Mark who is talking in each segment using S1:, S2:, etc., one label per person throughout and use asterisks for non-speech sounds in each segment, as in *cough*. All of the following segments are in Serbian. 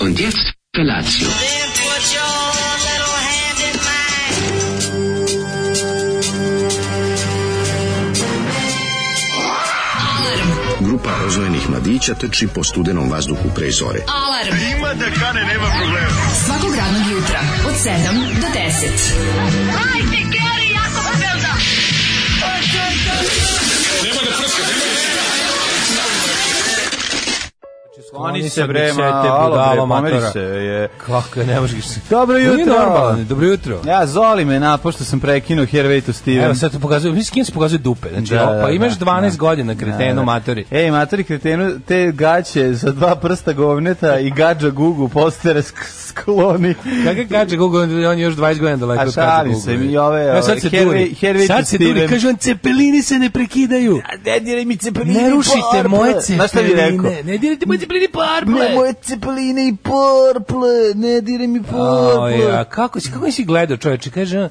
S1: Und jetzt Felatio.
S2: Then put your little hand in mine.
S3: Grupa rozvojenih mladića trči po studenom vazduhu pre zore.
S4: Alarm. Ima da kane, nema problema. Svakog radnog jutra, od 7 do 10.
S5: Skloni se bre, ma, alo bre, pomeri se. Je.
S6: Kako je, ne možeš se...
S5: Dobro
S6: Jutro. Nije
S5: jutro.
S6: normalno, dobro jutro.
S5: Ja, zoli me na, pošto sam prekinuo Hervey to Steven.
S6: Evo sad te pokazuju, mislim, kim se pokazuju dupe. Znači,
S5: Da, da,
S6: opa, imaš
S5: da,
S6: 12
S5: da. E,
S6: godina, kreteno, matori.
S5: Ej, matori kretenu, te gaće za dva prsta govneta i gađa gugu postere sk skloni.
S6: Kako gađa Google, on- on je još 20 godina daleko.
S5: A
S6: od
S5: šalim
S6: Kaza
S5: se,
S6: Google.
S5: i ove,
S6: Evo, sad
S5: ove,
S6: se
S5: Hervey-
S6: duri.
S5: Hervey
S6: Sad
S5: to
S6: se duri,
S5: Steven.
S6: kaže on, cepelini se ne prekidaju.
S5: Ne diraj mi cepeline
S6: Ne rušite moje
S5: pa, Znaš šta bi rekao?
S6: cepeline. Ne dirajte moje cepeline
S5: Ne,
S6: parble.
S5: moje cepeline i porple, ne diraj mi
S6: Oj,
S5: porple.
S6: a kako si, kako si gledao čoveče, kaže, ja,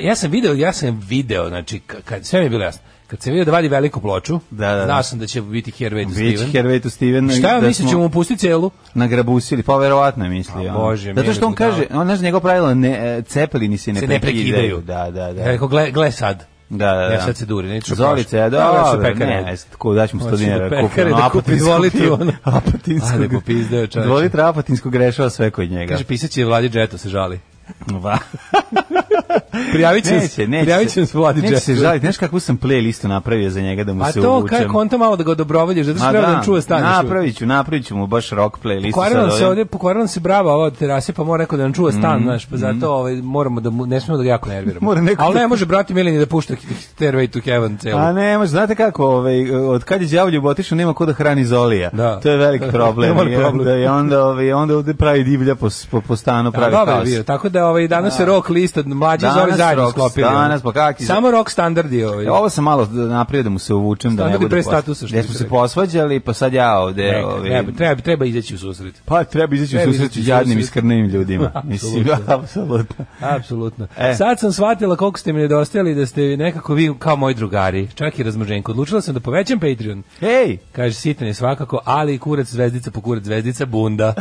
S6: ja sam video, ja sam video, znači, ka- kad, sve mi je bilo jasno, kad sam video da vadi veliku ploču,
S5: Da, da, da.
S6: znao sam da će biti Here Wait to
S5: Vić
S6: Steven.
S5: Hervey to Steven.
S6: Šta ja
S5: da
S6: mislim,
S5: smo-
S6: ćemo mu pustiti celu?
S5: nagrabusili, pa verovatno je mislio.
S6: A,
S5: ono.
S6: Bože
S5: Zato što
S6: mili,
S5: on
S6: budala.
S5: kaže, on znaš njegovo pravilo, ne, e, cepelini se ne,
S6: Se ne
S5: prekidaju.
S6: prekidaju.
S5: Da, da, da.
S6: Ja rekao, E, gle, gle sad.
S5: Da, da, da.
S6: Ja sad se duri, neću
S5: Zolice, ja,
S6: prošlo. Ja
S5: dobro,
S6: ću pekare.
S5: ne, tako daćemo 100
S6: Hoću do
S5: dinara,
S6: pekare
S5: kupimo
S6: da kupim
S5: apatinskog
S6: dva litra,
S5: piva. *laughs*
S6: ono.
S5: Apatinskog.
S6: Ajde, popizdeo, čoveče.
S5: Dva litra apatinskog rešava sve kod njega.
S6: Kaže, pisat će Vladi Džeto, se žali.
S5: *laughs* Va.
S6: Prijavit će
S5: neće,
S6: se-
S5: neće.
S6: prijavit će se Vladi
S5: Neće se
S6: Džetu.
S5: žaliti, znaš kakvu sam playlistu napravio za njega da mu
S6: A
S5: se
S6: Pa to,
S5: uvučem.
S6: kako on to malo da ga odobrovoljiš, zato što
S5: Ma
S6: treba da
S5: da,
S6: nam čuva stanje.
S5: Napravit ću, napravit ću mu baš rock playlistu.
S6: Pokvarila nam
S5: sad
S6: se
S5: ovim.
S6: ovdje, pokvarila nam se brava ova od terase, pa mora neko da nam čuva stan, znaš, pa zato ovaj, moramo da, mu- ne smemo da ga jako nerviramo.
S5: mhm. Mora neko
S6: Ali
S5: da-
S6: ne može brati Milini da pušta Stairway to Heaven celu.
S5: A ne, može, znate kako, ovaj, od kad je đavoljub otišao, nema ko da hrani Zolija.
S6: Da.
S5: To je
S6: *laughs*
S5: veliki problem.
S6: Dobar
S5: I onda,
S6: problem.
S5: i onda, ovaj, onda ovde pravi divlja po, s- po, po stanu,
S6: A,
S5: pravi
S6: dobar je
S5: haos.
S6: bio, tako da ovaj, danas se rock list od mlađe
S5: Danas
S6: zove zajedno
S5: rock,
S6: sklopili.
S5: danas, pa kak iz-
S6: Samo rock standardi ovaj.
S5: E, Ovo sam malo napravio da mu se uvučem. da ne
S6: Standardi
S5: bude
S6: pre
S5: pos-
S6: statusa, što
S5: Gde
S6: bi
S5: smo
S6: se
S5: se
S6: reklo.
S5: posvađali, pa sad ja ovde...
S6: Neka,
S5: ovaj,
S6: treba, treba, treba izaći u susret.
S5: Pa treba izaći u
S6: Treba
S5: susret
S6: izaći u
S5: jadnim i
S6: susret.
S5: skrnevim
S6: *laughs*
S5: ljudima. Mislim,
S6: Apsolutno.
S5: *laughs* apsolutno.
S6: Apsolutno.
S5: E.
S6: Sad sam shvatila koliko ste mi nedostajali da ste nekako vi kao moji drugari, čak i razmoženko. Odlučila sam da povećam Patreon.
S5: Ej!
S6: Kaže, sitan je svakako, ali i kurac zvezdica po kurac zvezdica
S5: *laughs*
S6: bunda.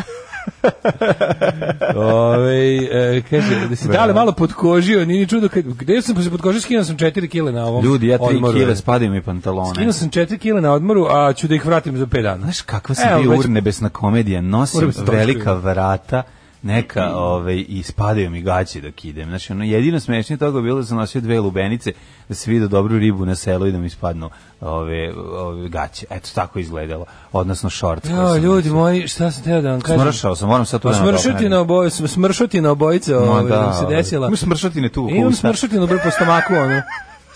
S6: Ove, e, kaže, da si dale malo podkožio, nije ni čudo, kad- gde sam se podkožio, skinuo sam 4 kile na ovom
S5: Ljudi, ja tri
S6: odmoru.
S5: kile spadaju mi pantalone.
S6: Skinuo sam 4 kile na odmoru, a ću da ih vratim za 5 dana.
S5: Pa Znaš kakva sam
S6: Evo,
S5: bio
S6: već-
S5: urnebesna komedija, nosim
S6: Urbis Tošković.
S5: velika vrata, neka ovaj, i spadaju mi gaće dok idem. Znači, ono, jedino smešnije toga je bilo da sam nosio dve lubenice, da se vidio dobru ribu na selu i da mi spadnu ove, ove gaće. Eto, tako je izgledalo. Odnosno, šort.
S6: Jo, ljudi moji, šta sam teo da vam kažem?
S5: Smršao sam, moram sad to
S6: Pa
S5: da
S6: smršutina oboje, sm- smršutina obojica, ovaj, da, nam se desila.
S5: Imaš smršotine tu.
S6: Imam smršutinu bre po stomaku, ono.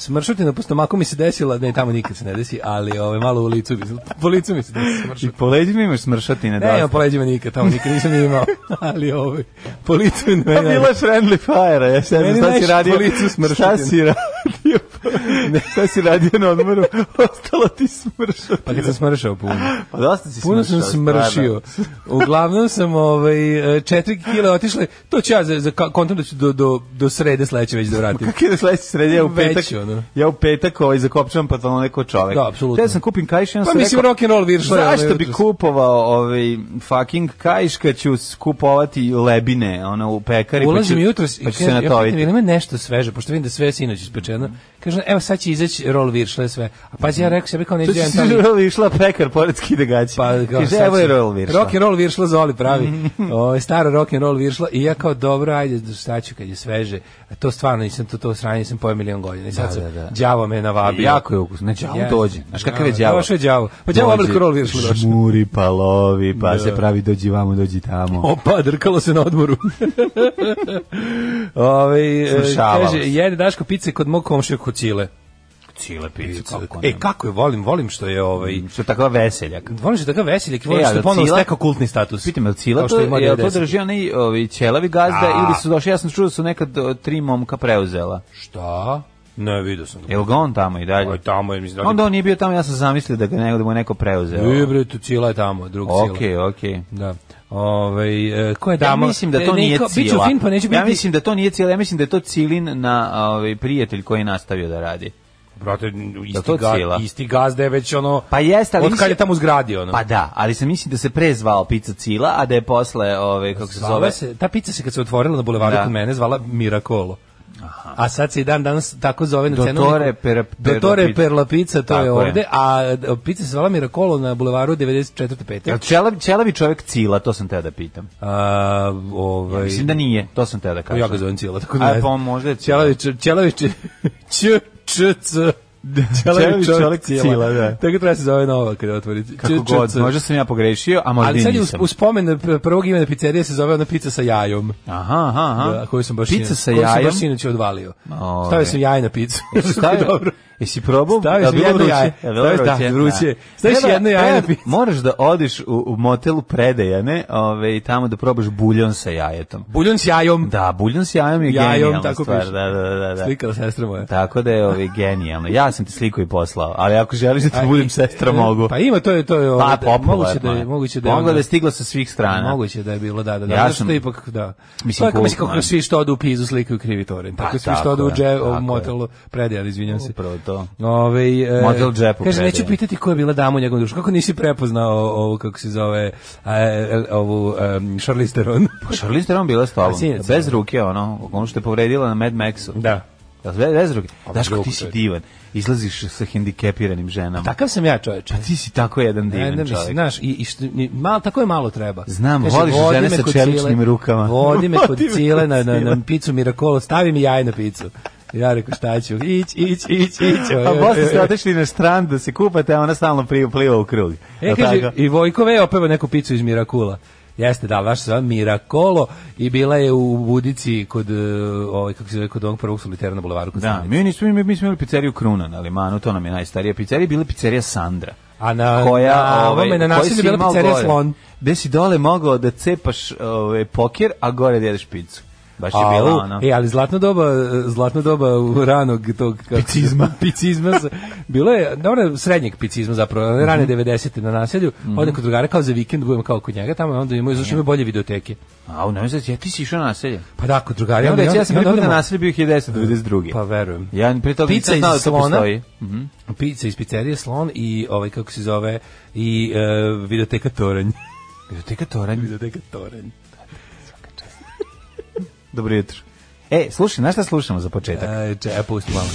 S6: Smršutina po stomaku mi se desila, ne, tamo nikad se ne desi, ali ove, malo u licu, mi se- po licu mi se desi
S5: I *laughs*
S6: smršutina.
S5: po leđima imaš smršotine.
S6: Ne, imam po leđima nikad, tamo nikad nisam ni imao, *laughs* ali ove, po licu mi
S5: Pa bila
S6: ne,
S5: je friendly fire, ja se
S6: Meni
S5: šta si
S6: najviše
S5: radio,
S6: po licu
S5: šta
S6: smršotina.
S5: si radio, šta si radio na odmoru, ostalo ti smršao.
S6: pa kad sam smršao puno.
S5: Pa dosta si
S6: Puno sam smršio. *laughs* Uglavnom sam ovaj, e, četiri kile otišle, to ću ja za, za ka- kontam da ću do, do, do srede sledeće već da vratim.
S5: Pa Kako je sledeći sredi, ja u
S6: Već,
S5: petak,
S6: ono.
S5: ja u petak ovaj, zakopčavam pantalone neko čovek.
S6: Da, apsolutno.
S5: Ja sam kupim kajš i onda
S6: Pa
S5: sam
S6: mislim
S5: rekao,
S6: rock and roll viršla. je, ono,
S5: Zašto bi
S6: jutros.
S5: kupovao ovaj fucking kajš kad ću s- kupovati lebine ono u pekari
S6: Ulazim
S5: pa ću,
S6: jutros i
S5: pa ću se
S6: kažem, ja pitam,
S5: natoviti.
S6: jel ima nešto sveže, pošto vidim da sve je sinoć ispečeno. Kažem, evo sad će izaći roll viršle sve. A pa ja rekao sebi kao neđe
S5: To će
S6: jedan
S5: si *laughs* želi išla pekar pored skide gaće.
S6: Pa, kao,
S5: Kaže,
S6: sad
S5: evo je
S6: će-
S5: roll viršla.
S6: Rock and roll viršla Zoli
S5: *laughs*
S6: pravi. Ovo, staro rock and roll viršla. I ja kao, dobro, ajde, šta ću kad je sveže. A to stvarno nisam, to, to sranje nisam pojao milion godina. I sad
S5: Da,
S6: sam,
S5: da, da.
S6: đavo me navabio.
S5: Jako je ukusno. Ne, đavo
S6: Jeste.
S5: dođe. Znaš kakav je
S6: Da,
S5: đavo?
S6: došao je đavo. Pa đavo
S5: Dođe,
S6: oblik roll viršla došao.
S5: Žmuri, pa lovi, pa se pravi dođi vamo, dođi tamo.
S6: Opa, drkalo se na *laughs* odmoru. Ove,
S5: Smršavalo
S6: Ovaj, e, kaže,
S5: se.
S6: jede Daško pice kod mog komšija kod Cile.
S5: Cile pice, kako
S6: E, kako je, volim, volim što je ovaj...
S5: Što je takva veseljak.
S6: Volim što je takav veseljak, i volim
S5: E,
S6: što
S5: ali
S6: je ponovo
S5: Cila-
S6: stekao kultni status.
S5: Pitam, je li Cila
S6: Kao
S5: to,
S6: što ima
S5: je li to
S6: 90.
S5: drži onaj ovi, ćelavi gazda
S6: Da.
S5: ili su došli, ja sam čuo da su nekad o, tri momka preuzela.
S6: Šta? Ne, vidio sam ga.
S5: Je li ga on tamo i
S6: Ovo
S5: dalje?
S6: je tamo, je, mislim,
S5: E, Onda on nije bio tamo, ja sam zamislio da ga nego da mu je neko preuzeo.
S6: Ne, E, bre, tu Cila je tamo, drug Cila.
S5: Okej, okej.
S6: Da. Ovaj e, ko je dama?
S5: Ja mislim da
S6: E,
S5: to
S6: ne,
S5: nije
S6: kao,
S5: cila.
S6: Biću fin, pa neću biti.
S5: Ja mislim da to nije cila, ja mislim da je to cilin na ovaj prijatelj koji je nastavio da radi.
S6: brate, isti,
S5: to
S6: ga,
S5: Cila?
S6: isti gazda je već ono...
S5: Pa jeste, ali
S6: Od kad
S5: mislim-
S6: je tamo zgradio, ono.
S5: Pa da, ali sam mislim da se pre zvao pizza Cila, a da je posle, ove, kako se
S6: Zvala
S5: zove,
S6: se, ta pizza se kad se otvorila na bulevaru
S5: Da.
S6: kod mene zvala Miracolo. A sad se i dan danas tako zove na
S5: Dottore
S6: cenu.
S5: per- Perla
S6: Dotore
S5: Pizza.
S6: Perla Pizza, to
S5: Tako
S6: je
S5: je.
S6: ovde, a d- pizza se zvala Miracolo na bulevaru 94. 5.
S5: Jel čelavi, čelavi čovjek Cila, to sam teo da pitam.
S6: A, ovaj,
S5: Mislim da nije, to sam teo da kažem.
S6: Ja ga zovem Cijela, tako da
S5: A
S6: ne
S5: pa
S6: znam.
S5: možda je Cila.
S6: Ćelavić, Ćelavić,
S5: *laughs*
S6: Č, Č, Č, C.
S5: Ćelavić
S6: Ćelavić
S5: čovjek
S6: čovjek
S5: Cila,
S6: Cila,
S5: da.
S6: da. Tako treba se zove nova kada otvori. Č,
S5: Kako
S6: Č,
S5: god,
S6: C.
S5: možda sam ja pogrešio, a možda
S6: Ali
S5: i
S6: sad je u,
S5: nisam.
S6: u spomen p- prvog imena pizzerije se zove ona pizza sa jajom.
S5: Aha, aha, aha.
S6: Da, koju sam baš
S5: Pizza
S6: sinoć-
S5: sa
S6: Koju sam
S5: jajom.
S6: baš sinoć odvalio.
S5: Ove.
S6: Stavio sam jaj na picu. *laughs*
S5: Stavio,
S6: Dobro.
S5: Jesi probao?
S6: Stavio
S5: Jel
S6: sam
S5: bilo
S6: jedno
S5: vruće?
S6: jaje.
S5: Jel bilo
S6: Stavio- da, vruće je. Staviš
S5: Treba-
S6: jedno jaje na
S5: treba-
S6: pizzu.
S5: Moraš da odiš u, u motelu predaja, ne? Ove, I tamo da probaš buljon sa jajetom.
S6: Buljon s jajom.
S5: Da, buljon s jajem je
S6: Jajom,
S5: genijalna
S6: tako
S5: stvar.
S6: piše.
S5: Da, da, da, da.
S6: Slikala sestra moja.
S5: Tako da je ovaj, genijalno. Ja sam ti sliku i poslao, ali ako želiš da ti budem sestra, mogu.
S6: Pa ima, to je, to je,
S5: Pa,
S6: ovaj,
S5: popularno
S6: moguće da je, moguće da je,
S5: Mogla
S6: ono-
S5: da je stigla sa svih strana.
S6: Moguće da je bilo, da, da, da.
S5: Ja
S6: Ja
S5: sam-
S6: sam, ipak, da.
S5: Mislim,
S6: Mislim, kako, mislim,
S5: kultno je.
S6: kako svi što odu u pizu slikaju krivi toren. Tako
S5: Pa,
S6: svi
S5: tako
S6: što odu u
S5: je,
S6: džep,
S5: tako je.
S6: u motelu predijal, izvinjam se.
S5: Upravo to.
S6: Ove, e,
S5: Motel džep u
S6: Kaže, neću
S5: predjel.
S6: pitati ko je bila dama u njegovom društvu. Kako nisi prepoznao ovu, kako se zove, a, e, ovu um, Charlize Theron?
S5: Pa Charlize Theron bila s tobom.
S6: Pa, sinac,
S5: Bez ruke, ono, ono što je povredila na Mad Maxu.
S6: Da.
S5: Jel sve bez ruke? Znaš kako
S6: ruku,
S5: ti si
S6: čovječe.
S5: divan. Izlaziš sa hendikepiranim ženama.
S6: Takav sam ja, čoveče.
S5: Ti si tako jedan
S6: Ne,
S5: divan
S6: ne, mislim,
S5: čovjek.
S6: znaš, i, i što, ni, malo, tako je malo treba.
S5: Znam, voliš
S6: "Vodi
S5: žene
S6: me
S5: sa
S6: kod
S5: čeličnim
S6: Cile,
S5: rukama." *laughs*
S6: Vodi me kod
S5: Vodi me
S6: cile
S5: kod
S6: na, na,
S5: Cile.
S6: na picu Miracolo, stavi mi jaj na picu. Ja rekao, šta ću? Ić, ić, ić, ić.
S5: A Pa posle ste otišli na strand da se kupate, a ona stalno pri- pliva u krug.
S6: E,
S5: Jel
S6: kaže,
S5: tako?
S6: i Vojkove je opeva neku picu iz Mirakula. Jeste, da, vaš se zove Mirakolo i bila je u Budici kod, e, ovaj, kako se zove, kod onog prvog solitera na bulevaru. Kod
S5: Da,
S6: Stanice.
S5: mi nismo mi, mi smo imali pizzeriju Kruna na Limanu, to nam je najstarija pizzerija, bila je pizzerija Sandra.
S6: A na- na ovome, na
S5: koju
S6: nasilju
S5: ovaj, si
S6: bila
S5: imao
S6: pizzerija
S5: gore.
S6: Slon.
S5: Gde si dole mogao da cepaš ovaj poker, a gore da jedeš picu. Baš je
S6: Au,
S5: bila ono. ona.
S6: E, ali zlatno doba, e, zlatno doba u ranog tog kako, picizma. picizma se- bilo je dobro srednjeg picizma zapravo,
S5: Mhm.
S6: one rane 90-te na naselju. Odem kod drugara kao za vikend, budem kao kod njega, tamo onda imaju zašto imaju bolje videoteke.
S5: A, ne znam, ja ti si išao na naselje.
S6: Pa da, kod drugara.
S5: Ja,
S6: onda-
S5: ja,
S6: onda-
S5: E, ja sam
S6: onda
S5: prvi put na
S6: odemo-
S5: naselju bio 1992.
S6: Pa verujem.
S5: Ja prije toga
S6: Pizza
S5: nisam znao da
S6: iz
S5: to
S6: slona.
S5: postoji.
S6: Pizza iz pizzerije Slon i ovaj kako se zove i e, videoteka Toranj. *laughs*
S5: Biblioteka Toranj.
S6: videoteka Toranj.
S5: Dobro jutro. E, slušaj, znaš šta slušamo za početak?
S6: E, če, e, pusti malo.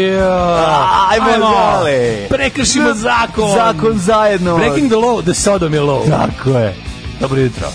S6: Ja,
S5: ajmo dale.
S6: Prekršimo zakon.
S5: Zakon zajedno.
S6: Breaking the law, the Sodom je law.
S5: Tako je. Dobro jutro.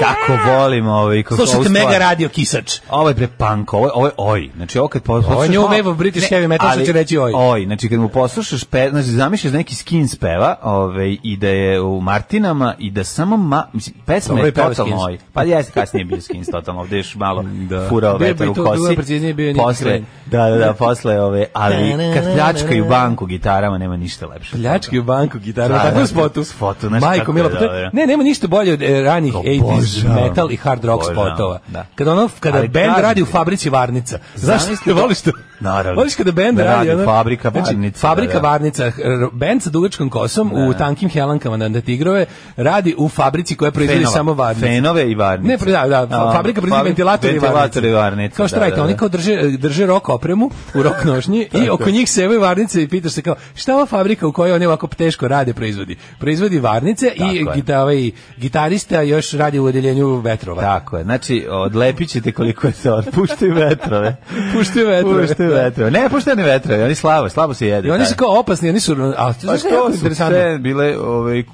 S5: Kako volim ovaj kako ovu
S6: Slušajte
S5: stvar.
S6: Mega Radio Kisač.
S5: Ovo je pre punk, ovo je, ovo je oj. Znači, ovo kad poslušaš...
S6: Ovo je new
S5: malo-
S6: wave of British heavy metal,
S5: ali-
S6: što će reći oj.
S5: Oj, znači kad mu poslušaš, pe, znači zamišljaš da neki skin speva ovaj, i da je u Martinama i da samo, ma, mislim, pesma
S6: Dobro
S5: je
S6: je pevao
S5: totalno
S6: Skins.
S5: oj. Pa jeste kasnije bio skins totalno, ovde još malo da.
S6: *laughs* Da.
S5: furao
S6: Bio
S5: vetar
S6: bi
S5: u
S6: to- bilo
S5: kosi.
S6: je preciznije, bio je Nick
S5: posle,
S6: Crane.
S5: da, da, da, posle ove, ali
S6: Da, da, *laughs* da,
S5: kad pljačkaju
S6: da, da.
S5: banku gitarama, nema ništa lepše.
S6: Pljački u banku gitaru,
S5: Da,
S6: da,
S5: da,
S6: tako spotu.
S5: s fotu, znaš kako
S6: Majko,
S5: je
S6: milo, pa to je-
S5: dobro.
S6: ne, nema ništa bolje od e, ranih
S5: To
S6: 80s
S5: obožavam.
S6: metal i hard rock
S5: Obožavam,
S6: spotova.
S5: da.
S6: Kada ono, kada
S5: Ali
S6: band
S5: kažem
S6: radi u
S5: ti-
S6: fabrici Varnica. Znaš,
S5: Zamisli
S6: ne
S5: to-
S6: voliš to?
S5: Naravno.
S6: Voliš kada band
S5: Da
S6: radi,
S5: radi
S6: ono,
S5: fabrika
S6: znači,
S5: Varnica,
S6: fabrika
S5: da, da.
S6: Varnica, r- band sa dugačkom kosom u tankim helankama na, na tigrove radi u fabrici koja proizvodi
S5: Fenova.
S6: samo varnice.
S5: Fenove i varnice.
S6: Ne, da, da, fa-
S5: A, fabri-
S6: fabrika proizvodi ventilatore i varnice.
S5: ventilatore i varnice,
S6: Kao što
S5: da,
S6: radite,
S5: da, da.
S6: oni kao drže, drže rok opremu u
S5: *laughs*
S6: rok nošnji i oko njih se evo varnice i pitaš se kao šta ova fabrika u kojoj oni ovako teško rade proizvodi? Proizvodi varnice
S5: Tako je.
S6: i gita, ovaj, gitarista još radi u odeljenju vetrova.
S5: Tako je, znači odlepit ćete koliko je se otpuštaju
S6: *laughs*
S5: vetrove.
S6: Puštaju vetrove.
S5: Puštaju vetrove. Ne, puštaju ne vetrove, oni slabo, slabo se jedu.
S6: I oni
S5: taj.
S6: su kao opasni, oni su... A,
S5: Pa
S6: znaš šta je
S5: to
S6: jako
S5: su
S6: interesantno?
S5: sve bile ove,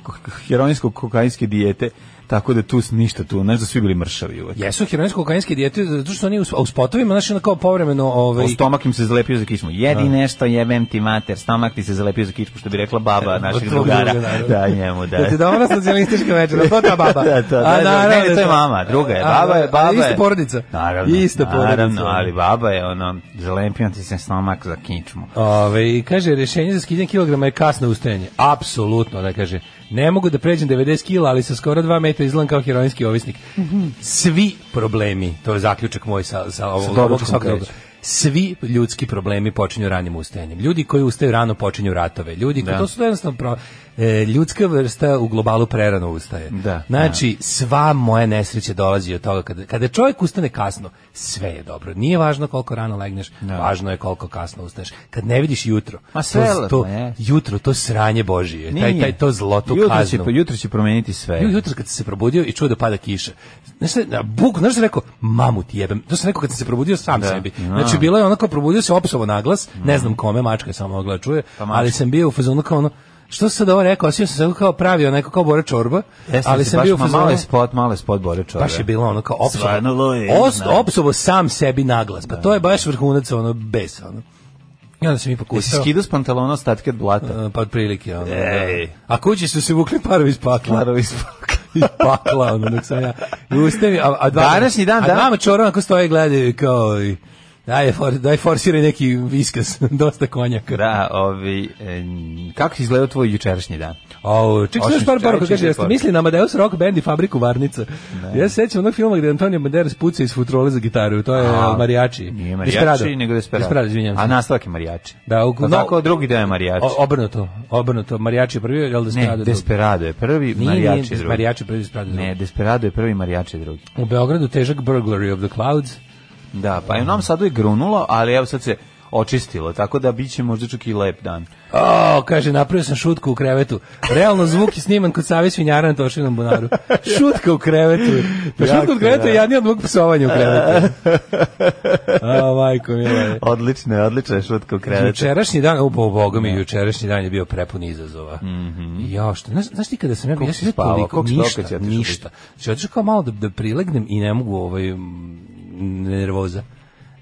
S5: heroinsko-kokainske dijete, tako da tu s- ništa tu, znaš da su svi bili mršavi uvek.
S6: Jesu heroinsko-kokainske dijete, zato što su oni u, u spotovima, znaš, ono kao povremeno... Ovaj,
S5: O stomak im se zalepio za kičmu. Jedi nešto, jebem ti mater, stomak ti se zalepio za kičmu, što bi rekla baba našeg
S6: *laughs* Od tog
S5: drugara.
S6: druga, naravno.
S5: Da, njemu, da.
S6: Da ti dobra socijalistička večera, to je ta baba.
S5: *laughs* Da, to, da, da, ne, ne, to je mama, druga je,
S6: A,
S5: baba je,
S6: a,
S5: baba je.
S6: Ista porodica.
S5: Naravno,
S6: Ista porodica.
S5: naravno, ali baba je ono, zalepio ti se stomak za kičmu.
S6: Ove, i kaže, rješenje za skidanje kilograma je kasno ustajanje. Apsolutno, ona kaže. Ne mogu da pređem 90 kila, ali sa skoro 2 metra izgledam kao heroinski ovisnik.
S5: Mhm.
S6: Svi problemi, to je zaključak moj sa, sa ovog,
S5: doručkom
S6: ovog svakog
S5: kreću.
S6: doba. svi ljudski problemi počinju ranim ustajanjem. Ljudi koji ustaju rano počinju ratove. Ljudi koji, to su jednostavno pro... e, ljudska vrsta u globalu prerano ustaje.
S5: Da,
S6: znači, sva moja nesreća dolazi od toga. Kada, kada čovjek ustane kasno, sve je dobro. Nije važno koliko rano legneš, važno je koliko kasno ustaneš. Kad ne vidiš jutro,
S5: Ma sve je
S6: to, to,
S5: lepo, je.
S6: jutro, to sranje Božije, taj, taj, to zlo, to
S5: jutro
S6: kaznu.
S5: Će, jutro će promeniti sve.
S6: Ju- jutros kad sam se probudio i čuo da pada kiša. Znaš šta, na buk, znaš šta sam rekao, mamu ti jebem. To sam rekao kad sam se probudio sam sebi. Znači, bilo je ono kao probudio se opsovo na glas, ne znam kome, mačka je samo mogla da čuje,
S5: Pa mačka.
S6: ali sam bio u fazonu kao ono, što sam sad ovo rekao, osjećao sam se onako kao pravio, neko kao Bora Čorba,
S5: Jeste,
S6: ali
S5: se
S6: sam
S5: baš
S6: bio u
S5: ma-
S6: fazonu,
S5: Malo je spot, malo je spot Bore Čorbe.
S6: baš je bilo ono kao opsovo,
S5: Stvarno je,
S6: os,
S5: da.
S6: opsovo sam sebi na glas, pa to je baš vrhunac ono, bes, ono. I onda sam ipak
S5: Jesi
S6: ustao.
S5: skidao s pantalona ostatke od
S6: *laughs*
S5: blata?
S6: E, Pa otprilike, ono,
S5: Ej.
S6: da. A kući su se vukli parovi iz pakla.
S5: Parovi iz pakla.
S6: iz pakla, ono, dok sam ja. I ustavi, a, a dva...
S5: Današnji dan,
S6: a
S5: da.
S6: dva mačora onako stoje i gledaju kao... i, Daj, for, daj forsiraj neki viskas, *laughs* dosta konjaka.
S5: Da, ovi, e, kako si izgledao tvoj jučerašnji dan?
S6: Au, ček,
S5: Osim
S6: još par
S5: što je
S6: poruka, kaže,
S5: čitao
S6: jeste
S5: poruku.
S6: misli na Amadeus Rock Band i fabriku Varnica. Ja se sećam onog filma gde Antonio Banderas puca iz futrole za gitaru, to je
S5: A,
S6: A, Marijači.
S5: Nije
S6: Desperado.
S5: marijači, nego desperado.
S6: Desperado, izvinjam se.
S5: A nastavak je marijači.
S6: Da, u-
S5: Pa
S6: no-
S5: tako, drugi deo je marijači.
S6: O- obrnuto, obrnuto. Marijači je prvi, jel
S5: ne,
S6: Desperado je drugi?
S5: Desperado je prvi,
S6: Nije, nije,
S5: marijači je drugi.
S6: Marijači je prvi, Desperado je drugi.
S5: Ne, Desperado je prvi, marijači je drugi.
S6: U Beogradu težak burglary of the clouds.
S5: Da, pa i u Novom Sadu je grunulo, ali evo sad se očistilo, tako da bit će možda čak i lep dan.
S6: O, kaže, napravio sam šutku u krevetu. Realno zvuk je sniman kod Save Svinjara na Tošinom bunaru. Šutka u krevetu. Pa šutka u krevetu je jadnija od mog psovanja u krevetu. A, majko, mila.
S5: Odlično je, odlično je šutka u krevetu.
S6: Jučerašnji dan, o, bo- boga mi, jučerašnji dan je bio prepun izazova. Ja, što, znaš, znaš ti kada sam ja, bio- ja sam bio
S5: spavao?
S6: toliko,
S5: Mhm. Koliko si spavao kad si otišao
S6: ništa, ništa. Znači, otišao kao malo da, da prilegnem i ne mogu, ovaj, m, nervoza.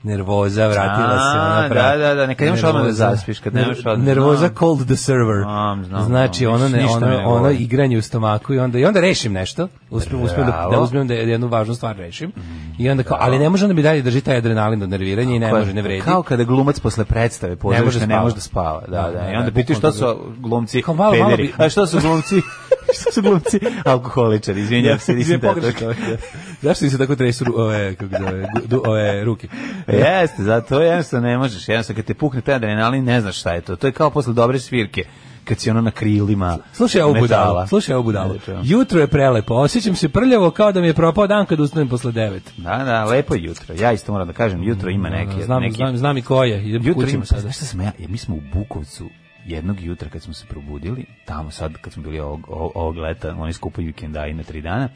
S6: Nervoza, vratila se.
S5: A,
S6: ona pra-
S5: da, da, da, nekad nemaš odmah da
S6: Nervoza.
S5: zaspiš, kad nemaš
S6: Ner-
S5: odmah,
S6: Nervoza
S5: znam.
S6: cold the server.
S5: Znam, znam,
S6: znači,
S5: znam.
S6: ono, ne,
S5: Ništa mi
S6: ono,
S5: ne
S6: ono
S5: govori.
S6: igranje u stomaku i onda, i onda rešim nešto. Uspem, uspem da, da
S5: Bravo.
S6: uzmem da jednu važnu stvar rešim. I onda kao, ali ne može onda mi dalje drži taj adrenalin od nerviranja i ne može, ne vredi.
S5: Pa Kao kada glumac posle predstave pozorišta ne
S6: spava.
S5: može da spava. Da,
S6: Da,
S5: da.
S6: da,
S5: I onda
S6: da,
S5: pitaju šta
S6: bukvalno
S5: su glumci
S6: Kao malo, malo
S5: pederi.
S6: bi-
S5: A šta su glumci? *laughs* šta su glumci? Alkoholičari, izvinjavam se, nisam
S6: Izvinjam,
S5: da
S6: pogreška. *laughs* Zašto im se tako tresu ru- ove, kako se zove, gu- du- ove ruke?
S5: Jeste, zato jednostavno ne možeš. Jednostavno kad te pukne taj adrenalin, ne znaš šta je to. To je kao posle dobre svirke kad si ono na krilima
S6: Slušaj ovu budalu,
S5: budala.
S6: slušaj ovu budalu.
S5: Ne, čujem.
S6: Jutro je prelepo, osjećam se prljavo kao da mi je propao dan kad ustanem posle devet.
S5: Da, da, lepo je jutro. Ja isto moram da kažem, jutro ima neke...
S6: Mm, Znam,
S5: neki...
S6: znam, znam i ko je, idem
S5: Jutro
S6: kućima
S5: ima, sad,
S6: sada.
S5: znaš šta sam ja, mi smo u Bukovcu jednog jutra kad smo se probudili, tamo sad kad smo bili ovog, ovog- ovog leta, oni skupaju vikendaji na tri dana,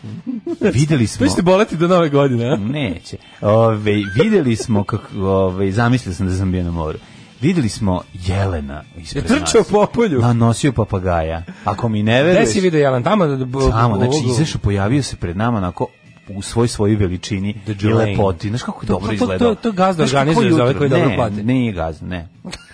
S6: *laughs*
S5: videli smo...
S6: Vi ste boleti do nove godine, a? *laughs*
S5: Neće. Ove, videli smo, kako, ove, zamislio sam da sam bio na moru, videli smo Jelena ispred
S6: Je trčao
S5: nas.
S6: po polju.
S5: Da, nosio papagaja. Ako mi ne
S6: Gde
S5: veruješ...
S6: si vidio Jelan? Tamo? da-
S5: Tamo, znači,
S6: ovoga-
S5: izašao, pojavio se pred nama onako u svoj svojoj veličini
S6: The
S5: i
S6: Jelaine.
S5: lepoti. Znaš kako je
S6: To-
S5: dobro
S6: to- to-
S5: izgledao?
S6: to- to gazda
S5: Znaš kako
S6: organizuje
S5: jutro?
S6: za ove koji dobro
S5: Ne,
S6: plate.
S5: Nije gazda, ne.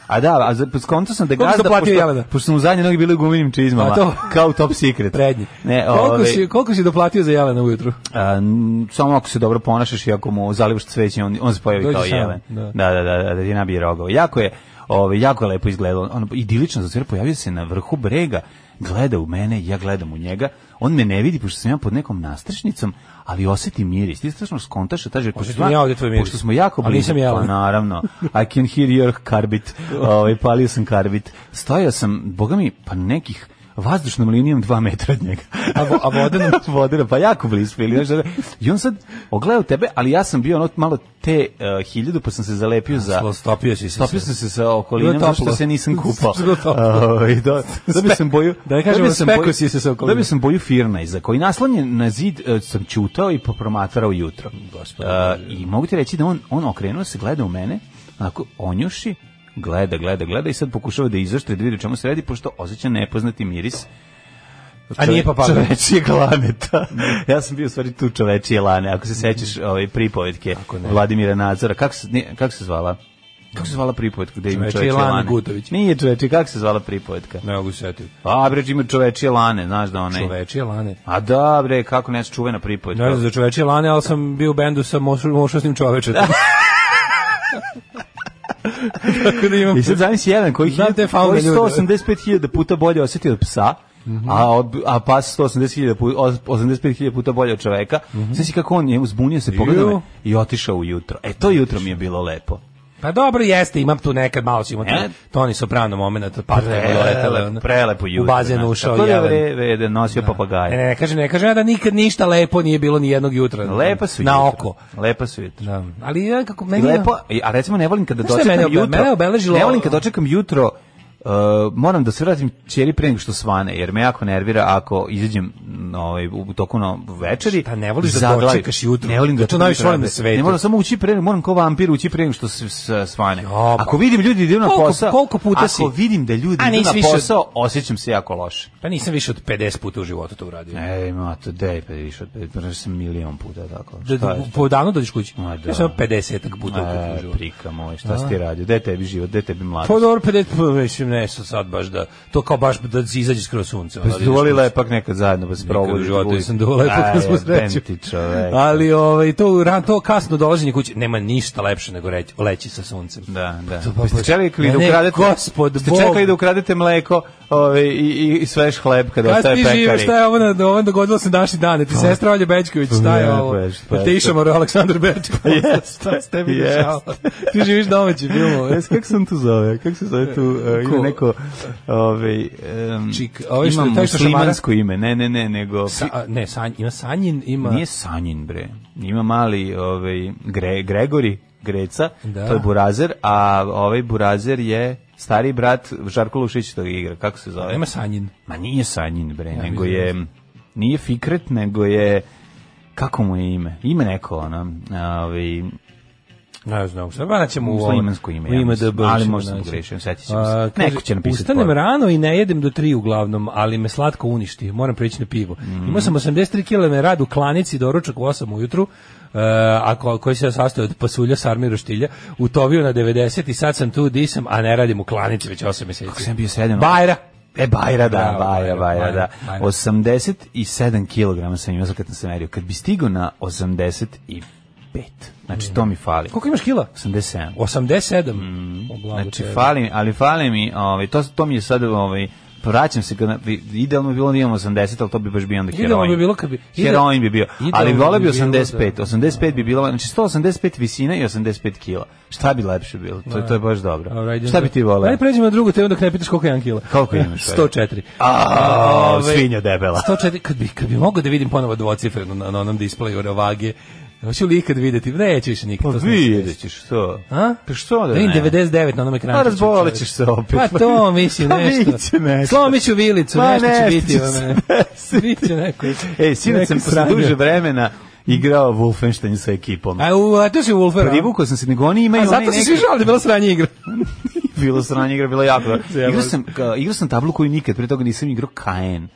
S5: A da, a za- skonto sam da
S6: Koliko
S5: gazda,
S6: sam platio Jelena?
S5: pošto, pošto sam u zadnje noge bili u guminim čizmama,
S6: A to-
S5: kao u top secret.
S6: Prednji.
S5: Ne, ovaj-
S6: koliko,
S5: ove,
S6: si, koliko si doplatio za Jelena ujutru?
S5: a, n- samo ako se dobro ponašaš i ako mu zalivaš cveće, on, on se pojavi
S6: Dođe
S5: kao
S6: sam,
S5: jelen.
S6: da.
S5: Da, da, da, da, da ti nabije rogova. Jako je, ove, jako je lepo izgledalo. Ono, idilično za sve, pojavio se na vrhu brega, gleda u mene, ja gledam u njega. On me ne vidi, pošto sam ja pod nekom nastrešnicom, ali osjeti miris. Ti strašno skontaš, da taže, pošto,
S6: Osetim
S5: smo-
S6: ja ovdje tvoj miris.
S5: pošto smo jako
S6: Ali
S5: blizu.
S6: nisam jelen.
S5: Pa *laughs* naravno. I can hear your carbit. Ove, palio sam carbit. Stojao sam, boga mi, pa nekih vazdušnom linijom dva metra od njega.
S6: A, vo- a
S5: *laughs*
S6: vodenom?
S5: Vodena, pa jako blizu bili. znaš, I on sad ogledao tebe, ali ja sam bio ono malo te uh, hiljadu, pa sam se zalepio za...
S6: Slo- stopio si se.
S5: Stopio sam se sa
S6: Bilo
S5: okolinom,
S6: je toplo.
S5: zato što se
S6: *laughs*
S5: nisam kupao.
S6: Bilo je
S5: *laughs*
S6: toplo.
S5: Uh, I
S6: *laughs*
S5: da, da bi sam boju...
S6: Da ne kažemo,
S5: bi sam
S6: spekao
S5: boju-
S6: si se sa okolinom.
S5: Da bi sam boju Firnajza, koji naslanjen na zid uh, sam čutao i popromatrao jutro.
S6: Gospode.
S5: Uh, I mogu ti reći da on, on okrenuo se, gleda u mene, onako onjuši, gleda, gleda, gleda i sad pokušava da izaštri, da vidi o čemu se radi, pošto osjeća nepoznati miris.
S6: A nije papagaj.
S5: Čovečije glaneta. Ja sam bio u stvari tu čovečije lane, ako se sećaš ove pripovetke
S6: Mhm. ne.
S5: Vladimira Nadzora. Kako se, nije- kako se zvala? Kako se zvala pripovetka gde ima
S6: Čovečije
S5: čovečije
S6: lane
S5: lane?
S6: Gutović.
S5: Nije čovečije, kako se zvala pripovetka?
S6: Ne mogu se setiti.
S5: A bre, ima čovečije lane, znaš da onaj...
S6: Čovečije lane.
S5: A da bre, kako ne čuvena pripovetka.
S6: Ne znam za čovečije lane, ali sam bio u bendu sa mošu- mošasnim čovečetom.
S5: *laughs*
S6: Tako da imam...
S5: I sad zamisli jedan koji
S6: Znam te
S5: hiljad-
S6: faune
S5: koji
S6: ljude. Mhm.
S5: 185.000 puta bolje osjetio od psa, a, od, a pas 180.000 puta, 85.000 puta bolje od čoveka. Znači kako on je uzbunio se, pogledao me
S6: Mhm. Ju.
S5: i otišao ujutro. E, to jutro mi je bilo lepo.
S6: Pa dobro jeste, imam tu nekad malo si imao
S5: E?
S6: e? Toni Soprano momenat, padne
S5: Prelepo,
S6: letele.
S5: prelepo jutro,
S6: ono. U bazen
S5: znaš.
S6: ušao
S5: Tako da je
S6: jelen.
S5: vre- vede, nosio
S6: Ne,
S5: papagaje.
S6: ne, ne, kažem, ne, kažem ja da nikad ništa lepo nije bilo ni jednog jutra.
S5: Lepa su
S6: Na
S5: jutra.
S6: oko.
S5: Lepa su jutra.
S6: Da. Ali ja kako
S5: I
S6: meni...
S5: lepo, i- a recimo ne volim kada
S6: Znaš šta je
S5: dočekam
S6: mene obe-
S5: jutro.
S6: mene je obeležilo-
S5: Ne volim kada dočekam jutro Uh, moram da se vratim ćeri pre nego što svane, jer me jako nervira ako izađem m, ovaj, u toku na večeri.
S6: Šta, ne voliš da
S5: zaglavim.
S6: dočekaš jutro?
S5: Ne volim da
S6: Ja to najviše volim na
S5: jutro.
S6: svetu.
S5: Ne moram samo ući pre, moram kao vampir ući pre nego što se s- svane.
S6: Jo, pa.
S5: Ako vidim ljudi idu na
S6: Koliko-
S5: posao,
S6: koliko puta
S5: ako
S6: si?
S5: vidim da ljudi
S6: A,
S5: idu
S6: nisi
S5: na
S6: više od-
S5: posao, osjećam se jako loše.
S6: Pa nisam više od 50 puta u životu to uradio.
S5: E, ima to dej, pa više od pet, možda sam milion puta tako.
S6: Da,
S5: Šta je
S6: da,
S5: to?
S6: po danu dođeš kući.
S5: Ma, da.
S6: Ja sam 50 puta
S5: E,
S6: u životu.
S5: prika moj, šta si ti radio? Gde je tebi život, gde je tebi mladost?
S6: Pa dobro, 50, pa mislim, nešto sad baš da, to kao baš da izađe skroz sunce.
S5: Pa ste duvali lepak nekad zajedno, pa se
S6: Nikad u
S5: probudi.
S6: životu nisam duvao lepo kad smo sreću.
S5: Ti čovek.
S6: Ali ovaj, to, ran, to kasno dolaženje kući, nema ništa lepše nego reći, leći sa suncem.
S5: Da, da.
S6: To, pa,
S5: Pa ste
S6: pa,
S5: čekali da
S6: ne,
S5: ukradete,
S6: gospod
S5: ste
S6: Bog.
S5: čekali da ukradete mleko ove, i, i, i svež hleb kada
S6: Kad
S5: ostaje
S6: ti žive,
S5: pekari.
S6: šta je ovo, na, ovo dogodilo se naši dane, ti sestra Olja Bečković, šta je
S5: Ne,
S6: ovo?
S5: pa je, šta
S6: Pa
S5: je
S6: te
S5: to? Pa
S6: išamo, Aleksandar Bečković,
S5: jeste,
S6: šta s tebi
S5: jeste.
S6: dešava? Ti živiš domaći film,
S5: *laughs* Jes, kako sam tu zove? Kako se zove tu? Uh,
S6: Ko?
S5: ima neko... Ove, um,
S6: Čik, ovaj što-
S5: ima
S6: taj što šamara?
S5: muslimansko ime. Ne, ne, ne, nego...
S6: Sa, a, ne, sanj, ima Sanjin, ima...
S5: Nije Sanjin, bre. Ima mali ovaj, Gre, Gregori, Greca,
S6: Da.
S5: to je Burazer, a ovaj Burazer je stari brat Žarko Lušić tog igra. Kako se zove?
S6: Nema Sanjin.
S5: Ma nije Sanjin, bre, nego
S6: mislim
S5: je... Nije Fikret, nego je... Kako mu je ime? Ime neko, ono... Ovaj,
S6: Ne znam, sve pa naćemo u
S5: Muslimansko ime, ja
S6: u ime
S5: mislim,
S6: DB.
S5: ali
S6: ćemo
S5: možda sam
S6: naći.
S5: pogrešio, sjetit ćemo se.
S6: A, kaže,
S5: Neko će napisati
S6: Ustanem
S5: poruku."
S6: rano i ne jedem do tri uglavnom, ali me slatko uništi, moram preći na pivo.
S5: Mm.
S6: Imao sam 83 kg na rad u klanici, doručak u 8 ujutru, e, a ko, koji se sastoji od pasulja, sarmi, roštilja, utovio na 90 i sad sam tu di sam, a ne radim u klanici već 8 meseci.
S5: Kako sam bio sedam?
S6: Bajra!
S5: E, Bajra, da,
S6: Bravo,
S5: Bajra,
S6: Bajra,
S5: Bajra, da.
S6: Bajra.
S5: 87 kg sam imao sad kad sam se merio. Kad bi stigao na 85, znači to mi fali.
S6: Koliko imaš kila?
S5: 87.
S6: 87? Mm.
S5: Znači, fali mi, ali fali mi, ovaj, to, to mi je sad, ovaj, vraćam se, kad, na- idealno bi bilo da imam 80, ali to bi baš bio onda heroin.
S6: Idealno bi bilo kad bi- ide-
S5: Heroin bi bio,
S6: idealno
S5: ali voleo bi
S6: bi bilo
S5: 85,
S6: da-
S5: 85 bi bilo, znači 185 visina i 85 kila. Šta bi lepše bilo? To, to je baš dobro. Šta bi ti voleo?
S6: Ajde pređemo na drugu temu dok ne pitaš koliko je 1 kila.
S5: Koliko
S6: *laughs*
S5: imaš?
S6: 104.
S5: A,
S6: Ove-
S5: svinja debela.
S6: 104, kad bi, kad bi mogao da vidim ponovo dvocifrenu na, na onom displeju ove vage, hoću li ikad videti? Neću više nikad.
S5: Pa
S6: to sam
S5: vidjet ćeš što.
S6: A?
S5: Pa što da
S6: Da vidim
S5: ne?
S6: 99 na onom ekranu.
S5: Pa razbolećeš se opet. *laughs*
S6: Pa to mislim
S5: Pa
S6: nešto.
S5: bit će nešto.
S6: Slomiću vilicu,
S5: Pa
S6: nešto će
S5: nešto
S6: biti. *laughs*
S5: će
S6: ono.
S5: se
S6: Biće neko.
S5: Ej, sinoć sam
S6: neko
S5: posle duže
S6: sranje.
S5: vremena igrao Wolfenstein sa ekipom. Pa
S6: A u, a to si Wolfer, a?
S5: Privukao sam se, nego oni imaju
S6: A
S5: onaj
S6: zato si
S5: neki-
S6: svi žali, bila sranje igra.
S5: *laughs* bilo sranje igra, bilo jako dobro.
S6: Cijelo.
S5: Igrao sam, ka- igrao sam tablu koju nikad, pre toga nisam igrao Kaen.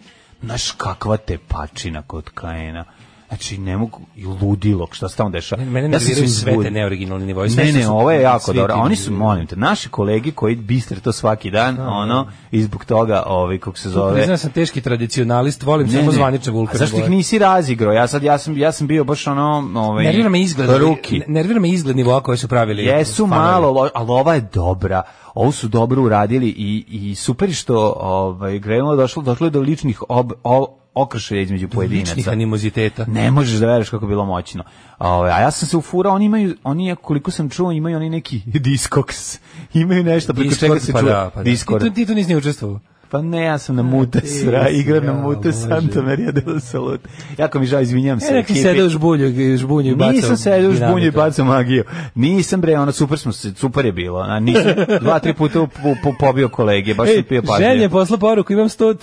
S5: Znaš kakva te pačina kod Kaena. Znači, ne mogu, i ludilo, šta se tamo dešava.
S6: Mene
S5: Ja
S6: ne
S5: sam
S6: sviraju
S5: se
S6: sve te
S5: uzbudio.
S6: neoriginalne nivoje. Pa sve
S5: Ne,
S6: što
S5: ne,
S6: su-
S5: ovo je jako
S6: svi
S5: dobro.
S6: ti-
S5: Oni su, molim te, naši kolege koji bistre to svaki dan, ono, i zbog toga, ovaj, kako se zove...
S6: Pa Priznam sam teški tradicionalist, volim
S5: Ne,
S6: samo
S5: ne.
S6: zvanične
S5: A
S6: Vulkan.
S5: Zašto ih
S6: boje.
S5: nisi razigrao? Ja sad ja sam ja sam bio baš ono, ovaj
S6: Nervira me izgled.
S5: Ruki.
S6: ne- Nervira me izgled nivoa koje su pravili.
S5: Jesu
S6: fanovi.
S5: malo, lo- ali ova je dobra. Ovo su dobro uradili i, i super je što ovaj, Gremlo došlo, došlo je do ličnih ob, o, okršaja između
S6: Ličnih
S5: pojedinaca.
S6: animoziteta.
S5: Ne možeš da veruješ kako je bilo moćno. Ovaj, a ja sam se ufurao, oni imaju, oni, koliko sam čuo, imaju oni neki *laughs* diskoks. Imaju nešto preko čega se
S6: pa
S5: čuje.
S6: da, pa da.
S5: Discord.
S6: Ti, tu- ti tu nisi ni učestvovao.
S5: Pa ne, ja sam na Mutesra,
S6: ti si,
S5: igram na
S6: E, ja,
S5: Mutes
S6: Bože.
S5: Santa Maria de Salut. Jako mi žao, izvinjam se.
S6: E, neki
S5: ekipi.
S6: sede u žbulju, i- žbunju i bacao.
S5: Nisam se još bunje i
S6: dinamite.
S5: bacao magiju. Nisam bre, ono super smo se, super je bilo. A
S6: *laughs*
S5: nisam dva tri puta u- po- po- pobio kolege, baš
S6: Ej,
S5: sam pio
S6: žen je
S5: pažnje.
S6: E, posla poruku, imam 120,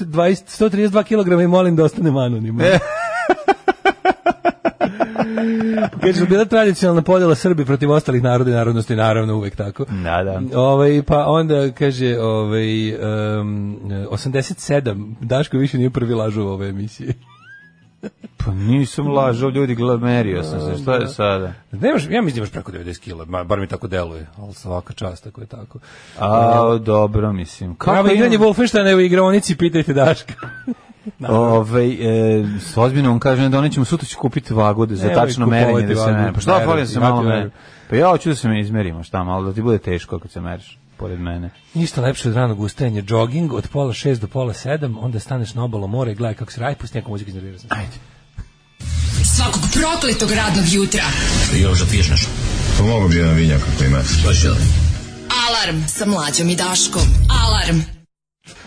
S6: 132 kg i molim da ostanem anonimno.
S5: E.
S6: *laughs* Kaže, bila tradicionalna podjela Srbi protiv ostalih naroda i narodnosti, naravno uvek tako.
S5: Da, da.
S6: Ovaj pa onda kaže ovaj um, 87 Daško više nije prvi lažu u ove emisije.
S5: Pa nisam lažao, ljudi, gleda, merio sam se. Šta je sada?
S6: *laughs* Nemaš, ja mislim da imaš preko 90 kg, ma- bar mi tako deluje, ali svaka čast ako je tako.
S5: A, dobro, mislim.
S6: Pravo
S5: imam-
S6: igranje Wolfensteina u igraonici, pitajte Daška.
S5: Ove, e, s ozbiljno vam kažem da oni ćemo sutra ću kupiti vagode za
S6: Nemoj
S5: tačno
S6: kupovati
S5: merenje da se
S6: vagode,
S5: mere. Pa šta
S6: verujem
S5: fali da
S6: ti,
S5: se
S6: ja ti
S5: malo mere?
S6: verujem.
S5: Pa ja hoću da se me izmerimo, šta malo, da ti bude teško kad se meriš, pored mene.
S6: *laughs* Ništa lepše od ranog ustajanja, jogging od pola šest do pola sedam, onda staneš na obalo mora i gledaj kako se radi, pusti neku muziku iznervira sam. se.
S4: Svakog prokletog radnog jutra.
S1: Pomogao Pa bi jedan vinjak ako ima.
S4: Alarm sa mlađom i Daškom. Alarm.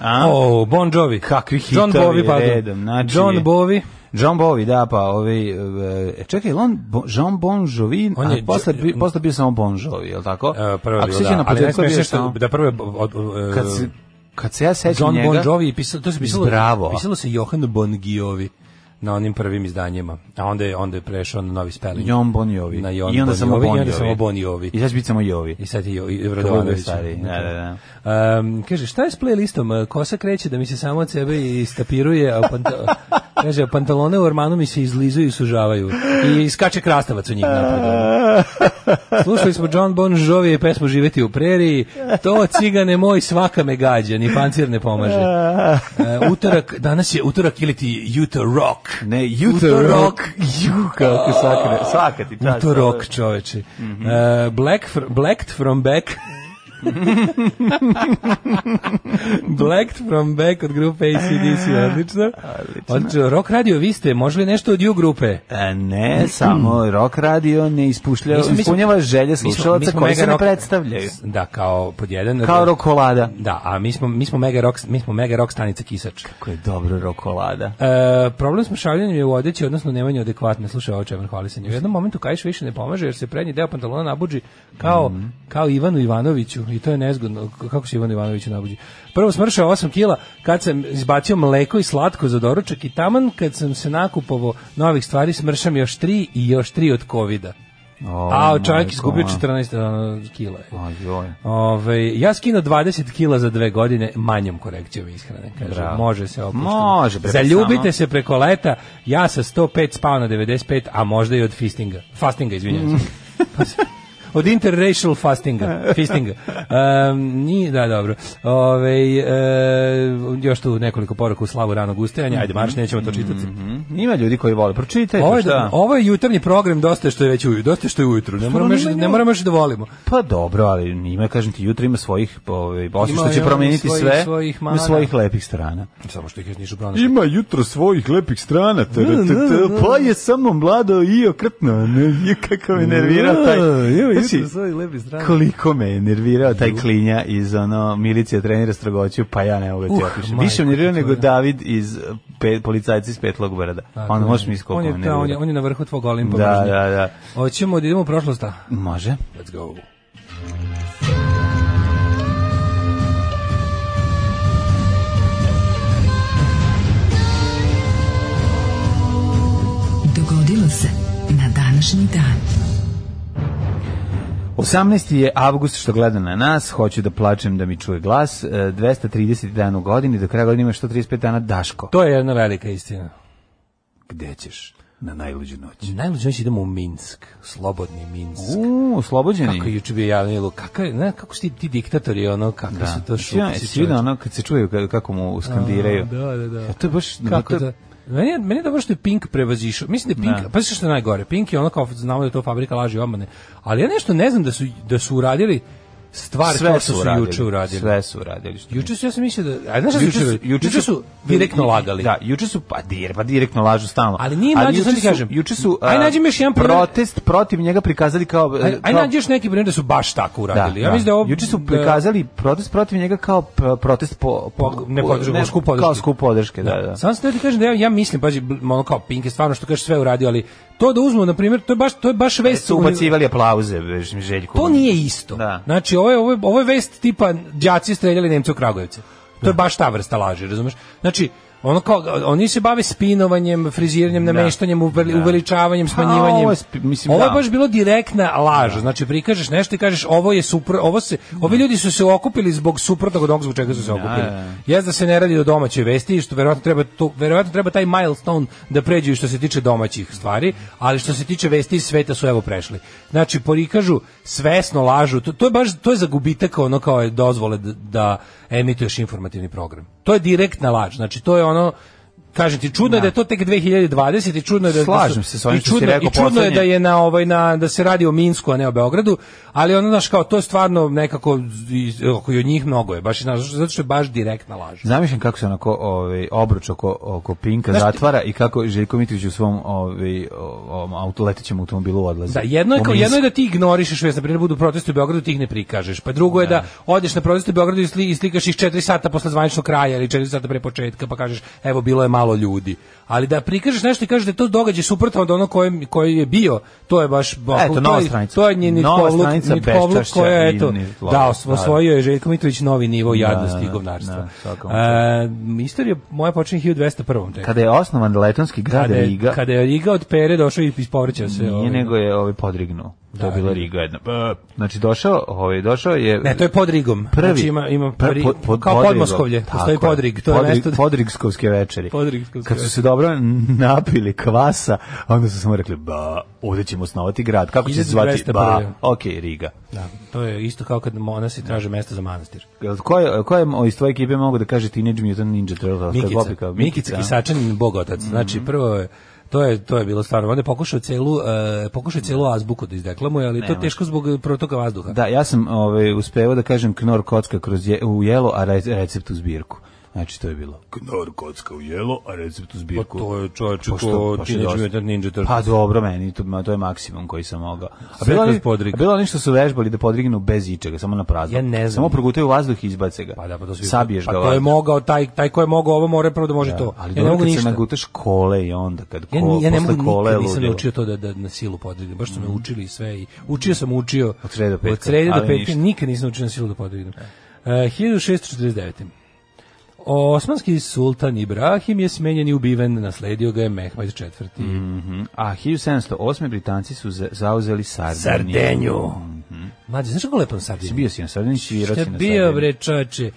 S5: A?
S6: O, Bon Jovi.
S5: Kakvi hitovi
S6: John Bovi, pardon.
S5: redom, znači-
S6: John Bovi.
S5: John Bovi, da, pa ovaj, e, čekaj, jel on Bo- Jean Bon Jovi,
S6: On
S5: on
S6: je-
S5: je, posle, bi- posle bio samo Bon Jovi, je li tako?
S6: E, prvo je
S5: Ako
S6: bio,
S5: se sjećam
S6: da.
S5: na
S6: Ali ne
S5: početku je bio
S6: smiješ što...
S5: samo-
S6: Da, prvo je... Od, od,
S5: Kad se, kad se ja sećam
S6: John
S5: njega,
S6: Bon Jovi i pisalo, to se pisalo,
S5: Bravo.
S6: pisalo se Johan Bon Giovi na onim prvim izdanjima. A onda je, onda je prešao na novi spelling.
S5: John Bon Jovi.
S6: Na John
S5: I onda
S6: Bon
S5: samo
S6: Jovi,
S5: Bon
S6: i onda
S5: Jovi.
S6: samo Bon Jovi.
S5: I sad će biti samo Jovi.
S6: I sad je Jovi
S5: bude
S6: Vrodovanović.
S5: stariji, da, da,
S6: Um, kaže, šta je s playlistom? Kosa kreće da mi se samo od sebe istapiruje, a panta, *laughs* kaže, pantalone u ormanu mi se izlizuju i sužavaju. I iskače krastavac u njih napred. ono. Slušali smo John Bon Jovi i pesmu Živeti u preriji. To cigane moj svaka me gađa, ni pancir ne pomaže. E, utorak, danas je utorak ili ti Utah Rock.
S5: Ne,
S6: Utah
S5: Utah Rock.
S6: Rock.
S5: *laughs* Ju, kako svaka, svaka ti čast.
S6: Utah Rock, čoveče.
S5: Mhm.
S6: E, black fr- blacked
S5: *laughs*
S6: from back. Blacked from back od grupe ACDC, odlično. Odlično. Rock radio, vi ste, može li nešto od ju grupe?
S5: E, ne, samo rock radio ne ispušlja,
S6: Mi smo- mi smo-
S5: ispunjava želje
S6: mi smo- mi
S5: slušalaca
S6: smo
S5: koji
S6: mega
S5: se ne
S6: rock-
S5: predstavljaju.
S6: Da, kao pod jedan.
S5: Kao rokolada.
S6: Da, a mi smo, mi smo mega rock, mi smo mega rock stanica Kisač.
S5: Kako je dobro rokolada.
S6: E, problem s mršavljanjem je u odeći, odnosno nemanju adekvatne. Slušaj, ovo čemer hvali se. U jednom momentu kajš više ne pomaže, jer se prednji deo pantalona nabuđi kao,
S5: Mhm.
S6: kao Ivanu Ivanoviću. I to je nezgodno. K- Kako se Ivanu Ivanoviću nabuđi? Prvo smršao 8 kila kad sam izbacio mleko i slatko za doručak i taman kad sam se nakupovo novih stvari smršam još tri i još tri od covida.
S5: O,
S6: A čovjek
S5: majko
S6: izgubio
S5: moja.
S6: 14 kila.
S5: Ajoj.
S6: Ove, ja skino 20 kila za dve godine manjom korekcijom ishrane. Kaže,
S5: Bravo.
S6: može se opušteno.
S5: Može, bre,
S6: Zaljubite
S5: samo.
S6: se preko leta. Ja sa 105 spao na 95, a možda i od fistinga. Fastinga, izvinjavam se. *laughs* Od interracial fastinga, fistinga. Um, ni, da, dobro. Ove, e, još tu nekoliko poruka u slavu ranog ustajanja. Ajde, marš, nećemo to čitati.
S5: Mhm. Ima ljudi koji vole. Pročitajte
S6: Ovo je,
S5: šta.
S6: ovo je jutarnji program, dosta je što je već uju, dosta je što je ujutru. Ne moramo,
S5: nam
S6: još,
S5: ima
S6: ne
S5: nju?
S6: moramo još da volimo.
S5: Pa dobro, ali ima, kažem ti, jutro ima svojih, ovaj, osim
S6: Ima
S5: što će
S6: i on
S5: promeniti
S6: svojih-
S5: sve,
S6: svojih
S5: ima
S6: mana.
S5: svojih lepih strana.
S6: Samo što ih još nisu pronašli.
S1: Ima jutro svojih lepih strana, tr, tr, tr, pa je samo mlado i okrtno, ne, i kako me nervirao taj, znači,
S5: koliko me je nervirao taj klinja iz ono, milicija trenira strogoću, pa ja ne mogu da ti
S6: Uh,
S5: opišem.
S6: majko
S5: Više me nervirao
S6: ti
S5: nego
S6: tvoja.
S5: David iz eh, pe, policajci iz Petlog brada. Ono, možeš mi
S6: on
S5: iskopati.
S6: je, da, on, je, on je na vrhu tvog olimpa.
S5: Da,
S6: mržnje.
S5: da, da.
S6: Hoćemo da idemo u prošlost, a?
S5: Može.
S6: Let's go.
S4: Dogodilo se na današnji dan.
S5: 18. je avgust što gleda na nas, hoću da plačem da mi čuje glas, e, 230 dana u godini, do kraja godine ima 135 dana Daško.
S6: To je jedna velika istina.
S5: Gde ćeš na najluđu noć?
S6: Najluđe noći idemo u Minsk, slobodni Minsk.
S5: U, oslobođeni.
S6: Kako je juče bio Janilo, kakav je, ne, kako su ti, ti diktatori, ono, kakvi
S5: Da.
S6: su to
S5: Jesi vidio-
S6: šupci.
S5: jesi vidio ono kad se čuje ka- kako mu skandiraju?
S6: Da, da, da.
S5: A to je baš...
S6: Kako
S5: to-
S6: da? Meni je, meni je dobro što je Pink prevazišao. Mislim da je Pink,
S5: Da.
S6: pa znaš što je najgore, Pink je ono kao znamo da je to fabrika laži i obmane, ali ja nešto ne znam da su, da su uradili stvar
S5: Sve
S6: kao
S5: su
S6: što su,
S5: uradili.
S6: juče uradili.
S5: Sve su uradili. što-
S6: Juče su, ja sam mislio da... A, znaš šta su juče, uradili? juče su direktno lagali.
S5: Da, juče su pa dir, pa direktno lažu stalno.
S6: Ali nije mlađe,
S5: juče
S6: sad ti
S5: su-
S6: kažem.
S5: Juče su
S6: Aj,
S5: a,
S6: nađi mi još jedan primer.
S5: protest protiv njega prikazali kao
S6: Aj,
S5: kao-
S6: aj nađi još neki primjer da su baš tako uradili. ja mislim da je ovo
S5: Juče su
S6: da-
S5: prikazali protest protiv njega kao pr- protest po, po,
S6: ne podršku,
S5: ne,
S6: skup podrške.
S5: Kao skup podrške, da, da.
S6: Samo sam ti kažem da ja, ja mislim pađi bl- ono kao Pink je stvarno što kaže sve uradio, ali to da uzmu na primjer, to je baš to je baš vest
S5: Su
S6: u-
S5: ubacivali aplauze, veš, Željku.
S6: To nije isto.
S5: Da.
S6: Znači ovo je ovo je, ovo je vest tipa đaci streljali Nemce u Kragujevcu. To je baš ta vrsta laži, razumeš? Znači ono kao oni se bave spinovanjem, friziranjem, nameštanjem, uveli, uveličavanjem, smanjivanjem.
S5: ovo je spi- mislim,
S6: Ovo je
S5: da.
S6: baš bilo direktna laž. Znači prikažeš nešto i kažeš ovo je super, ovo se ovi ljudi su se okupili zbog suprotnog od onog zbog čega su se okupili.
S5: da, da.
S6: Jaz da se ne radi o domaćoj vesti, i što verovatno treba to, verovatno treba taj milestone da pređu i što se tiče domaćih stvari, ali što se tiče vesti iz sveta su evo prešli. Znači prikažu svesno lažu, to, to je baš to je za gubitak ono kao je dozvole da, da emituješ informativni program. To je direktna laž. Znači to je ono Kažem ti, čudno je da je to tek 2020 i čudno je da
S5: Slažem se s onim
S6: i
S5: što si
S6: čudno,
S5: rekao
S6: i čudno je
S5: poslednje.
S6: da je na ovaj na da se radi o Minsku a ne o Beogradu, ali ono znaš kao to je stvarno nekako i- oko i od njih mnogo je, baš i znaš, zato što je baš direktna laž.
S5: Zamišljam kako se onako ovaj obruč oko oko Pinka zatvara i kako Željko Mitrović u svom ovaj ovom auto letećem automobilu odlazi.
S6: Da, jedno je,
S5: U
S6: kao,
S5: Minsk.
S6: jedno je da ti ignorišeš vest, na primjer budu protesti u Beogradu, ti ih ne prikažeš. Pa drugo je da odeš na proteste u Beogradu i, sli, i slikaš ih 4 sata posle zvaničnog kraja ili 4 sata pre početka, pa kažeš evo bilo je malo ljudi. Ali da prikažeš nešto i kažeš da je to događaj suprotno od ono koji koji je bio, to je baš
S5: Eto,
S6: to,
S5: nova
S6: je-
S5: stranica.
S6: to je njen
S5: Nova
S6: nitkovluk,
S5: stranica
S6: nitkovluk
S5: beščašća
S6: koja je
S5: i
S6: eto,
S5: nitlovluk,
S6: da,
S5: da.
S6: osvojio je Željko Mitrović novi nivo jadnosti
S5: da,
S6: i govnarstva.
S5: da, svakom
S6: E, Istorija moja počinje 1201. tek.
S5: kada je osnovan letonski grad
S6: Kada je,
S5: Riga,
S6: kada je Riga od Pere došao i ispovrećao se.
S5: nije
S6: ovaj.
S5: nego je ovaj podrignuo. Da, to je bila Riga jedna. Ba. Znači došao, ovaj došao je
S6: Ne, to je pod Rigom.
S5: prvi.
S6: Znači ima, ima
S5: Pre-
S6: pri,
S5: pod- pod-
S6: kao
S5: Podrigom.
S6: podmoskovlje,
S5: Tako
S6: postoji
S5: je.
S6: podrig, to je
S5: Podrig-
S6: nešto...
S5: Podrigskovske večeri.
S6: Podrigskovske
S5: Kad su se dobro napili kvasa, onda su samo rekli, ba, ovdje ćemo osnovati grad. Kako će se zvati?
S6: 1201.
S5: Ba, okej, Riga.
S6: Da, to je isto kao kad monasi traže mesto za manastir.
S5: Jel, Ko je, ko je iz tvoje ekipe mogu da kaže Teenage Mutant Ninja Turtles? Kad
S6: Mikica,
S5: popika-
S6: Mikica Kisačanin, bog otac.
S5: Mhm.
S6: Znači, prvo je, to je to je bilo stvarno. Onda je pokušao celu e, pokušao celu azbuku da izdeklamuje, ali to je teško zbog protoka vazduha.
S5: Da, ja sam ovaj, uspevao da kažem knor kocka kroz je, u jelo, a re- recept u zbirku. Znači, to je bilo. Knor kocka u jelo, a recept u zbirku.
S6: Pa je čovječ,
S5: Pošto- pošto dosta. Pa dobro, meni to, ma, to je maksimum koji sam mogao. A
S6: Sve
S5: bilo,
S6: kroz
S5: oni-
S6: podrig.
S5: a bilo oni što su vežbali da podrignu bez ičega, samo na prazno.
S6: Ja ne znam.
S5: Samo progutaju vazduh i izbace ga.
S6: Pa da, pa to svi-
S5: Sabiješ
S6: pa
S5: ga
S6: to je
S5: vazduh.
S6: mogao, taj, taj ko je mogao ovo mora prvo da može to.
S5: Ali
S6: ja ne
S5: dobro
S6: mogu
S5: kad se
S6: ništa.
S5: nagutaš kole i onda kad ko,
S6: Ja, ni- ja ne
S5: posle
S6: mogu
S5: kole
S6: nikad, nisam
S5: ludilo.
S6: naučio to da, da na silu podrignem. Baš su me učili i sve. I, učio sam, učio.
S5: Od srede do petka,
S6: Od srede do
S5: ali
S6: petka.
S5: ništa.
S6: Nikad nisam učio na silu da podrignem. E, 1649. Osmanski sultan Ibrahim je smenjen i ubiven, nasledio ga je Mehmed IV.
S5: Mhm. A 1708. Britanci su za- zauzeli Sardiniju.
S6: Sardenju. Mlađe, znaš kako lepo na
S5: Si
S6: Sardiniju?
S5: bio si na Sardiniju, svirao si
S6: Šta
S5: Mhm. na
S6: bio,
S5: Sardiniji.
S6: bre, čoče?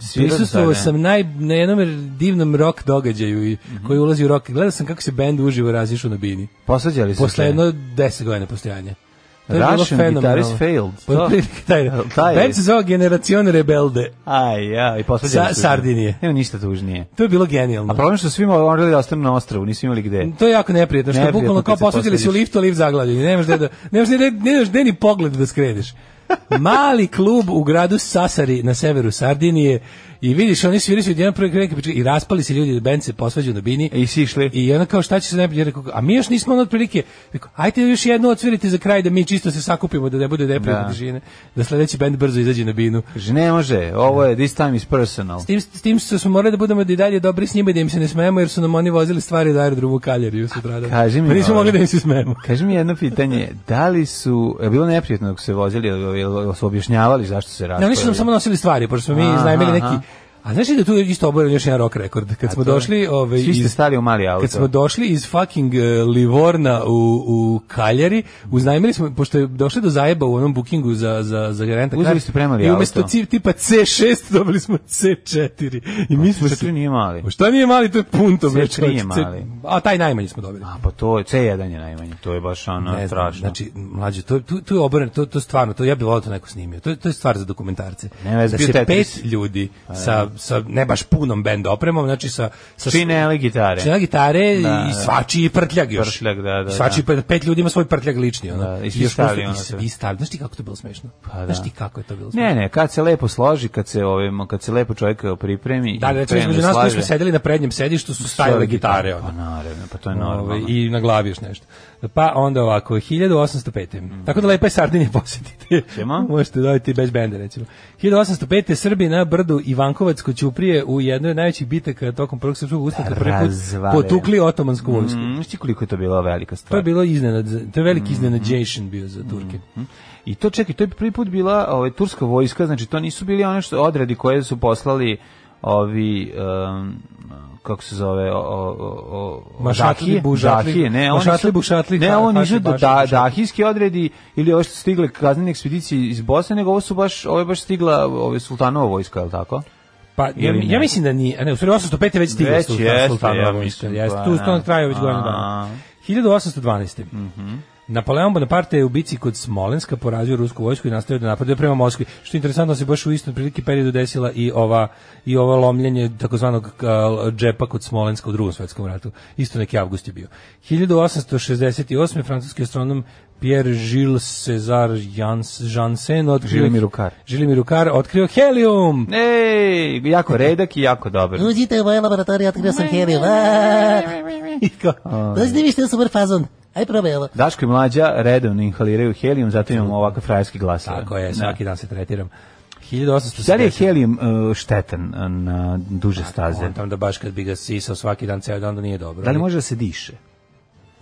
S5: Svirao na
S6: Prisustvovao
S5: Sardiniji. Mhm.
S6: sam naj, na jednom divnom rock događaju i, koji ulazi u rock. Gledao sam kako se bend uživo razišu na bini.
S5: Posvađali su
S6: posle
S5: se.
S6: jedno 10 godina postojanja. To je bilo
S5: Russian
S6: fenomenalno.
S5: guitarist failed.
S6: Pa
S5: To?
S6: otprilike
S5: *laughs*
S6: taj,
S5: Jel taj
S6: band
S5: je?
S6: se zove Generacion Rebelde.
S5: Aj, ja, i posvađali su
S6: Sa-
S5: se.
S6: Sardinije.
S5: Nema ništa tužnije.
S6: To je bilo
S5: A
S6: genijalno.
S5: problem što svima morali da ostanu na ostravu, nisu imali gde.
S6: To je jako neprijetno, što
S5: Neprijetno
S6: bukvalno kao
S5: kad se
S6: posvetili su u
S5: posvadiš.
S6: liftu, a lift zaglavljen. Nemaš gde da, nemaš gde, nemaš gde ni pogled
S5: *laughs*
S6: da skreneš. Mali klub u gradu Sasari na severu Sardinije i vidiš oni sviraju se jedan prvi krenik i raspali se ljudi, bend se posvađaju na bini.
S5: E, I si išli.
S6: I ona kao šta će se najbolje Ja rekao, a mi još nismo ono otprilike, rekao, ajte još jednu odsvirite za kraj da mi čisto se sakupimo da ne bude neprijatne
S5: Da.
S6: tišine, da sledeći bend brzo izađe na binu.
S5: Kaže, ne može, ovo je, this time is personal.
S6: S tim, s tim što smo morali da budemo i dalje dobri s njima i da im se ne smemo jer su nam oni vozili stvari da aerodromu Kaljeriju sutra.
S5: Kaži mi,
S6: pa nismo
S5: ovaj,
S6: mogli da im se smemo.
S5: Kaži mi jedno pitanje, da li su, je bilo neprijatno dok su se vozili, jel, jel, jel su objašnjavali zašto se
S6: Ne,
S5: raspravili?
S6: oni su nam samo nosili stvari, pošto smo mi
S5: Aha,
S6: iznajmili neki...
S5: aha.
S6: A znaš li da tu je isto oboren još jedan rock rekord? Kad smo
S5: to je-
S6: došli... ovaj, Ove,
S5: Svi ste stali u mali auto.
S6: Kad smo došli iz fucking eh, Livorna u, u Kaljari, uznajmili smo, pošto je došli do zajeba u onom bookingu za, za, za garanta.
S5: Uzeli ste premali
S6: I umesto
S5: auto.
S6: ci- tipa C6 *laughs* dobili smo C4. I mi smo...
S5: Četiri nije mali.
S6: Pa Šta nije mali, to je punto.
S5: C4
S6: bre,
S5: je
S6: čovječe, C-
S5: mali.
S6: A taj najmanji smo dobili.
S5: A pa to je, C1 je najmanje, to je baš ono
S6: Ne znam,
S5: strašno.
S6: Znači, mlađe, to, tu, tu je obrano, to, to stvarno, to ja bih volao da to neko snimio. To, je- to je stvar za dokumentarce.
S5: Ne, ne,
S6: da
S5: bio
S6: se
S5: Tetris.
S6: pet ljudi sa, sa ne baš punom bend opremom, znači sa... sa
S5: Činele gitare.
S6: Činele gitare
S5: Da,
S6: i
S5: da.
S6: svačiji prtljag još.
S5: Prtljag, da, da,
S6: Svačiji prtljag, pet ljudi ima svoj prtljag lični. Ono.
S5: Da, i svi
S6: I još prosto-
S5: stavili, ono,
S6: I svi
S5: sve.
S6: stavili. Znaš ti kako je to bilo smešno?
S5: Pa
S6: Znaš
S5: da.
S6: ti kako je to bilo smešno?
S5: Ne, ne, kad se lepo složi, kad se, ovaj, kad se lepo čovjek pripremi.
S6: Da,
S5: i
S6: recimo,
S5: krene
S6: između
S5: da
S6: nas koji
S5: slaže.
S6: smo sedeli na prednjem sedištu su stajale gitare. Ono.
S5: Pa naravno, pa to je
S6: Ovaj,
S5: normalno.
S6: i na glavi još nešto. Pa onda ovako, 1805. Tako da lepa je Sardinija posjetite.
S5: Mm. Ćemo.
S6: *laughs* Možete dobiti bez benda recimo. 1805. Srbi na brdu Ivankovac kod Ćuprije u jednoj od najvećih bitaka tokom prvog srpskog ustanka prvi put
S5: razvale.
S6: potukli otomansku vojsku.
S5: Mm, znaš ti koliko je to bila velika
S6: To je
S5: stvar?
S6: bilo iznenad, to je veliki iznenađation bio za Turke.
S5: I to čekaj, to je prvi put bila ovaj turska vojska, znači to nisu bili one što odredi koje su poslali ovi em, kako se zove o, o, o, o
S6: Mašatli,
S5: Dahije?
S6: Bužatli.
S5: Dahije, ne, oni
S6: Mašatli,
S5: su-
S6: Bušatli,
S5: ne,
S6: Ha-
S5: oni
S6: Haši,
S5: nisu da,
S6: Baši, Bušatli.
S5: dahijski odredi ili ovo što su stigle kaznene ekspedicije iz Bosne, nego ovo su baš ovo je baš stigla ove sultanova vojska, je l' tako?
S6: Pa ja,
S5: Ili
S6: mi-
S5: ne?
S6: ja mislim da nije, a ne, u stvari 805 je već stigla
S5: Već
S6: Sultan-
S5: jeste, pa
S6: Sultanova
S5: ja
S6: vojska,
S5: mislim,
S6: jeste.
S5: pa
S6: tu
S5: da.
S6: to traje već godinu
S5: A.
S6: dana. 1812. Napoleon Bonaparte je u bici kod Smolenska porazio rusku vojsku i nastavio da napaduje prema Moskvi. Što je interesantno da se baš u istom prilike periodu desila i ova i ovo lomljenje takozvanog a, džepa kod Smolenska u Drugom svetskom ratu. Isto neki avgust je bio. 1868. francuski astronom Pierre Gilles César Jans, Janssen otkrio...
S5: Žilimiru Kar.
S6: Žilimiru Kar otkrio helium!
S5: Ej, jako redak i jako dobar.
S7: Uđite u moje laboratorije, otkrio sam heliju.
S6: I kao,
S7: Dođite vi što je super fazon. Aj probaj ovo.
S5: Daško i mlađa redovno inhaliraju helijum, zato imamo ovakav frajerski glas.
S6: Tako je,
S5: Da.
S6: svaki dan se tretiram.
S5: Da li je
S6: 1870.
S5: helijum uh, štetan uh, na duže staze?
S6: On tam da baš kad bi ga sisao svaki dan, ceo dan, da nije dobro.
S5: Da li može da se diše?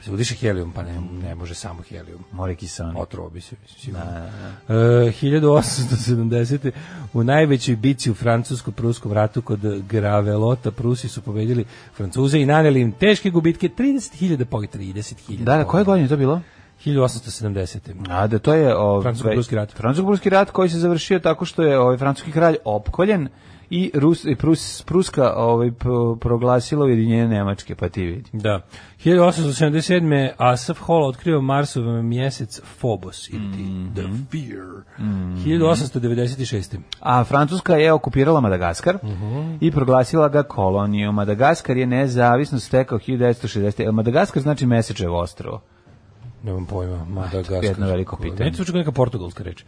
S6: Se udiše helijum, pa ne, ne može samo helijum.
S5: More kisani.
S6: Otrovo bi se, mislim, sigurno. E, 1870. U najvećoj bici u francusko-pruskom ratu kod Gravelota Prusi su pobedili Francuze i naneli im teške gubitke 30.000 poginulih. 30.000
S5: Da, da, koje
S6: poginulih.
S5: godine je to bilo?
S6: 1870.
S5: A da to je ovaj
S6: Francusko-pruski rat.
S5: Francusko-pruski rat koji se završio tako što je ovaj francuski kralj opkoljen i Rus i Prus Pruska ovaj p- proglasila ujedinjenje Nemačke, pa ti vidi.
S6: Da. 1877. Asaf Hall otkrio Marsov mjesec Phobos ili ti The Fear. 1896.
S5: A Francuska je okupirala Madagaskar i proglasila ga kolonijom. Madagaskar je nezavisno stekao 1960. Jel Madagaskar znači Mesečevo ostrovo.
S6: Nemam pojma, Madagaskar.
S5: jedno veliko pitanje.
S6: Neću čuti neka portugalska reč.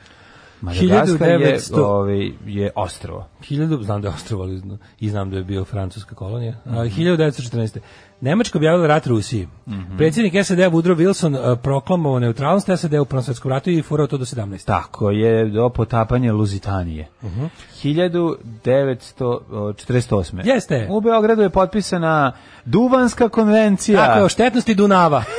S5: Madagaskar je,
S6: 1900.
S5: ovaj, je ostrovo.
S6: 1000, znam da je ostrovo, ali zna- i znam da je bio francuska kolonija. A, 1914. Nemačka objavila rat Rusiji. Predsjednik SAD-a Woodrow Wilson e, proklamovao neutralnost SAD-a u Prvom svjetskom ratu i furao to do 17.
S5: Tako je, do potapanja Luzitanije.
S6: Mhm.
S5: 1948.
S6: Jeste.
S5: U Beogradu je potpisana Duvanska konvencija.
S6: Tako je, o štetnosti Dunava.
S5: *laughs*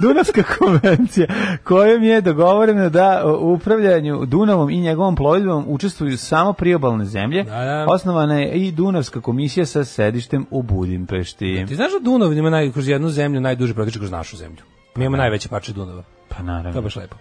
S5: Dunavska konvencija kojom je dogovoreno da u upravljanju Dunavom i njegovom plovidbom učestvuju samo priobalne zemlje.
S6: Da, da.
S5: Osnovana je i Dunavska komisija sa sedištem u Budimpešti.
S6: Ti znaš da Dunav ima naj, kroz jednu zemlju najduže protiče kroz našu zemlju? Mi imamo najveće parče Dunava.
S5: Pa
S6: To je
S5: naravno.
S6: baš lepo.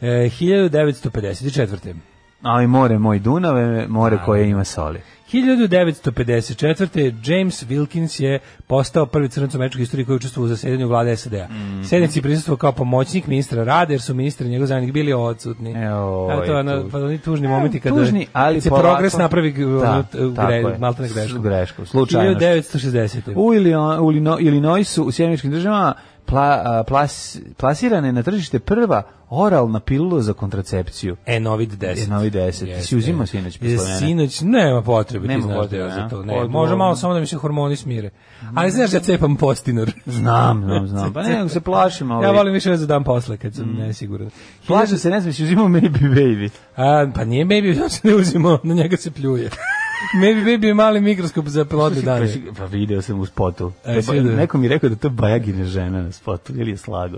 S6: E, 1954.
S5: Ali more moj Dunave, more koje ima soli.
S6: 1954. James Wilkins je postao prvi crnac u američkoj istoriji koji je učestvovao u zasedanju vlade SAD-a.
S5: Mhm.
S6: Sednici je prisustvovao kao pomoćnik ministra rada, jer su ministri i njegov zamjenik bili odsutni.
S5: Evo,
S6: Ali to je
S5: E, i
S6: ono-
S5: tu-
S6: pa oni tužni momenti kada
S5: Tužni, ali
S6: se
S5: polako-
S6: progres napravi g- ono, t-
S5: tako
S6: gre-
S5: je.
S6: maltene
S5: S-
S6: greškom.
S5: greškom, slučajno.
S6: 1960.
S5: U Ilino- u Ilino- Illinoisu u Sjemeničkim državama pla, a, plas, plasirana je na tržište prva oralna pilula za kontracepciju.
S6: Enovid 10.
S5: Enovid 10. Ti si
S6: Jeste.
S5: uzimao sinoć posle
S6: Je,
S5: mene?
S6: Sinoć, nema potrebe,
S5: Nema
S6: ti znaš
S5: potrebe,
S6: da ja
S5: a?
S6: za to. Ne,
S5: Odgovorno.
S6: može malo samo da mi se hormoni smire. Ali znaš da ja cepam postinor.
S5: Znam, znam, znam. Pa ne, nego se plašim, ali... Mm.
S6: Ja volim više za dan posle kad sam nesiguran.
S5: Plašim se, ne znam, si uzimao Maybe Baby.
S6: A, pa nije Baby, *laughs* on se ne uzima, na njega se pljuje. Maybe Baby je mali mikroskop za pelotne dane.
S5: Pa video sam u spotu.
S6: E,
S5: Da,
S6: si
S5: ba-
S6: vidio?
S5: neko mi je rekao da to je Bajagina žena na spotu, ili je slago.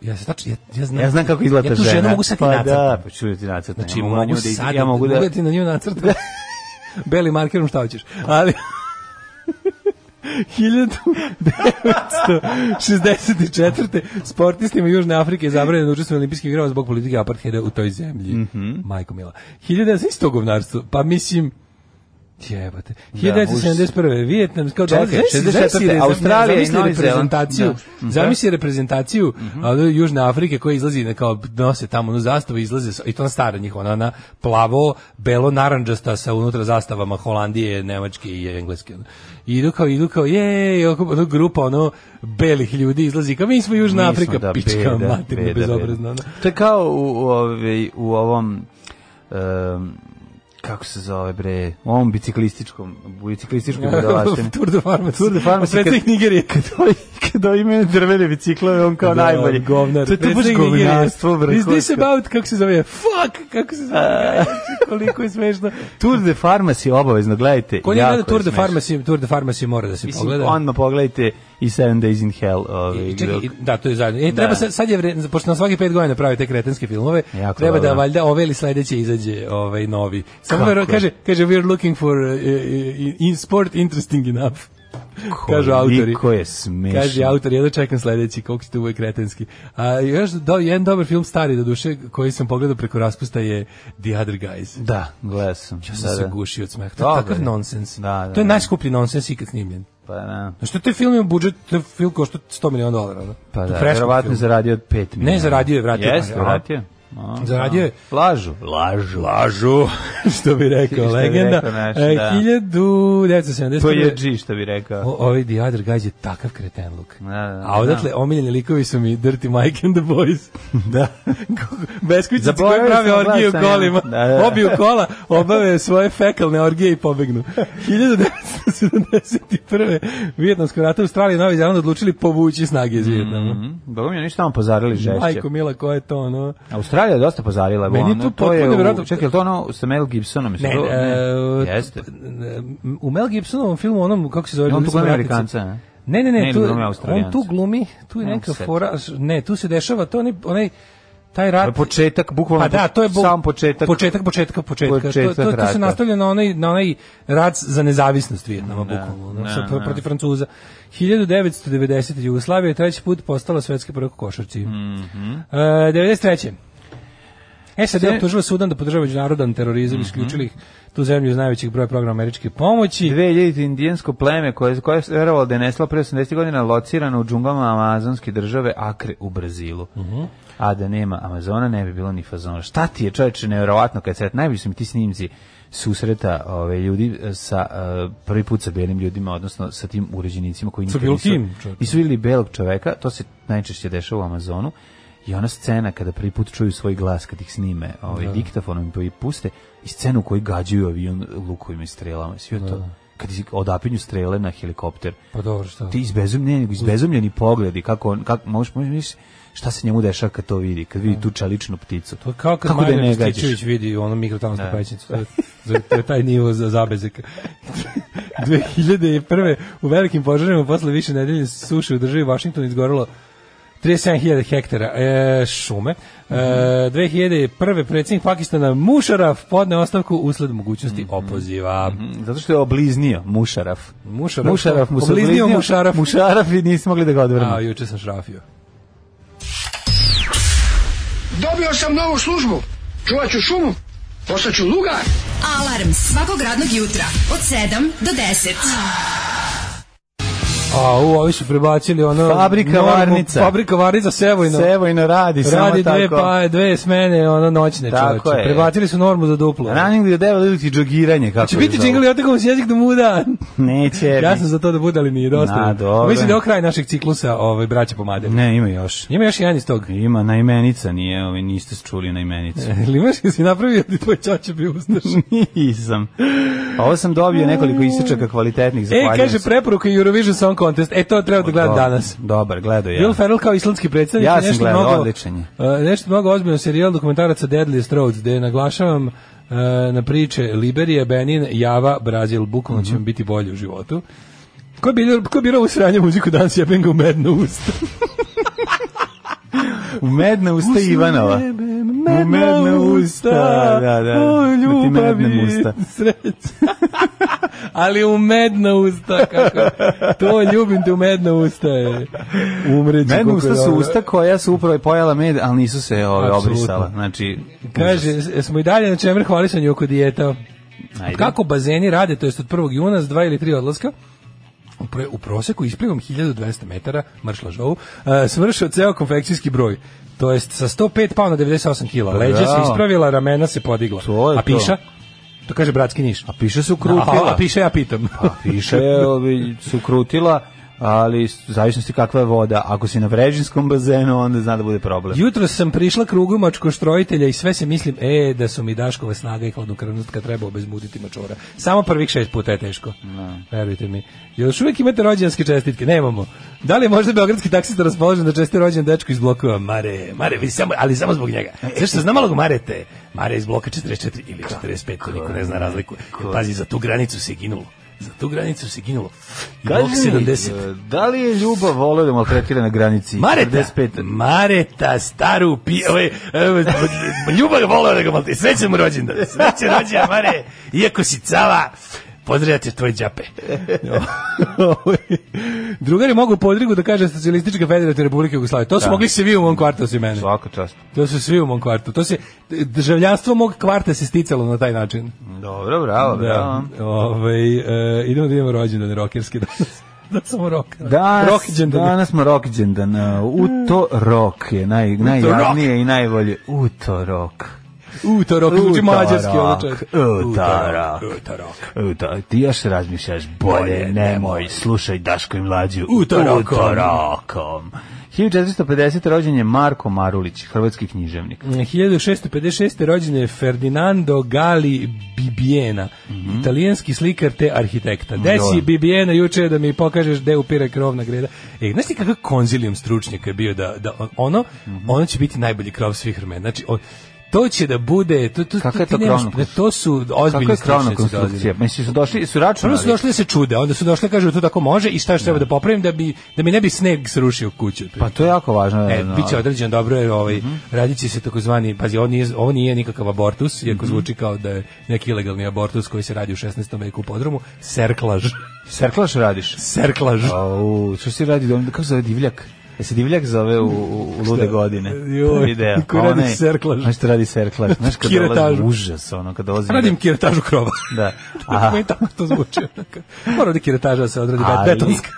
S6: Ja se tačno, ja, ja znam.
S5: Ja znam kako izgleda
S6: ja
S5: ta
S6: tu
S5: žena.
S6: ženu mogu sad i
S5: pa
S6: nacrtam.
S5: da, pa ću da ti nacrtam.
S6: Znači,
S5: Ja
S6: mogu,
S5: na nju da-
S6: sad,
S5: ja mogu da...
S6: ti na nju
S5: *laughs*
S6: nacrtam. Beli markerom šta hoćeš. Ali... 1964. sportistima Južne Afrike je zabranjeno učestvovanje na olimpijskim igrama zbog politike apartheida u toj zemlji.
S5: Mhm.
S6: Majko Mila. 1900 govnarstvo. Pa mislim, Jebate. 1971. Vijetnam kao
S5: Čekaj,
S6: dolazi- zamisli-
S5: 64.,
S6: zamisli re-
S5: Australija i
S6: zamisli
S5: Novi Zeland.
S6: reprezentaciju.
S5: Da. Mhm.
S6: Zamisli reprezentaciju a, do Južne Afrike koja izlazi na kao nose tamo onu zastavu izlaze sa- i to na stara njih ona na plavo belo narandžasta sa unutra zastavama Holandije, Nemačke i Engleske. ono. I idu kao idu kao je grupa ono belih ljudi izlazi kao mi smo Južna
S5: Mi smo,
S6: Afrika
S5: da,
S6: pička
S5: beda,
S6: materina,
S5: beda,
S6: bezobrazna.
S5: beda.
S6: ono.
S5: To je kao u, u, ovaj- u ovom em, kako se zove bre, u ovom biciklističkom,
S6: *laughs*
S5: biciklističkom budalaštini.
S6: Tour de Farmac.
S5: Tour de Farmac.
S6: Predsjednik Nigerije. Kad
S5: Kad ovi imaju drvene biciklove, on kao najbolji.
S6: Govnar.
S5: To je tu baš
S6: Predsjednik Nigerije.
S5: govnarstvo, bre.
S6: Is this
S5: koška.
S6: about, kako se zove? Fuck! Kako
S5: *laughs*
S6: se zove? Koliko je smešno.
S5: Tour de Farmacy obavezno, gledajte.
S6: Ko nije
S5: jako
S6: gleda Tour
S5: je
S6: de
S5: smešno.
S6: Farmacy, Tour de Farmacy mora da se
S5: Mislim,
S6: pogleda.
S5: odmah pogledajte i Seven Days in Hell. Ovaj,
S6: I, čekaj,
S5: dok-
S6: i- da, to je zajedno. E, treba sad, sad je vre, pošto na svaki pet godina pravi te kretenske filmove,
S5: Jako
S6: treba
S5: dobro.
S6: da valjda ove ili sledeće izađe ovaj novi. Samo
S5: Kako?
S6: vero- kaže, kaže, we're looking for uh, uh, in sport interesting enough. Kažu autori.
S5: Koliko je smešno.
S6: Kaže autor, jedno čekam sledeći, koliko ste uvek kretenski. A još do, jedan dobar film stari, do duše, koji sam pogledao preko raspusta je The Other Guys.
S5: Da, gledao sam.
S6: Ja
S5: da,
S6: sam se
S5: da.
S6: gušio od smeha. To je
S5: Dobar
S6: takav
S5: je.
S6: nonsens.
S5: Da, da,
S6: to je
S5: da.
S6: najskuplji nonsens ikad snimljen.
S5: Pa da.
S6: Znaš, što te film ima budžet, te film košta 100 miliona dolara. ono.
S5: Pa
S6: To
S5: da,
S6: je preskup
S5: verovatno je
S6: film.
S5: zaradio od 5 miliona.
S6: zaradio je, vratio je.
S5: Jeste,
S6: Aha.
S5: vratio. A,
S6: Zaradio je.
S5: a. Lažu. Lažu. Lažu.
S6: *laughs* što bi rekao,
S5: *laughs* Što bi
S6: legenda.
S5: rekao naš,
S6: E,
S5: da.
S6: 1971.
S5: To je G što bi rekao.
S6: O, ovaj The Other Guys je takav kreten luk.
S5: Da, da,
S6: A odatle omiljeni likovi su mi Dirty Mike and the
S5: *laughs*
S6: Boys. da. *laughs* Beskvićici koji
S5: Zaboravio
S6: prave
S5: sam,
S6: orgije
S5: gledao
S6: u
S5: sam
S6: kolima.
S5: ja. Da, da.
S6: Obiju kola, obave svoje fekalne orgije i
S5: *laughs*
S6: pobegnu. 1971. Vijetnamsko rata Australija i Novi Zeland odlučili povući snage iz Vijetnama.
S5: Mhm. Boga mi je ništa tamo pozarili žešće.
S6: Majko Mila, ko je to ono?
S5: Australija je dosta pozarila.
S6: Meni je
S5: ono,
S6: to
S5: je
S6: potpuno
S5: u-
S6: nevjerojatno.
S5: Čekaj, je li to ono sa Mel Gibsonom? Mislim,
S6: Ne,
S5: to-
S6: e,
S5: Jeste.
S6: U Mel Gibsonovom filmu, onom, kako se zove?
S5: On
S6: Ljudi
S5: tu
S6: smo
S5: gleda
S6: ratnici.
S5: Amerikanca. ne?
S6: Ne, ne, ne,
S5: Ne,
S6: tu,
S5: glumi Australijanca.
S6: on tu glumi, tu je
S5: Ne,
S6: neka
S5: set.
S6: fora, ne, tu se dešava, to onaj, onaj taj rat...
S5: To je početak, bukvalno
S6: Pa da, to je bu-
S5: sam početak.
S6: Početak, početka, početka.
S5: Početak
S6: to, to, to
S5: rata.
S6: se nastavlja na onaj, na onaj rat za nezavisnost Vijetnama, bukvalno, ono,
S5: ne,
S6: sa-
S5: ne.
S6: protiv Francuza. 1990. Jugoslavija je treći put postala svetska prvaka u košarci.
S5: Mhm.
S6: E, 93. SAD je optužila Sudan da podržava međunarodan
S5: Mhm.
S6: terorizam, isključili ih tu zemlju iz najvećih broja programa američke pomoći.
S5: 2000 indijansko pleme koje, koje se verovalo da je neslo pre 80 godina locirano u džunglama amazonske države Akre u Brazilu.
S6: Mhm.
S5: A da nema Amazona ne bi bilo ni fazona. Šta ti je čoveče nevjerovatno kad se najbolji su mi ti snimci susreta ove ljudi e, sa e, prvi put sa belim ljudima odnosno sa tim uređenicima koji
S6: Sa
S5: nikad
S6: bilo
S5: nisu,
S6: kim, čoveče.
S5: nisu vidjeli belog čoveka, to se najčešće dešava u Amazonu. I ona scena kada prvi put čuju svoj glas kad ih snime, ovaj diktafonom i puste i scenu u kojoj gađaju avion lukovima i strelama, sve to. Kad iz- odapinju strele na helikopter.
S6: Pa dobro, šta?
S5: Ti izbezumljeni, nego izbezumljeni pogledi kako on kako možeš možeš misliš šta se njemu dešava kad to vidi, kad vidi tu čeličnu pticu.
S6: To je kao kad
S5: kako da je
S6: Marijan
S5: ne gađaš?
S6: Rističević vidi ono mikrotalonsku pećnicu. To je, za- to je taj nivo za *laughs* zabezek. 2001. u velikim požarima posle više nedelje suše u državi Washington izgorelo 37.000 hektara e, šume. E, 2001. predsjednik Pakistana Mušaraf podne ostavku usled mogućnosti opoziva.
S5: Mm, Zato što je obliznio Mušaraf.
S6: Mušaraf-
S5: Mušaraf mu se
S6: obliznio
S5: obliznio,
S6: Mušaraf.
S5: Mušaraf i nisu mogli da ga odvrnu.
S6: A, juče sam šrafio.
S3: Dobio sam novu službu. Čuvat ću šumu. Postaću lugar.
S4: Alarm svakog radnog jutra od 7 do 10.
S6: A, u, ovi su prebacili ono...
S5: Fabrika
S6: normu-
S5: varnica.
S6: Fabrika varnica Sevojno.
S5: Sevojno radi,
S6: Radi
S5: samo
S6: dve,
S5: tako.
S6: pa, dve smene, ono, noćne
S5: Tako
S6: čoveče.
S5: je.
S6: Prebacili su normu za duplo.
S5: Running the devil ili ti džogiranje, kako
S6: Će
S5: li
S6: biti
S5: zovu?
S6: džingli otekom s jezik do muda.
S5: Neće.
S6: Ja sam za to da bude, ali nije dosta.
S5: Na, dobro.
S6: Mislim da je ovo kraj našeg ciklusa ovaj, braća pomade.
S5: Ne, ima još.
S6: Ima još jedan iz tog. *laughs*
S5: Ima najmenica, nije, ovi niste čuli najmenicu.
S6: Ili imaš ga si napravio da tvoj čače bi ustaš?
S5: *laughs* Nisam. A Pa Ovo sam dobio nekoliko isječaka kvalitetnih,
S6: E,
S5: zahvaljujem
S6: kaže
S5: se.
S6: preporuka Eurovision Song Contest. E, to treba da gledam
S5: Dobar,
S6: danas.
S5: Dobar, gledao ja.
S6: Will Ferrell kao islandski predstavnik
S5: Ja
S6: je
S5: sam
S6: nešto
S5: gledao,
S6: mnogo,
S5: odličan je.
S6: Uh, nešto mnogo ozbiljno serijal dokumentaraca Deadliest Roads, gde naglašavam uh, na priče Liberije, Benin, Java, Brazil, bukvalno
S5: Mhm.
S6: će vam biti bolje u životu. Ko je bilo, ko je birao ovu sranju muziku danas, jebem ga u medno usta.
S5: U medna usta *laughs* Ivanova.
S6: Jebe,
S5: U medna usta. Da, da.
S6: O,
S5: Da ti
S6: ljubavi,
S5: mednem usta.
S6: *laughs* sreća. Ali u medna usta, kako. To ljubim te u medna usta. je. Umreću.
S5: Medna
S6: koliko je
S5: usta su
S6: dobro.
S5: usta koja su upravo i pojela med, ali nisu se ove
S6: Apsolutno.
S5: obrisala. Znači,
S6: Kaže, smo i dalje na čemer hvalisanju oko dijeta.
S5: Ajde.
S6: Kako bazeni rade, to jest od 1. juna s dva ili tri odlaska, u, pre- u proseku isplivom 1200 metara, mršla žovu, e, svršio ceo konfekcijski broj. To jest sa 105 pao na 98 kila. Leđa se
S5: Bravo.
S6: ispravila, ramena se podigla.
S5: To je
S6: A piša?
S5: to.
S6: To kaže bratski niš.
S5: a piše su
S6: A,
S5: krutila.
S6: a piše ja pitam.
S5: Pa piše, ovi, su krutila, ali u zavisnosti kakva je voda. Ako si na vrežinskom bazenu, onda zna da bude problem.
S6: Jutro sam prišla krugom mačkoštrojitelja i sve se mislim, e, da su mi Daškova snaga i hladnokrvnost kad treba obezmuditi mačora. Samo prvih šest puta je teško. Verujte mi. Još uvijek imate rođendanske čestitke? Nemamo. Da li je možda beogradski taksista raspoložen da česti rođen dečku iz blokova? Mare, Mare, vi samo, ali samo zbog njega.
S5: E,
S6: Zašto znam malog Marete? Mare iz bloka 44 ili 45, to niko ne zna razliku. Jer, Pazi, za tu granicu se ginulo. Za tu granicu se ginulo. I blok
S5: Kaži mi,
S6: 70.
S5: e, da li je Ljubav volio da maltretira na granici?
S6: Mareta,
S5: 45.
S6: Mareta, staru pi... Ovaj, ovaj, ljubav volao da ga malte. Srećan mu rođendan. Srećan rođendan, Mare. Iako si cava, pozdravljam te tvoje džape. *laughs* Drugari mogu u podrigu da kaže Socialistička federativna republika Jugoslavije. To su mogli svi u mom kvartu osim mene.
S5: Svaka čast.
S6: To su svi u mom kvartu. To se, državljanstvo mog kvarta se sticalo na taj način.
S5: Dobro, bravo, bravo.
S6: Ovaj, e, idemo da idemo rođendane rokerske *laughs* danas. da samo rock.
S5: Danas,
S6: Rokiđendan.
S5: danas smo Rokiđendan. uh, Utorok je naj, najjavnije i najbolje. Utorok.
S6: Utorok, uči znači mađarski ono
S5: Utorok,
S6: očaj.
S5: utorok.
S6: Utorok.
S5: Uta, E, ti još razmišljaš bolje, nemoj, slušaj Daško i Mlađu.
S6: Utorakom.
S5: Utorakom. 1450. rođen je Marko Marulić, hrvatski književnik.
S6: 1656. rođen je Ferdinando Gali Bibiena,
S5: Mhm.
S6: italijanski slikar te arhitekta. Desi
S5: Dobro.
S6: Bibiena juče da mi pokažeš gde upire krovna greda. E, znaš ti kakav konzilijum stručnjaka je bio da, da ono,
S5: Mhm.
S6: ono će biti najbolji krov svih vremena. Znači, on, to će da bude, to, to,
S5: Kaka je
S6: ti
S5: to
S6: nemaš-
S5: krovna konstru-
S6: ne, to su
S5: Kako
S6: ozbiljni
S5: je krovna
S6: stručnjaci
S5: konstrukcija?
S6: dolazili.
S5: Mislim, su došli, su računali.
S6: Prvo su došli da se čude, onda su došli da kažu to tako može i šta još treba da popravim da, bi, da mi ne bi sneg srušio kuću.
S5: Pa to je jako važno.
S6: E,
S5: no.
S6: biće određen dobro jer ovaj
S5: Mhm.
S6: radit će se takozvani pazi ovo nije, ovo nije nikakav abortus
S5: Mhm.
S6: iako zvuči kao da je neki ilegalni abortus koji se radi u 16. veku u podrumu serklaž *laughs*
S5: Serklaš radiš?
S6: serklaž
S5: Au, Pa što se radi dom, kako se zove divljak? E se divljak zove u, u, u lude godine.
S6: Joj,
S5: Video.
S6: ko radi serklaž.
S5: Znaš što radi serklaž? Znaš kad dolazi
S6: Kiretažu.
S5: užas, ono, kad dolazi...
S6: *laughs* radim kiretažu krova
S5: Da.
S6: Aha. Meni *laughs* tako to zvuči. Mora da kiretaža da se odradi bet-
S5: Ali,
S6: betonska.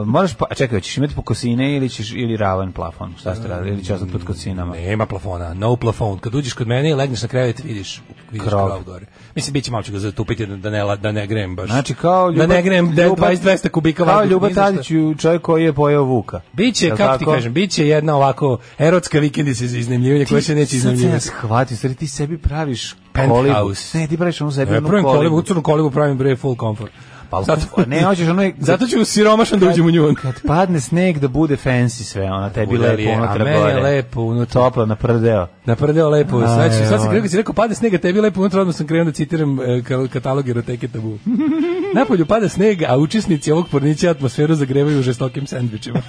S5: uh, moraš pa, čekaj, ćeš imati po kosine ili ćeš ili ravan plafon, šta ste radili, ili će ostati pod kosinama.
S6: Nema plafona, no plafon. Kad uđeš kod mene i legneš na krevet, vidiš, vidiš
S5: Krov.
S6: krov. gore. Mislim, bit će malo ću ga zatupiti da ne, la- da ne grem baš.
S5: Znači kao
S6: Da ne grem 20-200 kubika.
S5: Kao
S6: vazduha,
S5: Ljuba
S6: ni za šta.
S5: Tadić, čovjek koji je pojeo Vuka.
S6: Biće,
S5: Jel
S6: kako ti
S5: tako?
S6: kažem, biće jedna ovako erotska vikendica za iznajmljivanje koja se neće
S5: Sad
S6: iznajmljivati.
S5: se ja shvatio, stvari ti sebi praviš
S6: Penthouse.
S5: kolibu. Ne, ti praviš onu sebi
S6: Ja
S5: onu
S6: pravim E, kolibu,
S5: kolibu.
S6: u crnu kolibu pravim bre full comfort.
S5: Pa, ne, hoćeš ono je-
S6: *laughs* Zato ću siromašan da uđem u nju. ono.
S5: Kad padne sneg da bude fancy sve, ona tebi
S6: Bude
S5: lepo
S6: lijepo, a
S5: unutra
S6: meni je
S5: gore.
S6: lepo unutra.
S5: Toplo, naprdeo.
S6: Naprdeo lepo. Sad, ću, sad sam
S5: joj.
S6: krenuo, kad si rekao pada snega, tebi lepo unutra, odmah sam krenuo da citiram e, ka- katalog eroteke
S5: *laughs*
S6: tabu. Napolju pada sneg, a učesnici ovog pornića atmosferu zagrevaju žestokim
S5: *laughs*
S6: *laughs* sandvičima.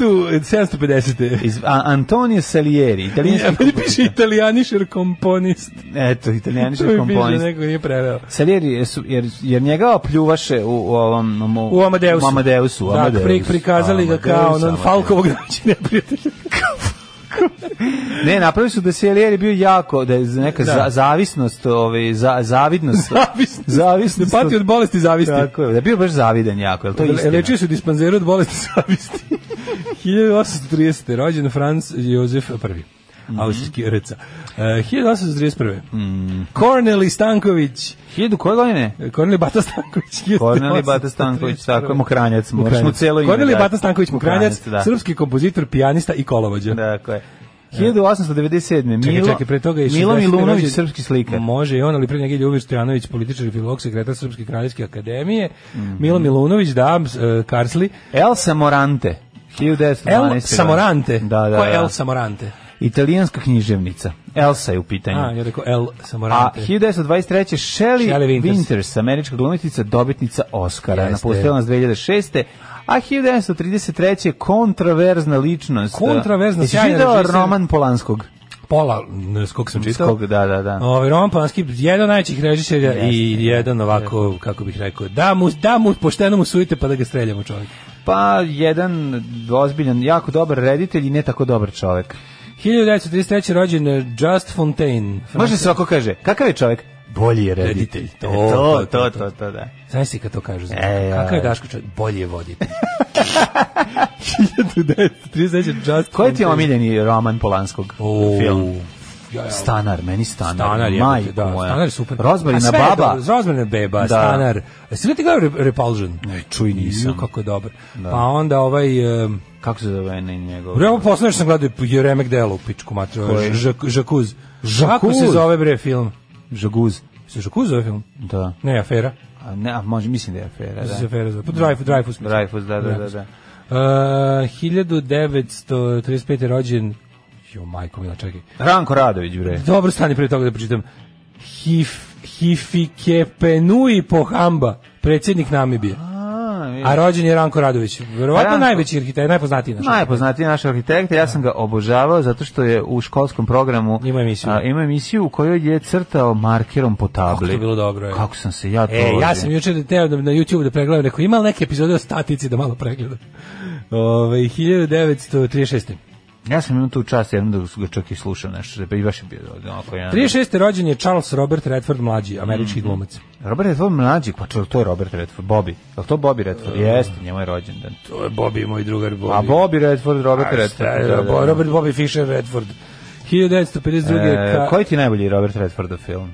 S6: 1750.
S5: Iz, a, Antonio Salieri,
S6: Ja,
S5: italijanski...
S6: meni piše italijanišer komponist.
S5: Eto,
S6: To
S5: italijanski
S6: mi
S5: komponist.
S6: piše, neko nije preveo.
S5: Salieri, jer, su- jer, jer njega opljuvaše u, u ovom... um,
S6: U Amadeusu.
S5: U Amadeusu. u
S6: Da,
S5: Amadeusu.
S6: pri, prikazali ga kao
S5: Amadeus,
S6: onan
S5: Amadeus.
S6: Falkovog naći neprijatelja.
S5: Ne, napravili su da Salieri bio jako, da je neka za, zavisnost, ovaj, za, zavidnost.
S6: *laughs* Zavisnost.
S5: Zavisnost.
S6: Da pati od bolesti zavisti.
S5: Tako je, da je bio baš zavidan jako, je li to
S6: Le-
S5: istina?
S6: Lečio se u dispanzeru od bolesti *laughs* zavisti. 1830. rođen Franz Jozef I.
S5: Mhm.
S6: Austrijski rca. E, 1831.
S5: Mhm.
S6: Korneli Stanković.
S5: Hiljadu koje godine?
S6: Korneli Bata Stanković.
S5: Korneli Bata Stanković, tako, Mokranjac, moraš mu celo ime.
S6: Korneli
S5: dati.
S6: Bata Stanković Mokranjac,
S5: da.
S6: srpski kompozitor, pijanista i kolovođa.
S5: Dakle. 1897.
S6: Čekaj,
S5: Milo,
S6: čekaj, pre toga je
S5: Milo
S6: 60.
S5: Milunović,
S6: rođen-
S5: srpski slikar.
S6: Može i on, ali pre njega je Ljubir Stojanović, političar i filolog, sekretar Srpske kraljevske akademije.
S5: Mhm.
S6: Milo Milunović, da, s- e, Karsli.
S5: Elsa Morante. 1912.
S6: El Samorante.
S5: Da, da,
S6: Ko je El
S5: da.
S6: Samorante?
S5: Italijanska književnica. Elsa je u pitanju.
S6: A, ja rekao El
S5: A
S6: Samorante.
S5: 1923. Shelley,
S6: Shelley
S5: Winters.
S6: Winters.
S5: američka glumica, dobitnica Oscara,
S6: Jeste.
S5: napustila nas 2006. A 1933. kontraverzna ličnost.
S6: Kontraverzna,
S5: Jesi
S6: sjajna
S5: videla
S6: režiser.
S5: roman Polanskog?
S6: Pola, ne, s kog sam čitao.
S5: Skog, da, da, da.
S6: Ovaj Roman Polanski, jedan od najvećih režisera i jedan ovako, kako bih rekao, da mu, da mu, pošteno mu sujte pa da ga streljamo čovjek.
S5: Pa, jedan ozbiljan, jako dobar reditelj i ne tako dobar čovek.
S6: 1933. rođen e, Just Fontaine.
S5: Može svako kaže, kakav je čovjek? Bolji je reditelj.
S6: Reditelj.
S5: To,
S6: To,
S5: to, to,
S6: to,
S5: to, to, da.
S6: Znaš si kad to kažu? Znači,
S5: E, ja.
S6: Kakav je Daško čovjek? Bolje je voditi.
S5: *laughs*
S6: 1933. *laughs* Just
S5: Koji ti je
S6: Fontaine.
S5: omiljeni roman Polanskog
S6: O,
S5: film?
S6: ja, ja.
S5: Stanar, meni Stanar.
S6: Stanar je,
S5: majko
S6: da,
S5: moja.
S6: Stanar je super. A
S5: Rozmarina
S6: sve je
S5: baba.
S6: dobro, Rozmarina beba,
S5: Da.
S6: Stanar. E, Jesi gledali ga Re- Repulsion?
S5: Ne, čuj, nisam.
S6: Ju, kako je dobar. Pa onda ovaj... Um,
S5: Kako se zove na njegov?
S6: Bre, ovo poslednje što sam gledao je Remek Delo u pičku matru.
S5: Koji?
S6: Žakuz. Kako
S5: Žakuz?
S6: se zove bre film?
S5: Žaguz.
S6: Se Žakuz zove film?
S5: Da.
S6: Ne, afera.
S5: A ne, a može, mislim da je afera,
S6: Da. Se
S5: da.
S6: afera zove. Pa Dreyfus, Dreyfus. mislim.
S5: Dreyfus, da, da, da,
S6: Dreyfus.
S5: da.
S6: Uh, 1935. je rođen Jo, majko mila, čekaj.
S5: Ranko Radović, bre.
S6: Dobro, stani pre toga da pročitam. Hif, Hifikepenui Pohamba, predsjednik Namibije.
S5: A,
S6: A rođen je Ranko Radović. Verovatno
S5: Ranko.
S6: najveći arhitekt, najpoznatiji naš.
S5: Najpoznatiji naš arhitekt, ja sam ga obožavao zato što je u školskom programu
S6: Imao je emisiju.
S5: a, imao emisiju u kojoj je crtao markerom po tabli.
S6: Kako je to bilo dobro, je.
S5: Kako sam se ja to...
S6: E, ja
S5: volim.
S6: sam juče teo da na YouTubeu da pregledam, rekao ima li neke epizode o statici da malo pregledam. Ovaj 1936.
S5: Ja sam imao tu čast jednom da su ga čak i slušao nešto, da i baš je bio onako jedan...
S6: 36. rođen je Charles Robert Redford mlađi, američki glumac.
S5: Robert Redford mlađi, pa čel, to je Robert Redford, Bobby. Je li to Bobby
S6: E.
S5: Redford? Jeste, njemu je rođendan.
S6: To je Bobby, moj drugar Bobby.
S5: A Bobby Redford, Robert
S6: A, šta je,
S5: Redford. da, da, da.
S6: Bo- Robert Bobby Fischer Redford. 1952.
S5: E,
S6: ka-
S5: koji ti je najbolji Robert Redfordov film?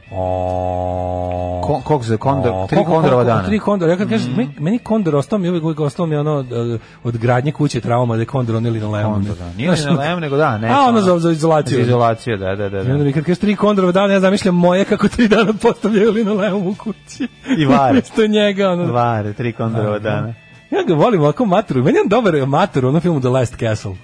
S6: O,
S5: Ko- koliko za Kondor-
S6: o,
S5: tri
S6: koliko-
S5: Kondorova
S6: koliko-
S5: dana. Mm.
S6: Tri kondora, ja kad kažem, meni- meni kondor ostao mi, je uvek, uvek ostao mi je ono od, od gradnje kuće trauma da je kondor onili na levom.
S5: Kondor, da. Nije na Lem, nego da, ne.
S6: A, ono za- za izolaciju.
S5: Za izolaciju, da, da, da.
S6: I onda
S5: da.
S6: mi kad kažeš tri kondorova dana, ja zamišljam moje kako tri dana postavljaju linoleum u kući.
S5: I
S6: *laughs*
S5: vare.
S6: Mesto njega, ono.
S5: Vare, tri Kondorova dana.
S6: Ja ga volim ovako maturu. Meni je on dobar matur u onom filmu The Last Castle.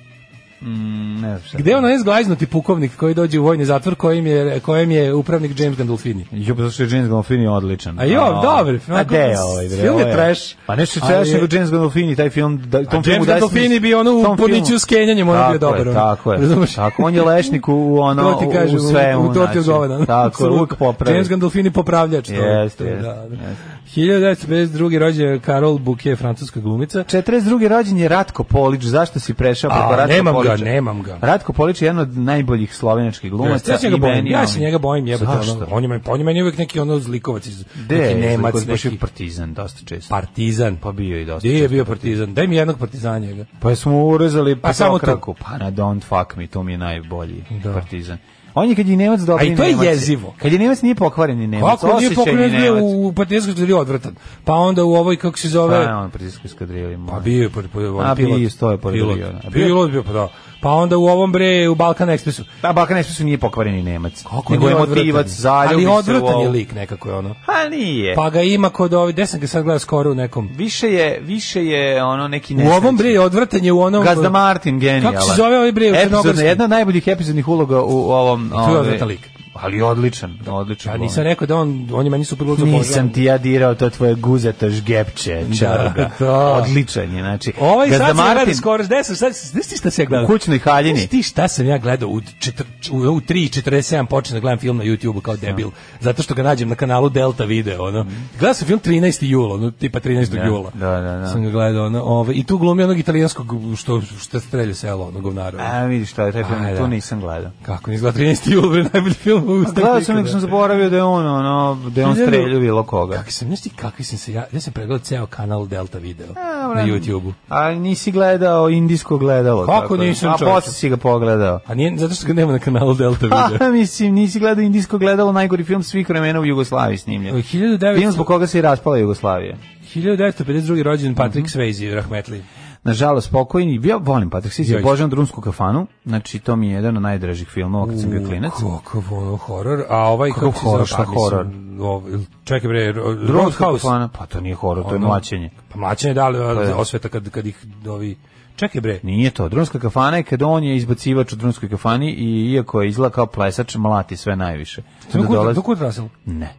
S5: Mm, Ne znam šta.
S6: Gde je onaj zglajznuti pukovnik koji dođe u vojni zatvor kojim je, kojim je upravnik James Gandolfini?
S5: Jo, pa zašto je James Gandolfini odličan.
S6: A jo,
S5: Ono,
S6: dobar,
S5: A
S6: onako,
S5: gde je ovaj? bre?
S6: film je
S5: Ovo
S6: trash,
S5: Pa nešto je
S6: ali-
S5: trash nego James Gandolfini, taj film... Da, tom
S6: James
S5: filmu daje
S6: Gandolfini
S5: smisla.
S6: bi ono u
S5: Tom filmu-
S6: Podniću s Kenjanjem, ono
S5: Tako
S6: bio dobar,
S5: Je,
S6: ono.
S5: tako je,
S6: Razumeš?
S5: Tako, on je lešnik u, u ono,
S6: to ti kažem,
S5: u svemu.
S6: u to ti
S5: znači.
S6: odgovara. da.
S5: Tako, je, uvijek
S6: Apsolutno.
S5: popravi.
S6: James Gandolfini popravljač. to je,
S5: Jeste,
S6: to je,
S5: jeste,
S6: da, da.
S5: jeste.
S6: 1952. rođen je Karol Bouquet, francuska glumica.
S5: 42. rođen je Ratko Polić, zašto si prešao
S6: A,
S5: preko Ratko
S6: nemam ga,
S5: Polića?
S6: nemam ga.
S5: Ratko Polić je jedan od najboljih slovenačkih glumaca.
S6: ja se njega
S5: i
S6: bojim,
S5: meni
S6: ja
S5: on-
S6: se njega bojim, jebote.
S5: Zašto?
S6: ono, On je, meni- on je meni uvijek neki ono zlikovac, iz,
S5: Gde
S6: neki
S5: je
S6: nemac,
S5: izlikovac? Baš je
S6: neki
S5: partizan dosta često.
S6: partizan.
S5: Pa bio je i dosta
S6: Gde je
S5: često
S6: bio partizan? Daj mi jednog partizanja. ga.
S5: Pa smo urezali
S6: Pa samo tu.
S5: petokraku. Pa na Don't Fuck Me, to mi je najbolji
S6: Da.
S5: partizan. On je kad je Nemac dobri
S6: A i to je
S5: Nemac
S6: jezivo.
S5: Kad je Nemac nije pokvaren ni Nemac,
S6: Kako Pa nije
S5: osjećajni
S6: pokrenut bio
S5: Nemac.
S6: u partizanskoj zgodili odvratan. Pa onda u ovoj, kako se
S5: Pa
S6: zove...
S5: je on partizanskoj skadrili.
S6: Pa bio je pored pored
S5: A,
S6: on
S5: bio
S6: pilot.
S5: je, stoje pored
S6: pilot.
S5: aviona. A bio je-
S6: Pilot bio pa da. Pa onda u ovom bre u Balkan Ekspresu.
S5: Da, Balkan Ekspresu nije pokvareni Nemac.
S6: Kako
S5: Nego je
S6: nije odvratan
S5: motivac,
S6: je.
S5: zaljubi
S6: Ali
S5: se u
S6: odvratan je
S5: ovo.
S6: lik nekako je ono.
S5: Pa nije.
S6: Pa ga ima kod ovih, gde sam ga sad gledao skoro u nekom.
S5: Više je, više je ono neki
S6: U
S5: nesreći.
S6: ovom bre je odvratan je u onom.
S5: Gazda Martin, genijalan.
S6: Kako se zove ovaj bre u
S5: Epizodna-
S6: Crnogorskoj?
S5: Jedna od najboljih epizodnih uloga u ovom...
S6: je
S5: ove-
S6: odvratan lik.
S5: Ali odličan, odličan.
S6: Ja
S5: glumac.
S6: nisam rekao da on, on je meni super luzo
S5: Nisam ti ja dirao to tvoje guzeta žgepče, čaruga.
S6: Da, da.
S5: Odličan je, znači.
S6: Ovaj
S5: Gazda
S6: sad se radi
S5: Martin
S6: skoro, gde sam, sad, znaš ti šta se ja gledao?
S5: U kućnoj haljini.
S6: Znaš ti šta sam ja gledao, u, četr, u, u 3.47 počnem da gledam film na YouTube-u kao debil, zato što ga nađem na kanalu Delta Video, ono. Gledao sam film 13. jula, ono, tipa 13.
S5: Da,
S6: jula.
S5: da, da, da.
S6: Sam ga gledao, ono, ovaj, i tu glumi onog italijanskog, što, što strelja selo, ono, govnara. ono.
S5: A vidiš šta je taj film,
S6: Aj, da.
S5: to nisam gledao.
S6: Kako ne izgleda 13. jula, bre, najbolji film u Ustavu.
S5: Gledao sam, nego sam zaboravio da je on, ono, da je on
S6: Hiljadu-
S5: streljio bilo koga.
S6: Kako sam, znaš ti kakvi sam se, ja, ja sam pregledao ceo kanal Delta Video na
S5: vredno.
S6: YouTube-u.
S5: A nisi gledao indijsko gledalo.
S6: Kako
S5: tako da.
S6: nisam,
S5: A
S6: čoveče?
S5: posle si ga pogledao.
S6: A nije, zato što ga nema na kanalu Delta Video.
S5: *laughs* Pa, mislim, nisi gledao indijsko gledalo, najgori film svih vremena u Jugoslaviji snimljen.
S6: 1900
S5: Film zbog koga se i raspala Jugoslavija.
S6: 1952. rođen
S5: Mhm.
S6: Patrick Swayze, rahmetli.
S5: Nažalost, pokojni. Ja volim Patrick Swayze,
S6: Ja isto.
S5: obožavam drumsku kafanu. Znači, to mi je jedan od najdražih filmova kad sam bio klinac.
S6: Kakav ono horor, a ovaj
S5: Kakav
S6: kako se zove,
S5: horor, šta
S6: pa mislim,
S5: horor?
S6: ovaj, čekaj bre, Ro-
S5: Drumska
S6: Roadhouse.
S5: kafana, pa to nije horor, to je
S6: Ono-
S5: mlaćenje.
S6: Pa mlaćenje da ali
S5: da.
S6: osveta kad, kad ih ovi... Čekaj bre,
S5: Nije to. Drumska kafana je kada on je izbacivač u drumskoj kafani i iako je izgleda kao plesač, mlati sve najviše. Onda
S6: Kurt,
S5: dolazi...
S6: do Kurt Russell.
S5: Ne.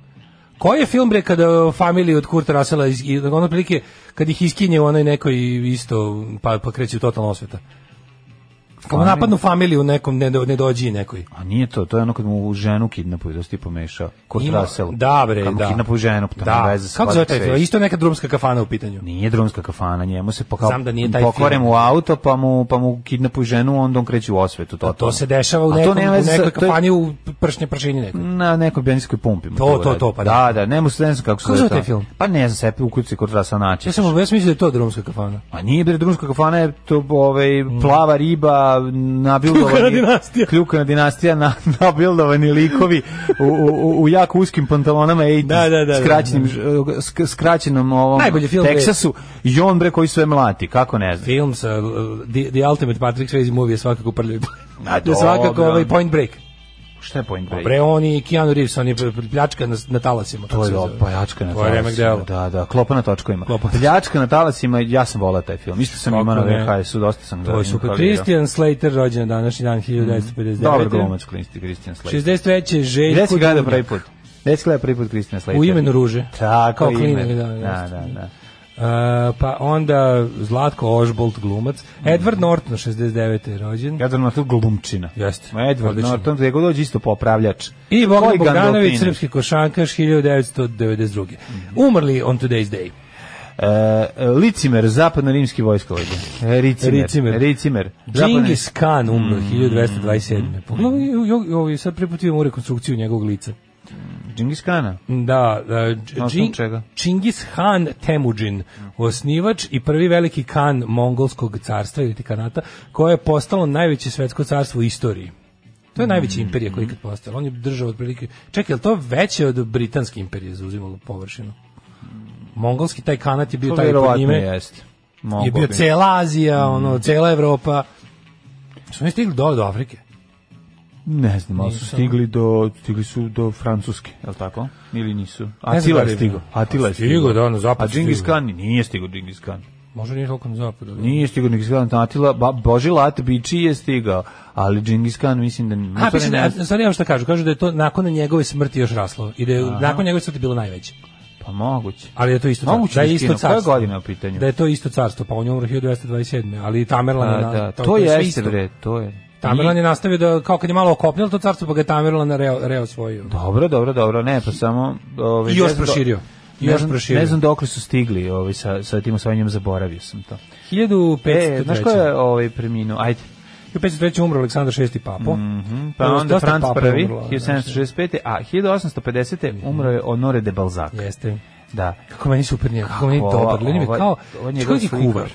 S6: Koji je film bre kada familiju od Kurta Russella, iz, i- ono prilike, kad ih iskinje u onoj nekoj isto, pa, pa kreće u totalno osveta? Kako
S5: Family?
S6: napadnu familiju u nekom, ne, do- ne dođi nekoj.
S5: A nije to, to je ono kad mu ženu kidnapuju, da si ti pomešao. Kurt
S6: Ima-
S5: Russell.
S6: Da bre,
S5: kad mu
S6: da.
S5: kidnapuju ženu, pa to nema
S6: da.
S5: veze sa
S6: Kako se zove taj
S5: Patrick
S6: film?
S5: Swayze.
S6: Isto neka drumska kafana u pitanju.
S5: Nije drumska kafana, njemu se pokao,
S6: Znam da nije taj
S5: pokvare
S6: film.
S5: mu auto, pa mu, pa mu kidnapuju ženu, onda on kreće u osvetu. To,
S6: A Pa to se dešava u
S5: A to
S6: nekom,
S5: nema
S6: u
S5: veze sa-
S6: nekoj
S5: to je-
S6: kafani u pršnje pršini nekoj.
S5: na nekoj benzinskoj pumpi. mu
S6: To, to,
S5: uradi.
S6: to, pa
S5: da.
S6: da.
S5: Da, ne mu se ne znam kako se
S6: Kako zove taj film?
S5: Pa ne znam, sepi u kuci kod rasa naći.
S6: Ja sam ja sam mislio da je to drumska kafana.
S5: A nije bre drumska kafana je to ovaj plava riba nabildovani
S6: Kljukana Mm. dinastija.
S5: kljukana dinastija na *laughs* nabildovani likovi u, u, u jako uskim pantalonama i
S6: Da, da, da,
S5: skraćenim
S6: da,
S5: ž- sk- skraćenom ovom
S6: Najbolji film, bre.
S5: Teksasu i on bre koji sve mlati kako ne znam
S6: Film sa uh, The, The Ultimate Patrick Swayze movie je svakako prljavi. *laughs*
S5: A,
S6: je svakako
S5: dobro.
S6: ovaj Point Break.
S5: šta je point break
S6: Bre, on i Keanu Reeves, on je pljačka na, na talasima.
S5: To
S6: kako
S5: je
S6: se
S5: do
S6: zove.
S5: pajačka na
S6: To je remek
S5: talasima.
S6: delo.
S5: Da, da, klopa na točkovima.
S6: Klopa.
S5: Pljačka na talasima, ja sam volao taj film. Isto sam
S6: Kako
S5: imao na
S6: ne.
S5: VHS-u, dosta sam ga
S6: To je super.
S5: inhalirao.
S6: Christian Slater rođen na današnji dan 1959.
S5: Dobar Mhm. glumac, Christian Slater.
S6: 63.
S5: Gde
S6: Željko
S5: si gledao
S6: Duvnjak.
S5: prvi put? Gde si gledao prvi put Kristina Slater?
S6: U imenu ruže.
S5: Tako,
S6: Kao
S5: ime.
S6: klinac, da,
S5: da,
S6: jeste.
S5: da, da.
S6: Uh, pa onda Zlatko Ožbolt glumac. Edward Norton 69. je rođen.
S5: Edward Norton glumčina.
S6: Jeste.
S5: Ma Edward
S6: Odlično.
S5: Norton, gdje god dođe isto popravljač.
S6: I Bogdan
S5: Koji E,
S6: Bogdanović,
S5: Gandolfini?
S6: Mhm. srpski košankaš 1992. Umrli on today's day.
S5: E, Licimer, zapadno-rimski vojskovođa. E, Ricimer.
S6: Ricimer.
S5: Ricimer. Zapadno-
S6: Džingis Mhm. Khan umro 1227. Pogledaj, jo- jo- ovi, sad prvi put imamo rekonstrukciju njegovog lica.
S5: Džingis Kana.
S6: Da, da
S5: Na osnovu čega?
S6: Čingis Han Temujin, osnivač i prvi veliki kan mongolskog carstva ili ti kanata, koje je postalo najveće svetsko carstvo u istoriji. To je najveća imperija koja je ikad postala. On je držao otprilike... Čekaj, je li to veće od britanske imperije zauzimalo površinu? Mongolski taj kanat je bio
S5: To
S6: taj pod
S5: verovatno Mm.
S6: njime.
S5: jeste. Mogu
S6: Je bio
S5: bi.
S6: cela Azija, ono, cela Evropa. Su oni stigli dole do Afrike?
S5: Ne znam, ali su stigli do, stigli su do Francuske, je li tako? Ili nisu? Atila
S6: da li
S5: je
S6: je
S5: stigao.
S6: bio.
S5: Atila je
S6: Stigao, da, na zapad
S5: A Džingis
S6: stigao.
S5: Khan nije stigao Džingis Khan.
S6: Možda nije toliko na zapadu. ali-
S5: Nije stigao Džingis Khan, Atila, ba, Boži Lat Biči je stigao, ali Džingis Khan mislim da
S6: A,
S5: nije.
S6: mislim, da, sad nemam šta kažu, kažu da je to nakon njegove smrti još raslo i da je nakon njegove smrti bilo najveće.
S5: Pa moguće.
S6: Ali da je to isto
S5: Moguće
S6: carstvo. Da
S5: da
S6: je isto
S5: skinu. Koja
S6: carstvo.
S5: godina je u pitanju?
S6: Da je to isto carstvo, pa on je umro 1227. Ali i Tamerlan je
S5: A,
S6: na,
S5: da,
S6: to,
S5: to,
S6: to je sve
S5: jeste,
S6: isto.
S5: bre, to je.
S6: Tamerlan je nastavio da, kao kad je malo okopnilo to carstvo, pa ga je Tamerlan reo, reo svoju.
S5: Dobro, dobro, dobro, ne, pa samo... Ovaj,
S6: I
S5: ne
S6: još
S5: znam do-
S6: proširio. I
S5: ne
S6: još
S5: znam-
S6: proširio.
S5: Ne znam dokle su stigli ovaj, sa, sa tim osvajanjem, zaboravio sam to.
S6: 1503.
S5: E, znaš ko je ovaj, preminuo? Ajde.
S6: 1503. umro Aleksandar VI papo.
S5: Mhm, Pa
S6: Dosta-
S5: onda
S6: dosta
S5: Franc
S6: papa
S5: prvi,
S6: umrlo,
S5: 1765. A 1850. umro je Honore de Balzac.
S6: Mhm. Jeste.
S5: Da.
S6: Kako meni super njega, kako meni
S5: Ova-
S6: dobar. Ljudi mi
S5: ova-
S6: kao,
S5: ova njegov
S6: čovjek je
S5: slikar.
S6: kuvar.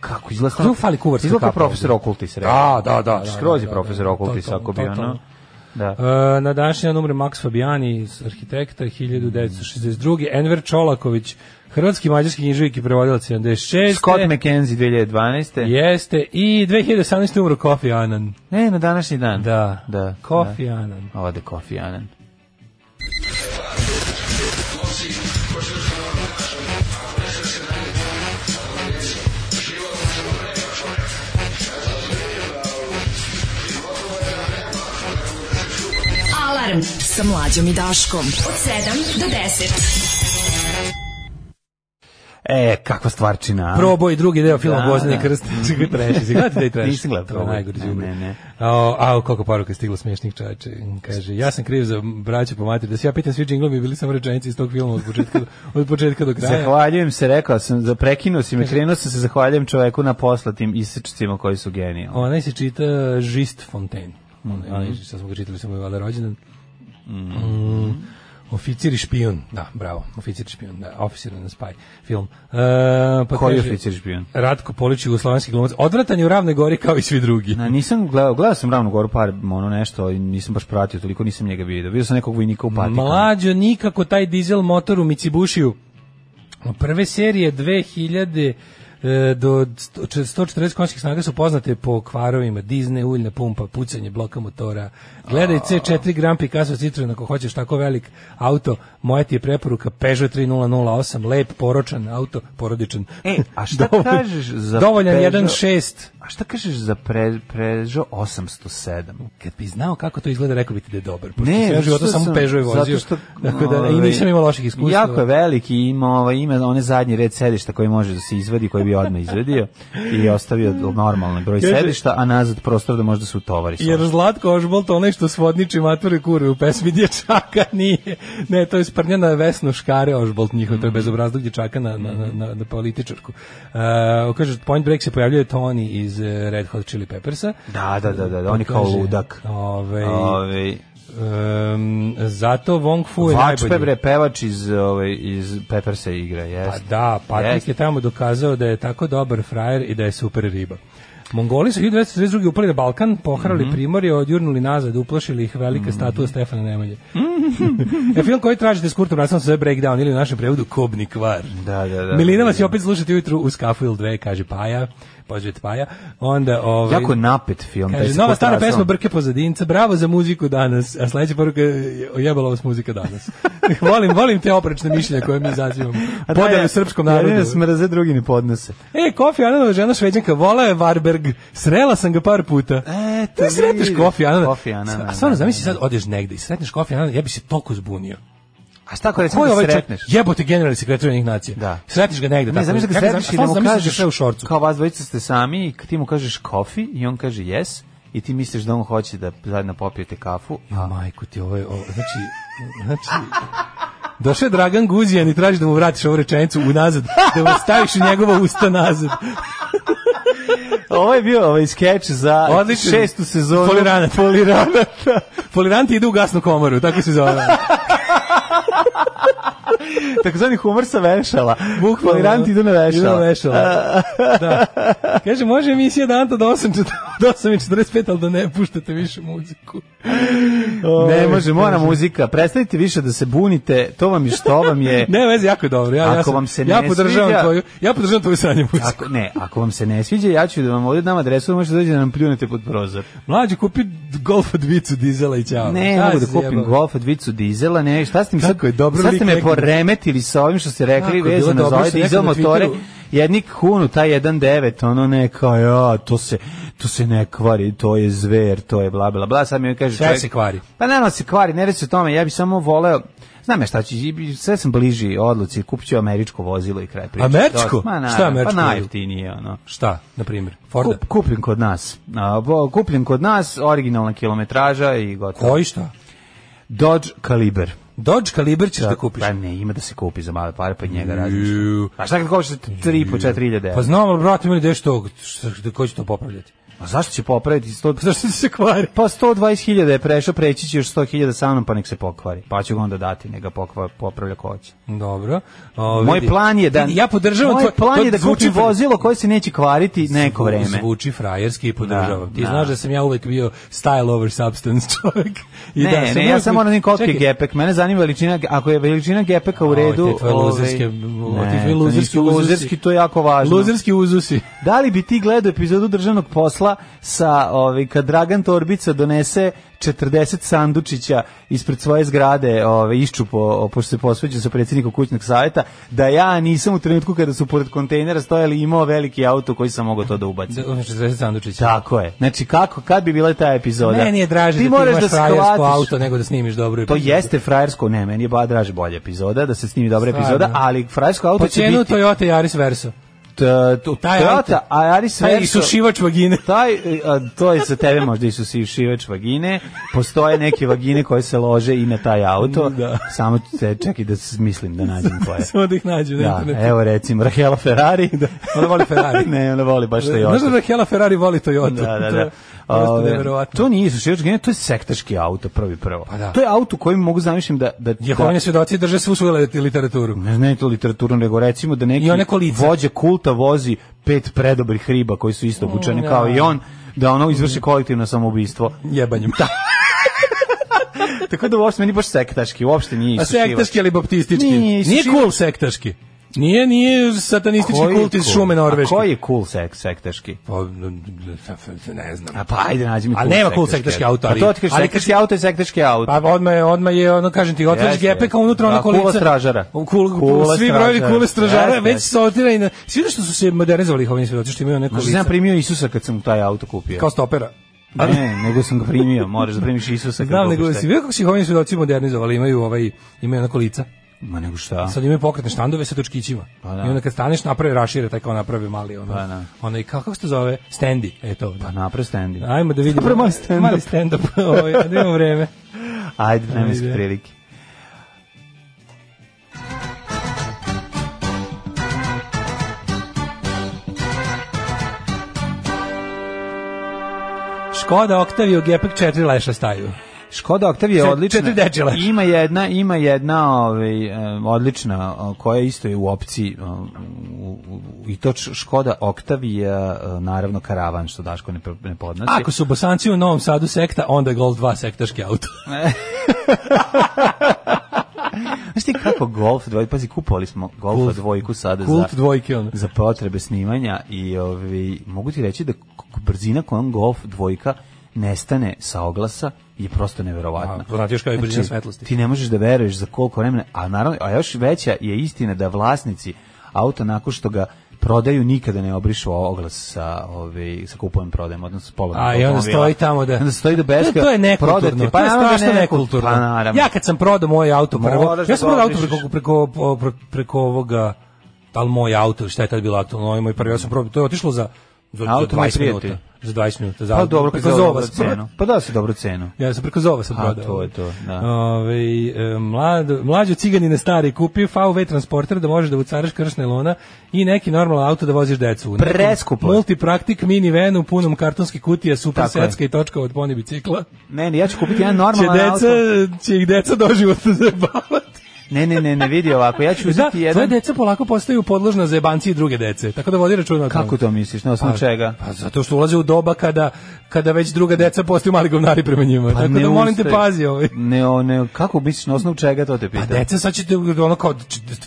S5: Kako izgleda?
S6: Kako fali kuvarska
S5: Izgleda kao
S6: kapa ovdje?
S5: profesor Okultis,
S6: Da, da, da, da,
S5: Skroz je
S6: da, da,
S5: profesor
S6: da,
S5: Okultis,
S6: totalno,
S5: ako bi ono...
S6: totalno.
S5: Da.
S6: E, na današnji dan umre Max Fabiani, arhitekta 1962. Enver Čolaković, hrvatski mađarski književik i prevodilac 76.
S5: Scott McKenzie 2012.
S6: Jeste. I 2018. umro Kofi Annan.
S5: Ne, na današnji dan.
S6: Da.
S5: Da.
S6: Kofi
S5: da.
S6: Annan.
S5: Ode Kofi Annan.
S4: Alarm sa mlađom i Daškom. Od 7 do 10.
S5: E, kakva stvarčina. a?
S6: Proboj drugi deo filma
S5: Da,
S6: Gvozdeni
S5: da.
S6: krst. *laughs* Čekaj, treši. Zigledajte da je treši.
S5: Nisam gledao
S6: To je
S5: Proboj.
S6: najgori
S5: Ne,
S6: đubre.
S5: ne, ne.
S6: Ao, ao, koliko poruka je stiglo smiješnih čače. Kaže, ja sam kriv za braću po materi. Da se ja pitam svi džinglovi, bili samo rečenici iz tog filma od početka, do- od početka do kraja.
S5: Zahvaljujem se, rekao sam, za prekinuo si me, krenuo sam se, zahvaljujem čoveku na poslatim isečcima koji su genijalni.
S6: Onaj se čita Žist Fontaine.
S5: Mhm.
S6: Onaj, onaj, sad smo ga čitali, samo je valjda rođendan. Mm. Oficir i špijun, da, bravo, oficir i špijun, da, oficir na spaj, film. E, pa
S5: Koji
S6: kaže,
S5: oficir i špijun?
S6: Ratko Polić, jugoslovenski glumac, odvratan je u ravnoj gori kao i svi drugi.
S5: Na, nisam gledao, gledao sam Ravnu Goru par, ono nešto, i nisam baš pratio, toliko nisam njega vidio. Vidio sam nekog vojnika u patikama.
S6: Mlađo, nikako taj dizel motor u Mitsubishi-u. Prve serije 2000 e, do 140 konjskih snaga su poznate po kvarovima, dizne, uljna pumpa, pucanje bloka motora. Gledaj C4 Grand Picasso Citroen ako hoćeš tako velik auto, moja ti je preporuka Peugeot 3008, lep, poročan auto, porodičan.
S5: E, a šta
S6: *laughs* Dovolj-
S5: kažeš za
S6: Dovoljan
S5: Peugeot?
S6: 1.6.
S5: A šta kažeš za pre, prežo 807?
S6: Kad bi znao kako to izgleda, rekao bi ti da je dobar. Pošto
S5: Ne,
S6: ne, ja
S5: zato
S6: životu
S5: što
S6: samo
S5: sam-
S6: Peugeot je vozio.
S5: zato što-
S6: tako da, I
S5: ovaj,
S6: nisam imao loših iskustva.
S5: Jako je veliki, ima, ovaj, ima one zadnji red sedišta koji može da se izvadi, koji bi odmah izvadio i ostavio normalni broj
S6: Kaže-
S5: sedišta, a nazad prostor da možda se utovari. sa
S6: Jer Zlatko Ožbolt, onaj što svodniči mature kurve u pesmi dječaka, *laughs* nije. Ne, to je sprnja na Vesnu Škare Ožbolt njihov,
S5: Mhm.
S6: to je bezobrazlog dječaka na, na, na- na, na političarku. Uh, kaže, Point Break se pojavljuje Tony iz eh, Red Hot Chili Peppersa.
S5: Da, da, da, da, da on je kao
S6: Kaže,
S5: ludak.
S6: Ovaj,
S5: Ovaj
S6: em, zato Wong Fu je
S5: Vač
S6: najbolji.
S5: Pebre pevač iz ovaj iz Peppersa igra,
S6: Pa
S5: jeste.
S6: da, Patrik
S5: Jeste.
S6: je tamo dokazao da je tako dobar frajer i da je super riba. Mongoli su 1932. upali na Balkan, pohrali
S5: Mhm.
S6: primorje, odjurnuli nazad, uplašili ih velika statua Stefana Nemanje. *laughs* e, film koji tražite s Kurtom Rasom se zove Breakdown ili u našem prevodu Kobni kvar.
S5: Da, da, da.
S6: Milina
S5: da,
S6: vas
S5: da.
S6: je opet slušati ujutru u Skafu ili dve, kaže Paja, pozdravite Paja. Onda, ovaj,
S5: Jako napet film. taj
S6: Kaže,
S5: sa
S6: nova stara
S5: kontrastom.
S6: pesma Brke pozadinca, bravo za muziku danas. A sledeća poruka je ojebala vas muzika danas. *laughs* volim, volim te oprečne mišljenja koje mi izazivamo.
S5: A da,
S6: Podar
S5: ja-
S6: u srpskom
S5: Jedino
S6: narodu.
S5: smrze, drugi ne podnose.
S6: E, Kofi Ananova žena šveđanka, vola je Varberg, srela sam ga par puta.
S5: Eto,
S6: Ti sretneš
S5: vidiš,
S6: Kofi Ananova.
S5: Kofi Anana,
S6: A stvarno,
S5: da,
S6: zamisli
S5: da,
S6: sad, odeš negde i sretneš Kofi Ananova, ja bi se toliko zbunio.
S5: A šta ako
S6: Ko
S5: recimo
S6: je
S5: da
S6: ovaj čovjek?
S5: sretneš?
S6: Jebote generalni sekretar Ujedinjenih nacija.
S5: Da.
S6: Sretneš ga negde.
S5: Ne, zamisli da ga sretneš i da mu kažeš
S6: sve u šorcu.
S5: Kao vas dvojica ste sami i ti mu kažeš kofi i on kaže yes i ti misliš da on hoće da zajedno popijete kafu.
S6: Jo, majku ti, ovo je, ovo, znači, znači, Došao je Dragan Guzijan i traži da mu vratiš ovu rečenicu unazad, da mu staviš u njegova usta nazad.
S5: *laughs* Ovo je bio ovaj skeč za
S6: Odličan.
S5: šestu sezonu.
S6: Poliranat.
S5: Poliranat.
S6: Poliranti ide u gasnu komoru, tako se zove.
S5: *laughs* Takozvani humor sa vešala.
S6: Bukvalno.
S5: Poliranti idu na
S6: Idu na
S5: vešala.
S6: vešala. da. Kaže, može emisija da Anta do 8, do 8.45, ali da ne puštate više muziku. Ovaj,
S5: Ne može, mora muzika. Prestanite više da se bunite. To vam je što vam
S6: *laughs*
S5: je.
S6: Ne, vezi, jako je dobro. Ja, ja,
S5: Ako
S6: sam-
S5: vam se
S6: ja
S5: ne
S6: podržavam
S5: sviđa-
S6: tvoju, ja podržavam tvoju sanje muziku.
S5: Ako, ne, ako vam se ne sviđa, ja ću da vam ovdje dam adresu, možete dođe da nam pljunete pod prozor.
S6: Mlađi, kupi golf od vicu dizela i ćao.
S5: Ne,
S6: Šta
S5: mogu da
S6: si
S5: kupim
S6: jebao?
S5: golfa, dvicu dizela, ne, šta ste mi sad,
S6: Pa, Kako je dobro
S5: sad
S6: lik
S5: ste me
S6: rekao.
S5: poremetili sa ovim što ste
S6: Kako
S5: rekli
S6: je bilo
S5: vezano za
S6: dobro
S5: ovaj
S6: što je
S5: dizel
S6: rekao na
S5: motore,
S6: Twitteru.
S5: jednik hunu, taj 1.9, ono ne, kao, ja, to se, to se ne kvari, to je zver, to je bla, bla, bla, sad mi kaže
S6: Sve
S5: čovjek-
S6: se kvari.
S5: Pa naravno se kvari, ne reci o tome, ja bi samo voleo, Znam ja šta ću, sve sam bliži odluci, kupit ću američko vozilo i kraj priče.
S6: Američko?
S5: Ma, naravno,
S6: Šta je američko
S5: Pa
S6: vozilo?
S5: najjeftinije, ono.
S6: Šta, na primjer? Forda?
S5: Kup, kupljen kod nas. A, bo- kupljen kod nas, originalna kilometraža i gotovo.
S6: Koji šta?
S5: Dodge Caliber.
S6: Dodge Kaliber ćeš da kupiš.
S5: Pa ne, ima da se kupi za male pare, pa i njega
S6: Ju.
S5: razmišljam. A šta kad kupiš za 3,5-4
S6: Pa
S5: Pa,
S6: znam, ali brate, meni deš to, šta- da ko će to popravljati? *laughs*
S5: A zašto će popraviti? 100...
S6: Pa zašto se kvari?
S5: Pa 120.000 je prešao, preći će još 100.000 sa mnom, pa nek se pokvari. Pa ću ga onda dati, nek ga pokva, popravlja ko hoće.
S6: Dobro. O,
S5: Moj
S6: Pa vidi.
S5: plan je da...
S6: Vidi, Ja podržavam
S5: Moj
S6: tvoj-
S5: plan
S6: to
S5: je da
S6: zvuči
S5: kupim
S6: fra-
S5: vozilo koje se neće kvariti neko
S6: zvu-
S5: vreme.
S6: Zvuči frajerski i podržavam.
S5: Da,
S6: Ti
S5: da.
S6: znaš da sam ja uvek bio style over substance *laughs* čovjek. I
S5: ne,
S6: da, sam
S5: ne, ja
S6: uvek-
S5: samo moram neki
S6: Čekaj,
S5: otkrije gepek. Mene zanima veličina, ge- ako je veličina gepeka u
S6: Oj, te
S5: redu...
S6: tvoje
S5: ovaj,
S6: luzerske-
S5: ne,
S6: ti tvoji
S5: to
S6: luzerski
S5: nisu
S6: uzusi.
S5: luzerski, to je jako važno.
S6: Luzerski uzusi. *laughs*
S5: Da li bi ti gledao epizodu državnog posla sa ovaj kad Dragan Torbica donese 40 sandučića ispred svoje zgrade, ovaj iščupo pošto se posveđa sa predsjednikom kućnog savjeta, da ja nisam u trenutku kada su pored kontejnera stojali imao veliki auto koji sam mogao to da ubacim.
S6: Da, ono što se zove Sandučić.
S5: Tako je. Znači kako kad bi bila ta epizoda?
S6: Meni je draže da ti
S5: Pa moraš
S6: imaš
S5: da
S6: frajersko
S5: shvatiš-
S6: auto nego da snimiš dobro.
S5: To jeste frajersko, ne, meni je ba draže bolja epizoda, da se snimi dobra
S6: Stvarno.
S5: epizoda, ali frajersko auto
S6: Po
S5: pa će
S6: cijenu
S5: biti... Pa
S6: Toyota Yaris Verso.
S5: T- t-
S6: Taj
S5: Toyota,
S6: auto-
S5: a Aris
S6: Taj
S5: Verso-
S6: isušivač vagine. *laughs*
S5: Taj, e, a, to je za tebe možda i su si šivač vagine. Postoje neke vagine koje se lože i na taj auto.
S6: Da.
S5: Samo se čekaj da smislim da nađem koje.
S6: Samo da ih nađu.
S5: Da, e,
S6: ne,
S5: evo recimo Rahela Ferrari. Da.
S6: Ona voli Ferrari.
S5: *laughs* ne, ona voli baš
S6: Znaš da
S5: Toyota.
S6: Rahela Ferrari voli Toyota?
S5: Da, da,
S6: To
S5: da.
S6: je Prosto
S5: Ove,
S6: neverovatno.
S5: to nije isušivač vagine, to je sektaški auto prvi prvo.
S6: Pa da.
S5: To je auto kojim mogu zamišljam da... da, da
S6: Jehovine svedoci drže svu svoju leti- literaturu.
S5: ne znam je to literaturno, nego recimo da neki
S6: I one kolica.
S5: vođe kulta vozi pet predobrih riba koji su isto obučeni
S6: Mm, da. Mm.
S5: kao i on, da ono izvrši kolektivno samoubistvo.
S6: Jebanjem. Da.
S5: *laughs* Tako da uopšte meni baš sektaški, uopšte nije
S6: A
S5: isušivač.
S6: sektaški ili baptistički?
S5: Nije,
S6: nije
S5: isušivač.
S6: cool sektaški. Nije, nije satanistički
S5: Koji je
S6: kult iz
S5: cool?
S6: šume norveške.
S5: A koji je cool sek, sektaški?
S6: Pa, ne znam.
S5: A pa ajde nađi mi
S6: A
S5: cool
S6: nema cool sektaški auto, ali-
S5: A to ti kažeš,
S6: ali
S5: sektaški auto je sektaški auto.
S6: Pa odma je, odma je, ono kažem ti, otvoriš
S5: Jeste,
S6: gepeka
S5: jeste.
S6: unutra ona
S5: Da, kula
S6: kolica.
S5: stražara.
S6: U Kul,
S5: Kula
S6: svi brojevi
S5: stražara.
S6: kule stražara,
S5: Jeste,
S6: već
S5: jeste.
S6: sortira i na svi što su se modernizovali ih ovim svedoci što imaju neko
S5: Znaš, ja
S6: lice.
S5: sam primio Isusa kad sam taj auto kupio.
S6: Kao stopera.
S5: Ne, nego sam ga primio, moraš da primiš Isusa kad
S6: Znam,
S5: kupiš
S6: nego
S5: taj-
S6: si vidio kako su ih ovim svedoci modernizovali, imaju ovaj, imaju onako lica.
S5: Ma nego šta?
S6: Sad imaju pokretne štandove sa točkićima.
S5: Pa da.
S6: I onda kad staneš, naprave rašire, taj kao naprave mali, ono,
S5: Pa da.
S6: onaj, ka- kako se to zove? Stendi, e to.
S5: Pa napravi standing.
S6: Ajmo da vidimo.
S5: Napravi mali stand-up.
S6: Mali stand-up, *laughs* ovaj, da imamo vreme.
S5: Ajde, vremenske
S6: Ajde.
S5: prilike.
S6: Škoda Octavio Gepek 4 leša staju.
S5: Škoda Octavia je
S6: Čet-
S5: odlična.
S6: četiri dečila.
S5: Ima jedna, ima jedna ovaj, e, odlična o, koja isto je u opciji e, u- u- i to č- Škoda Octavia e, naravno karavan što Daško ne, pr- ne podnosi.
S6: Ako su bosanci u Novom Sadu sekta, onda je Golf 2 sektaški
S5: *laughs*
S6: auto.
S5: Znaš ti kako Golf dvojku, pazi kupovali smo Golfa
S6: Golf-
S5: dvojku sada
S6: Kult
S5: za,
S6: dvojke, ono.
S5: za potrebe snimanja i ovaj, mogu ti reći da k- k- brzina kojom Golf dvojka nestane sa oglasa je prosto neverovatna. Znači,
S6: A, to znate još kao i brzina svetlosti.
S5: Ti ne možeš da veruješ za koliko vremena, a naravno, a još veća je istina da vlasnici auta nakon što ga prodaju nikada ne obrišu oglas sa ovaj sa kupujem prodajem odnosno s polovnim
S6: A i onda
S5: automobila.
S6: stoji tamo da...
S5: *laughs* onda stoji da beska
S6: To je nekulturno,
S5: prodati, pa
S6: to je
S5: naravno da je
S6: strašno nekulturno.
S5: pa naravno
S6: ja kad sam prodao moj auto prvo,
S5: Moraš
S6: ja
S5: da
S6: sam
S5: ga
S6: prodao auto
S5: obrišeš.
S6: preko, preko, Ono preko, preko ovoga, da li moj auto, ili šta je tad bilo aktualno, ovaj moj prvi, ja sam prodao, to je otišlo za za, za
S5: Auto mi je
S6: 20
S5: prijatelj.
S6: minuta. Za 20 minuta. Za,
S5: Pa dobro, kako
S6: preko
S5: dobro
S6: zova.
S5: cenu. Pa da se dobro cenu.
S6: Ja sam preko zova sam
S5: A,
S6: prodao.
S5: to je to, da.
S6: Ovaj, e, mlado, mlađo ciganine stari kupio VW transporter da možeš da ucaraš kršne lona i neki normalan auto da voziš decu. Neki
S5: Preskupo.
S6: Multipraktik minivenu punom kartonskih kutija, super
S5: Tako je.
S6: secka i točka od poni bicikla.
S5: Ne, ne, ja ću kupiti jedan
S6: Će
S5: normalan
S6: deca,
S5: auto.
S6: će ih deca *laughs* doživotno zabavati.
S5: Ne, ne, ne, ne vidi ovako. Ja ću
S6: Da,
S5: uzeti
S6: tvoje
S5: jedan...
S6: deca polako postaju podložna za jebanci i druge dece. Tako da vodi računa o tome.
S5: Kako to misliš? Na osnovu
S6: Pa,
S5: čega?
S6: Pa zato što ulaze u doba kada, kada već druga deca postaju mali govnari prema njima. Tako
S5: Pa ne
S6: da molim te
S5: ustaj.
S6: pazi ovaj.
S5: Ne, o, ne, kako mislič, na osnovu čega to te
S6: Pa
S5: pitam?
S6: deca sad ćete ono kao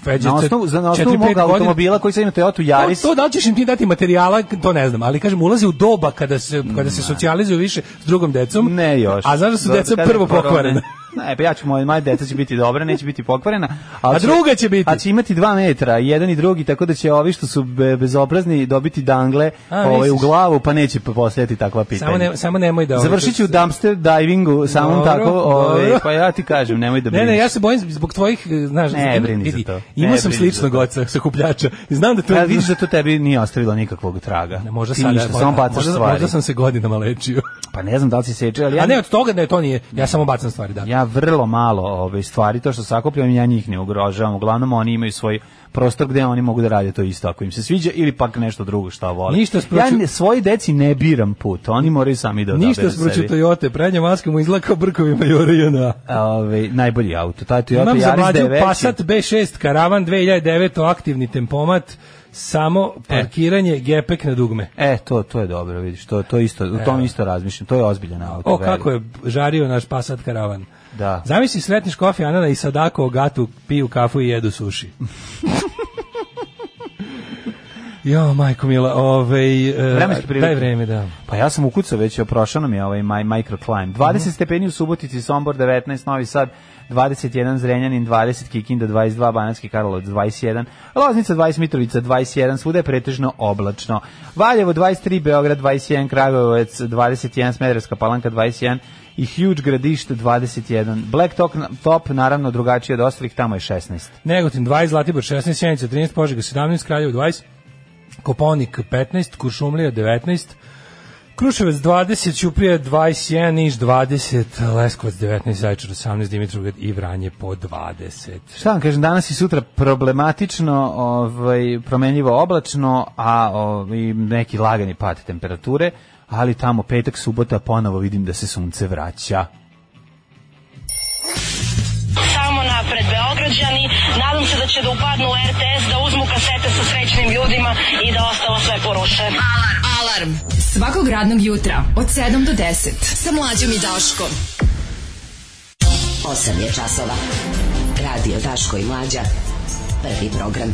S6: feđe.
S5: Na osnovu, za, na osnovu mog automobila koji sad ima Toyota Yaris,
S6: To, to da li ćeš im ti dati materijala, to ne znam, ali kažem, ulazi u doba kada se, kada se socijalizuju više s drugom decom,
S5: Mm, ne još.
S6: a znaš da su
S5: Zato
S6: deca
S5: kažem,
S6: prvo
S5: korone.
S6: pokvarene.
S5: Ne, pa ja ću, moja, moja deca će biti dobra, neće biti pokvarena. ali
S6: A druga će biti.
S5: A će imati dva metra, jedan i drugi, tako da će ovi što su be, bezobrazni dobiti dangle
S6: A,
S5: ovaj, u
S6: misliš?
S5: glavu, pa neće posjetiti takva pitanja.
S6: *laughs* Samo, ne, samo nemoj da...
S5: Završit ću u dumpster divingu samom
S6: Dobro,
S5: tako, ovaj,
S6: dobro.
S5: pa ja ti kažem, nemoj da
S6: Ne,
S5: brineš.
S6: ne, ja se bojim zbog tvojih, eh, znaš,
S5: Ne,
S6: ima-
S5: brini za
S6: vidi,
S5: to. Ne,
S6: Imao sam
S5: brini
S6: sličnog
S5: za to.
S6: oca sakupljača. i Znam da to
S5: Ja vidiš da to tebi nije ostavilo nikakvog traga.
S6: Ne, možda
S5: Ti
S6: sada,
S5: ništa, samo bacaš
S6: možda,
S5: stvari.
S6: možda sam se godinama lečio.
S5: Pa ne znam da li si seče, ali ja,
S6: A ne od toga, ne, to nije. Ja samo bacam stvari, da.
S5: ja vrlo malo ove stvari, to što sakupljam, ja njih ne ugrožavam. Uglavnom oni imaju svoj prostor gde oni mogu da rade to isto ako im se sviđa ili pak nešto drugo što vole.
S6: Ništa sproču-
S5: Ja ne, svoji deci ne biram put, oni moraju sami da odaberu
S6: Ništa
S5: sebi.
S6: spročio Toyota, prednja maska mu izgleda kao brkovima Jore Jona.
S5: Ove, Ovaj, najbolji auto, taj Toyota
S6: Imam za
S5: Yaris
S6: mlađu
S5: 9.
S6: Passat B6 Karavan 2009 aktivni tempomat, samo parkiranje, gepek na dugme.
S5: E, to, to je dobro, vidiš, to, to isto, u tom isto razmišljam, to je ozbiljan auto.
S6: O,
S5: veruj.
S6: kako je žario naš Passat Karavan.
S5: Da.
S6: Zamisli sretniš Kofi Anana i Sadako Ogatu, piju kafu i
S5: *laughs*
S6: jedu suši. jo, majko mila, ovej... e,
S5: Vremenske prilike.
S6: Daj vreme, da.
S5: Pa ja sam ukucao već, prošao nam je ovaj my,
S6: Mhm.
S5: microclimb. 20 stepeni u Subotici, Sombor 19, Novi Sad 21, Zrenjanin 20, Kikinda 22, Banatski Karlovac 21, Loznica 20, Mitrovica 21, svuda je pretežno oblačno. Valjevo 23, Beograd 21, Kragujevac 21, Smederevska Palanka 21 i Huge Gradište 21. Black Top, top naravno drugačije od ostalih, tamo je 16.
S6: Negotin 20, Zlatibor 16, Sjenica 13, Požega 17, Kraljevo 20, Koponik 15, Kuršumlija 19, Kruševac 20, Ćuprija 21, Niš 20, Leskovac 19, Zaječar 18, Dimitrovgrad i Vranje po 20.
S5: Šta vam kažem, danas i sutra problematično, ovaj, promenljivo oblačno, a ovaj, neki lagani pad temperature, ali tamo petak, subota, ponovo vidim da se sunce vraća.
S2: Samo napred Beograđani, nadam se da će da upadnu u RTS, da uzmu kasete sa srećnim ljudima i da ostalo sve poruše.
S4: Alarm. Alarm. Svakog radnog jutra od 7 do 10 sa mlađom i Daškom.
S8: 8 je časova. Radio Daško i Mlađa. Prvi program.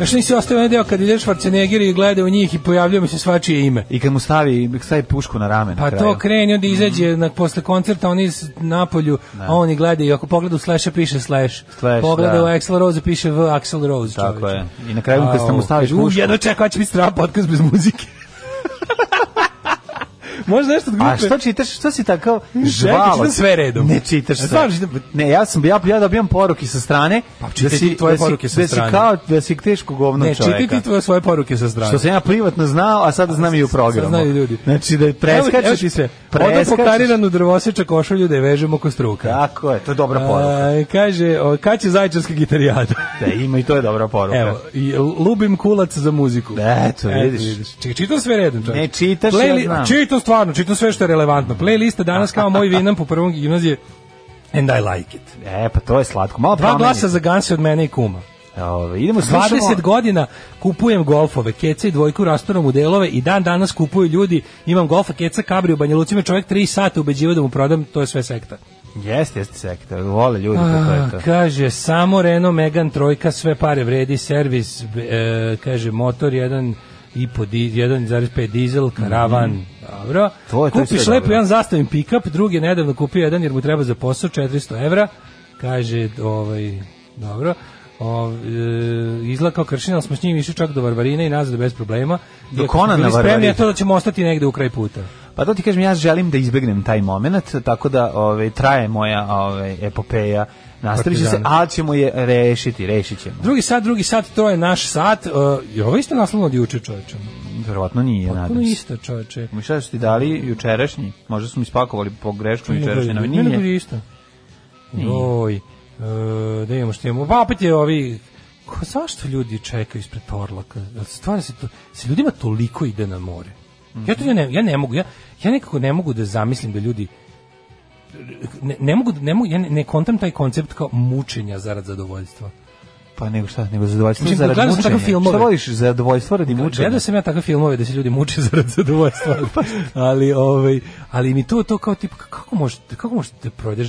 S6: Još nisi ostavio onaj deo kad ideš Schwarzenegger i gleda u njih i pojavljuje mu se svačije ime.
S5: I kad mu stavi, stavi pušku na rame na
S6: Pa
S5: kraju. Mhm.
S6: to kreni, onda izađe na, posle koncerta, oni s- napolju, a oni gledaju, ako pogleda u Slash-a piše Slash,
S5: Slash,
S6: pogleda
S5: da.
S6: u Axl Rose piše V Axl Rose.
S5: Tako
S6: čoveče.
S5: je. I na kraju kad
S6: Au,
S5: mu staviš
S6: kaže, "U,
S5: pušku,
S6: jedno čeka, hoće biti strava podcast bez muzike. *laughs* Može nešto od grupe?
S5: A što čitaš, što si tako
S6: Čekaj,
S5: žvalo?
S6: čitam sve redom.
S5: Ne čitaš sve.
S6: Stvarno čitam-
S5: Ne, ja sam ja ja dobijam poruke sa strane.
S6: Pa čitaj ti tvoje poruke sa
S5: da si
S6: strane.
S5: kao da si teško govno
S6: Ne,
S5: čoveka.
S6: čitaj ti tvoje svoje poruke sa strane.
S5: Što sam ja privatno znao, a sada znam i u programu.
S6: Sad znaju ljudi.
S5: Znači da preskačeš
S6: ti sve. Odam
S5: Preskačeš.
S6: poktariranu drvoseča košulju da je vežemo oko struka.
S5: Tako je, to je dobra poruka.
S6: A, kaže, o, kad će zajčarska gitarijada?
S5: Da, ima i to je dobra poruka.
S6: Evo, i lubim kulac za muziku.
S5: Eto, vidiš.
S6: Čekaj, čitam sve redom, čovječe.
S5: Ne čitaš,
S6: Playli-
S5: ja znam.
S6: Čitam stvarno, čitam sve što je relevantno. Playlista danas kao moj vinam po prvom gimnazije and I like it.
S5: E, pa to je slatko. Malo
S6: Dva
S5: promeni.
S6: glasa za Ganse od mene i kuma.
S5: Ove, idemo, slušamo.
S6: 20 godina kupujem golfove, keca i dvojku rastorom u delove i dan danas kupuju ljudi, imam golfa, keca, kabri u Banja Luci, me čovjek 3 sata ubeđiva da mu prodam, to je sve sekta.
S5: Jeste, jeste sektor. Vole ljudi kako je to.
S6: A, Ah, kaže, samo Renault Megane trojka, sve pare vredi, servis, b- e, kaže, motor jedan i po 1,5 dizel, karavan, dobro.
S5: Mhm. To je- to je
S6: Kupiš
S5: sve
S6: lepo
S5: dobro.
S6: jedan zastavim pick-up, drugi je nedavno kupio jedan jer mu treba za posao 400 evra, kaže, ovaj, dobro. Ov, e, izgleda kao kršina, ali smo s njim išli čak do Varvarine i nazad bez problema.
S5: Do
S6: Iako smo
S5: Kona na
S6: bili spremni,
S5: Varvarin.
S6: a to da ćemo ostati negde u kraj puta.
S5: Pa to ti kažem, ja želim da izbegnem taj moment, tako da ove, traje moja ove, epopeja Nastaviće se,
S6: Partizana.
S5: ali ćemo je rešiti, rešit ćemo.
S6: Drugi sat, drugi sat, to je naš sat. Uh, je ovo isto naslovno od juče, čoveče?
S5: Verovatno nije,
S6: Puno
S5: nadam se.
S6: isto, čoveče.
S5: Mi šta su ti dali jučerašnji? Možda su mi spakovali po grešku jučerašnji, no
S6: Ne, nego
S5: nije.
S6: je isto. Joj, e, da imamo što imamo. Pa opet je ovi... Ko, zašto ljudi čekaju ispred Torlaka? Jel Stvarno se, to, se ljudima toliko ide na more. Ja to ja ne, ja ne mogu, ja, ja nekako ne mogu da zamislim da ljudi ne, ne mogu, da- ne mogu, ja ne, ne kontam taj koncept kao mučenja zarad zadovoljstva.
S5: Pa nego šta, nego zadovoljstvo
S6: Mislim,
S5: zarad
S6: gledao sam
S5: mučenja.
S6: takve filmove.
S5: Šta voliš, zadovoljstvo radi mučenja?
S6: Gledao sam ja takve filmove da se ljudi muče *laughs* zarad
S5: *laughs*
S6: zadovoljstva.
S5: Pa.
S6: ali ovaj ali mi to to kao tip kako možete kako možete da prođeš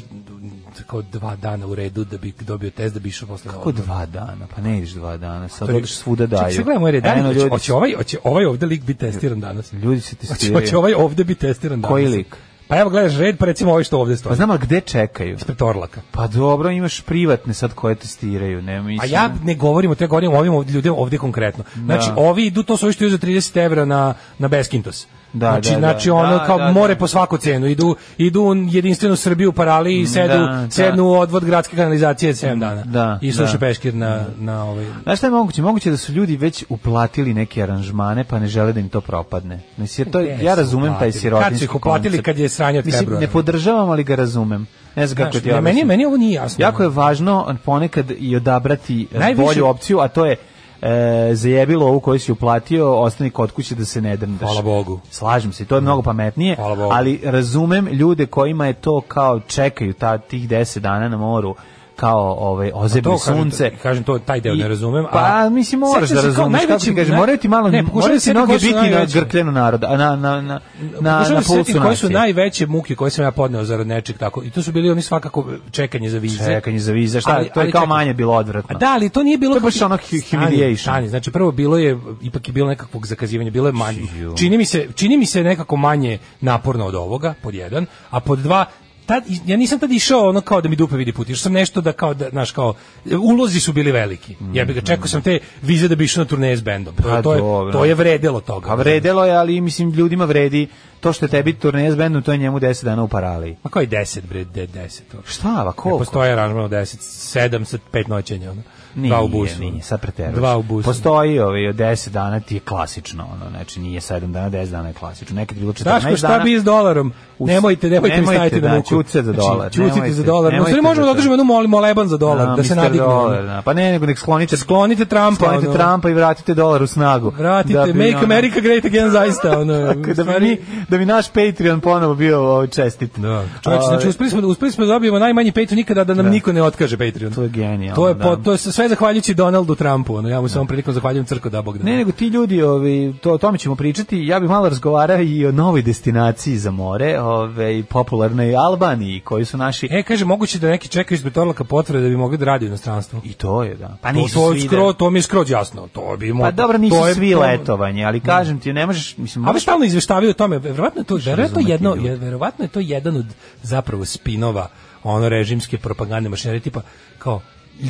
S6: kao dva dana u redu da bi dobio test da bi išao posle
S5: Kako dva dana? Pa ne ideš dva dana, sad odeš svuda daju.
S6: Čekaj, gledaj moj red.
S5: Eno,
S6: Dani,
S5: ljudi,
S6: hoće ovaj, hoće ovaj ovde lik biti testiran danas.
S5: ljudi se
S6: Hoće,
S5: testiraju.
S6: hoće ovaj ovde biti testiran danas.
S5: Koji lik?
S6: Pa evo gledaš red, pa recimo ovaj što ovde stoji.
S5: Pa znam, ali gde čekaju?
S6: ispred Orlaka.
S5: Pa dobro, imaš privatne sad koje testiraju, ne
S6: A
S5: mislim.
S6: ja ne govorim o te govorim o ovim ovdje ljudima ovdje konkretno. Znači, ovi idu, to su ovi što idu za 30 evra na, na Beskintos.
S5: Da,
S6: znači,
S5: da, da.
S6: znači ono
S5: Da,
S6: kao
S5: da,
S6: more
S5: da.
S6: po svaku cenu. Idu, idu u jedinstvenu Srbiju u parali i sedu,
S5: Mm, da.
S6: sednu u odvod gradske kanalizacije 7 dana.
S5: Da,
S6: I sluša
S5: da.
S6: peškir na, na ovaj...
S5: Znaš šta je moguće? Moguće da su ljudi već uplatili neke aranžmane, pa ne žele da im to propadne. Mislim, jer to,
S6: Gde
S5: ja
S6: su
S5: razumem taj
S6: uplatili?
S5: sirotinski
S6: Kad su ih uplatili?
S5: koncept.
S6: Kad je sranje od
S5: Mislim,
S6: februara.
S5: ne podržavam, ali ga razumem. Ne znam kako
S6: Znaš,
S5: ti
S6: ne, meni,
S5: objasnim.
S6: meni ovo nije jasno.
S5: Jako je važno ponekad i odabrati e,
S6: Najviše-
S5: bolju opciju, a to je e, zajebilo ovu koju si uplatio, ostani kod kuće da se ne drndaš.
S6: Hvala Bogu. Mm.
S5: Slažem se, to je mnogo pametnije,
S6: Hvala Bogu.
S5: ali razumem ljude kojima je to kao čekaju ta, tih 10 dana na moru kao ovaj ozebno
S6: to kažem,
S5: sunce.
S6: to- kažem, to taj deo
S5: I-
S6: ne razumem, a-
S5: Pa mislim moraš
S6: Sjećam
S5: da
S6: se kao
S5: razumeš kako
S6: najveći-
S5: ti kažeš,
S6: ne-
S5: moraju ti malo
S6: ne,
S5: ne,
S6: pokušavam da
S5: moraju ti
S6: sjetim
S5: noge
S6: koji su
S5: biti na
S6: najveći.
S5: grkljenu naroda, a na na na na
S6: Pokušavam
S5: na
S6: da se sjetim
S5: pulsu
S6: koje su
S5: nacije.
S6: najveće muke koje sam ja podneo zarad nečeg tako. I to su bili oni svakako čekanje za vize.
S5: Čekanje za vize, šta,
S6: Ali-
S5: to je
S6: ali
S5: kao
S6: čekaj.
S5: manje bilo odvratno.
S6: A da, ali to nije bilo...
S5: To je baš ono hu- humiliation.
S6: Stani, znači prvo bilo je, ipak je bilo nekakvog zakazivanja, bilo je manje.
S5: Ju.
S6: Čini mi se, čini mi se nekako manje naporno od ovoga, pod jedan, a pod dva, tad, ja nisam tad išao ono kao da mi dupe vidi put, išao sam nešto da kao, da, znaš, kao, ulozi su bili veliki. Ja bih ga čekao sam te vize da bi išao na turneje s bendom. To,
S5: Mhm. Pa
S6: to, je,
S5: dobro.
S6: to je vredelo toga.
S5: A Pa vredelo je, ali mislim ljudima vredi to što je tebi turneja s bendom, to je njemu 10 dana u paraliji.
S6: Ma koji 10 bre, de 10 to.
S5: Šta, va,
S6: Ne
S5: koliko?
S6: postoje aranžman od 10, 7 sa 5 noćenja. Ono. dva u busu.
S5: Nije, sad preteruješ.
S6: Dva u busu.
S5: Postoji ovaj, od 10 dana ti je klasično, ono, znači nije 7 dana, 10 dana je klasično. Nekad je bilo 14
S6: Daško,
S5: dana.
S6: šta bi s dolarom?
S5: Us-
S6: Nemojte, nemojte, mi
S5: nemojte,
S6: staviti na
S5: da,
S6: muku.
S5: ćucite za dolar,
S6: Znači, ćucite
S5: nemojte,
S6: za dolar. No, u stvari
S5: nemojte
S6: možemo
S5: za
S6: da održimo jednu mol- moleban za dolar, da, se
S5: Mr.
S6: nadigne.
S5: Dolar, da. Pa ne, nego nek sklonite,
S6: Sklonite Trumpa,
S5: sklonite
S6: ono.
S5: Trumpa i vratite dolar u snagu.
S6: Vratite,
S5: Da bi,
S6: make
S5: ono,
S6: America great again zaista. Ono, u
S5: *laughs* Da bi,
S6: stvari-
S5: mi, da bi naš Patreon ponovo bio ovaj, čestit.
S6: Da. Čovječe,
S5: Ovaj,
S6: znači uspeli smo, da- uspeli smo da dobijemo najmanji Patreon nikada da nam niko ne otkaže Patreon.
S5: To je genijalno,
S6: To je, po,
S5: da.
S6: to je sve zahvaljujući Donaldu Trumpu. Ono, ja mu se ovom prilikom zahvaljujem crko da Bog da.
S5: Ne, nego ti ljudi, ovi, to, o tome ćemo pričati. Ja bih malo razgovarao i o novoj destinaciji za more, ove, popularnoj Albaniji, koji su naši...
S6: E, kaže, moguće da neki čekaju ispred orlaka potvrde da bi mogli da radi u inostranstvu.
S5: I to je, da. Pa
S6: To,
S5: nisu
S6: to,
S5: svi... da-
S6: skro, to mi je skroz jasno. To bi mo-
S5: Pa dobro, nisu
S6: to je-
S5: svi
S6: to-
S5: letovanje, ali kažem ti, ne možeš... Mislim,
S6: A vi stalno izveštavaju o tome, verovatno je to, verovatno je
S5: razumeti
S6: jedno,
S5: ljude.
S6: je, verovatno je to jedan od zapravo spinova ono režimske propagande mašinerije tipa kao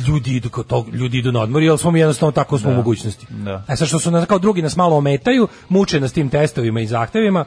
S6: ljudi idu kao to, ljudi idu na odmor jer smo mi jednostavno tako smo u mogućnosti.
S5: Da.
S6: E sad što su nas kao drugi nas malo ometaju, muče nas tim testovima i zahtevima,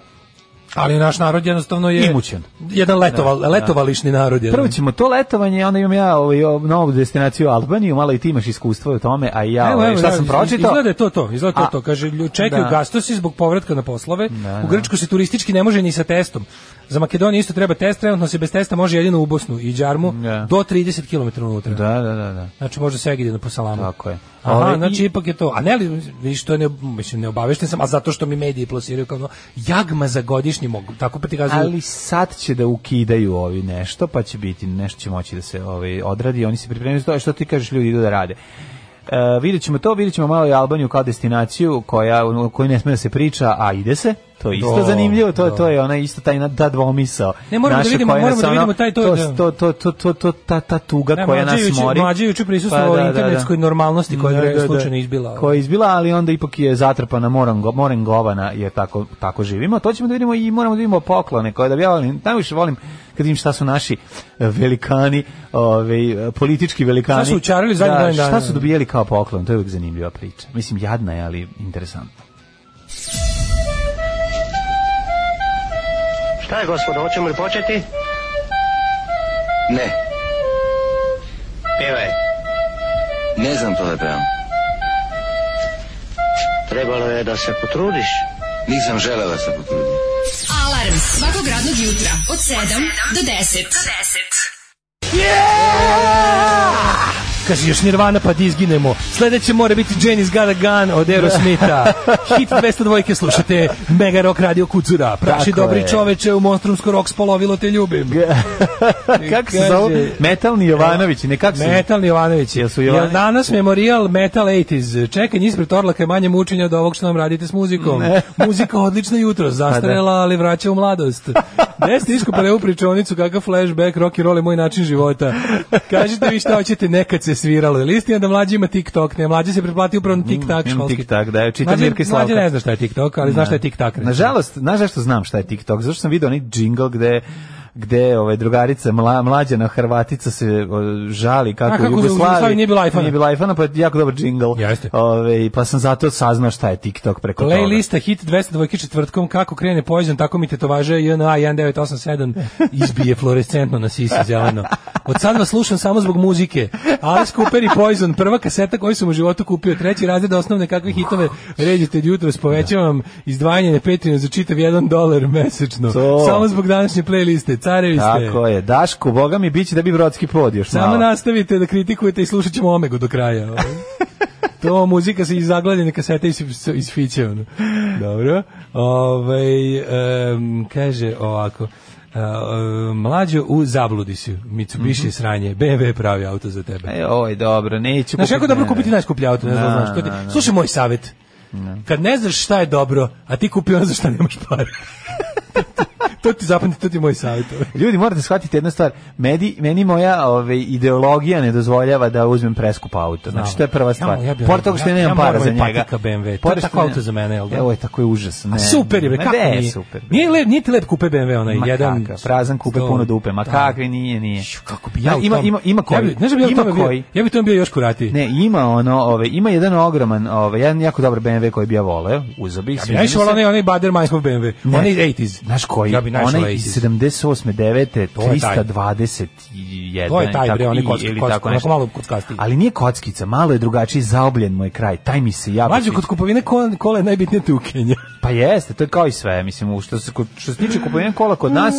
S6: ali naš narod jednostavno je
S5: Imućen.
S6: Jedan letoval, letovališni narod je.
S5: Prvo ćemo to letovanje, onda imam ja ovaj, o- novu destinaciju Albaniju, malo i ti imaš iskustvo o tome, a i ja ovaj, šta sam pročitao.
S6: Izgleda je to to, izgleda to
S5: A-
S6: to. Kaže, lju- čekaju
S5: Da.
S6: gastosi zbog povratka na poslove.
S5: Da,
S6: u Grčku se turistički ne može ni sa testom. Za Makedoniju isto treba test, trenutno se bez testa može jedino u Bosnu i Đarmu
S5: Da.
S6: do 30 km unutra.
S5: Da, da, da, da.
S6: Znači može se Egidina po salamu.
S5: Tako je.
S6: Aha,
S5: Ove,
S6: znači
S5: i-
S6: ipak je to. A ne li, vidiš, to je ne, mislim, neobavešten sam, a zato što mi mediji plasiraju kao ono, jagma za godišnji mogu, tako pa ti kazuju.
S5: Ali sad će da ukidaju ovi nešto, pa će biti nešto će moći da se ovaj odradi, oni se pripremaju za to, a što ti kažeš ljudi idu da rade. E, vidjet ćemo to, vidjet ćemo malo i Albaniju kao destinaciju koja, o kojoj ne smije da se priča, a ide se, to je isto
S6: Do,
S5: zanimljivo, to,
S6: do.
S5: to je ona isto taj, na- ta dvomisao.
S6: Ne, moramo da
S5: naša
S6: vidimo-
S5: koja nas
S6: moramo da
S5: ono-
S6: vidimo taj- to- da.
S5: to, to, to, to, to- ta, ta tuga
S6: Ne,
S5: koja nas
S6: mlađe juče-
S5: mori. Pa
S6: mlađe juče prisustvovao internetskoj normalnosti koja je slučajno izbila.
S5: Koja je izbila, ali onda ipak je zatrpana moram, moram govana, jer tako, tako živimo. To ćemo da vidimo i moramo da vidimo poklone koje da ja volim, najviše volim kad vidim šta su naši e, velikani, ovaj, e, politički velikani.
S6: Šta su učarili zadnjih
S5: da,
S6: godinu dana?
S5: Šta su dobijeli kao poklon, to je uvijek zanimljiva priča. Mislim, jadna je, ali interesantna.
S3: Šta je, gospodo, hoćemo li početi? Ne.
S9: Pevaj.
S10: Ne znam to da pevam.
S9: Trebalo je da se potrudiš.
S10: Nisam želela da se potrudim.
S4: Alarm svakog radnog jutra od 7 do 10.
S6: Kaže, još Nirvana pa di izginemo. Sledeće mora biti Janis Garagan
S1: *laughs*
S6: od Aerosmitha. Hit 202 slušate. Mega Rock Radio Kucura. Praši
S1: Tako
S6: dobri
S1: je.
S6: čoveče u monstrumsko rock spolovilo te ljubim.
S1: *laughs*
S5: *laughs*
S1: Kako se
S6: Kaže-
S1: zove? Metalni Jovanović, ne kako se...
S6: Metal Jovanović.
S1: Jel
S6: Jel
S1: su Jovanović-
S6: danas memorijal Metal 80s? Čekanje ispred Orlaka je manje mučenja od ovog što nam radite s muzikom. *laughs* Muzika odlično
S5: Pa
S6: jutro, zastarela, ali vraća u mladost. pa Gde ste iskopali ovu pričovnicu, kakav flashback, rock and roll je moj način života. Kažete vi šta hoćete, nekad se sviralo. Ili istina da mlađi ima TikTok, ne, mlađi se pretplati upravo na TikTok
S5: Mm, imam
S6: školski.
S5: TikTok, da, ja čitam
S6: Mlađi-
S5: Mirka i Slavka.
S6: Mlađi ne zna šta je TikTok, ali zna šta je TikTok. recimo.
S5: Nažalost, znaš zašto znam šta je TikTok? Zašto sam vidio onaj jingle gde gde ovaj drugarica mla, mlađana Hrvatica se o, žali kako,
S6: A, kako
S5: u
S6: u
S5: Jugoslaviji
S6: Jugoslaviji nije bilo iPhonea.
S5: Nije bilo iPhonea, pa je jako dobar jingle.
S6: Jeste.
S5: Ovaj, pa sam zato saznao šta je TikTok preko toga.
S6: Playlista hit 202 četvrtkom kako krene poezon tako mi tetovaže JNA 1987 izbije fluorescentno na sisi zeleno. Od sad vas slušam samo zbog muzike. Alice Cooper i Poison, prva kaseta koju sam u životu kupio, treći razred osnovne kakve hitove ređete jutros, povećavam izdvajanje na Patreon za čitav 1 dolar mesečno.
S5: To.
S6: Samo zbog današnje playliste, carevi ste.
S5: Tako je. Daško, boga mi biće da bi brodski pod još
S6: Samo
S5: malo.
S6: nastavite da kritikujete i slušat ćemo Omegu do kraja.
S5: *laughs*
S6: ovaj. to muzika se iz zagladljene kasete iz, iz fiće. Ono. Dobro. Ovaj em, kaže ovako. e, e, mlađo u zabludi si Mitsubishi sranje BMW je pravi auto za tebe
S5: Mhm. E, oj, dobro, neću
S6: Znaš kako je dobro
S5: ne,
S6: kupiti
S5: ne.
S6: najskuplji auto, ne znam,
S5: Da,
S6: znaš, to ti-
S5: da, da.
S6: Slušaj moj savjet. Kad ne znaš šta je dobro, a ti kupi ono za šta nemaš
S5: *laughs*
S6: pare. to ti zapamti, to ti je moj savjet. ovaj.
S5: Ljudi, morate shvatiti jednu stvar. Medi, meni moja ove, ideologija ne dozvoljava da uzmem preskup auto. Znači, to je prva stvar.
S6: Ja, ja bi-
S5: Pored toga što ja,
S6: ja-
S5: nemam
S6: ja
S5: para
S6: moram
S5: za
S6: ovaj
S5: njega.
S6: patika BMW. To
S5: Pored
S6: je
S5: što
S6: tako
S5: ne-
S6: auto za mene, jel da?
S5: Evo je tako je užas. Ne,
S6: super je, bre,
S5: Ma
S6: kako
S5: gde je
S6: nije?
S5: super. bre?
S6: Nije lep, nije ti lep kupe BMW, onaj
S5: Ma
S6: jedan...
S5: kakav, prazan kupe
S6: sto-
S5: puno dupe. Ma
S6: da.
S5: kakvi nije, nije.
S6: Šu, Kako bi ja
S5: Znaš,
S6: u
S5: ima,
S6: tom-
S5: ima, ima
S6: Ja
S5: koji?
S6: bi, znaš da bi ja u
S5: ima
S6: tome
S5: koji?
S6: bio, ja bi tome bio još kuratiji.
S5: Ne, ima ono, ove, ima jedan ogroman, ove, jedan jako dobar BMW koji bi ja voleo, uzeo bih.
S6: Ja išao onaj, onaj Bader Meinhof BMW.
S5: Ne.
S6: Onaj 80s.
S5: Znaš koji?
S6: Ja bi našao
S5: Onaj iz
S6: 80s.
S5: 78. 9.
S6: To je taj.
S5: 321.
S6: To je taj,
S5: tako,
S6: bre, onaj
S5: i-
S6: kocka-
S5: ili
S6: kocka,
S5: tako
S6: onako
S5: nešto.
S6: malo kockastiji.
S5: Ali nije kockica, malo je drugačiji, zaobljen moj kraj. Taj mi se jako
S6: Mlađo,
S5: sviđa.
S6: kod kupovine kola, kola je najbitnije
S5: *laughs*
S6: tukenje.
S5: Pa jeste, to je kao i sve, mislim, u što se, što se tiče kupovine kola kod nas,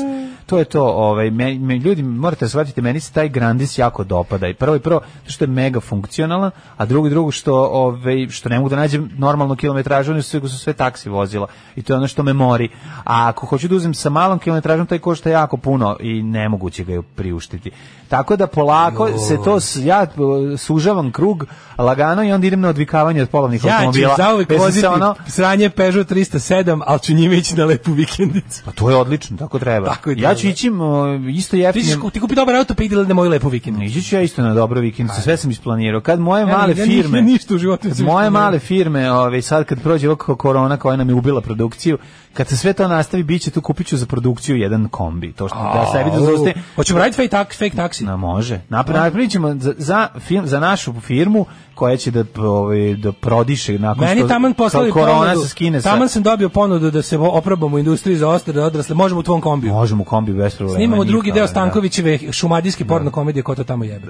S5: to je to, ovaj, me, me- ljudi, morate shvatiti, meni se taj Grandis jako dopada i prvo i prvo, zato što je mega funkcionalan, a drugo i drugo što, ovaj, što ne mogu da nađem normalnu kilometražu, oni su, sve- su sve taksi vozila i to je ono što me mori, a ako hoću da uzmem sa malom kilometražom, taj košta jako puno i nemoguće ga je priuštiti. Tako da polako se to, s- ja eh, sužavam krug lagano i onda idem na odvikavanje od polovnih
S6: Ja ću
S5: automobila.
S6: zauvek
S5: Jer sam se
S6: voziti
S5: ono-
S6: sranje Peugeot 307, ali ću njime ići na lepu vikendicu.
S5: Pa to je odlično, tako treba.
S6: Tako je
S5: ja ću
S6: treba.
S5: ići m, isto
S6: Ti, ćeš,
S5: jeftino.
S6: ku- ti kupi dobar auto, pa idi na moju lepu vikendicu.
S5: Ići ću ja isto na dobro vikendice, sve sam isplanirao. Kad moje
S6: Ja ni-
S5: male
S6: ja ni-
S5: firme...
S6: ja ništa u životu
S5: kad
S6: nisam
S5: Moje
S6: isplanirao.
S5: male firme, ovaj, sad kad prođe ova korona koja nam je ubila produkciju, kad se sve to nastavi, bit će tu kupit ću za produkciju jedan kombi. To što da sebi da zaustavim.
S6: Hoćemo raditi fake, tak, fake taksi?
S5: Na može. Napra- Napravit ćemo za, za, film, za našu firmu koja će da, ovaj, da prodiše nakon
S6: Meni
S5: što
S6: taman poslali
S5: kao korona
S6: ponudu,
S5: se skine sa...
S6: Taman sam dobio ponudu da se oprobamo u industriji za ostrade odrasle. Možemo u tvom kombiju.
S5: Možemo u kombi bez problema.
S6: Snimamo
S5: nikako,
S6: drugi deo
S5: da.
S6: Stankovićeve šumadijske porno komedije ko to
S5: *laughs*
S6: tamo jebe.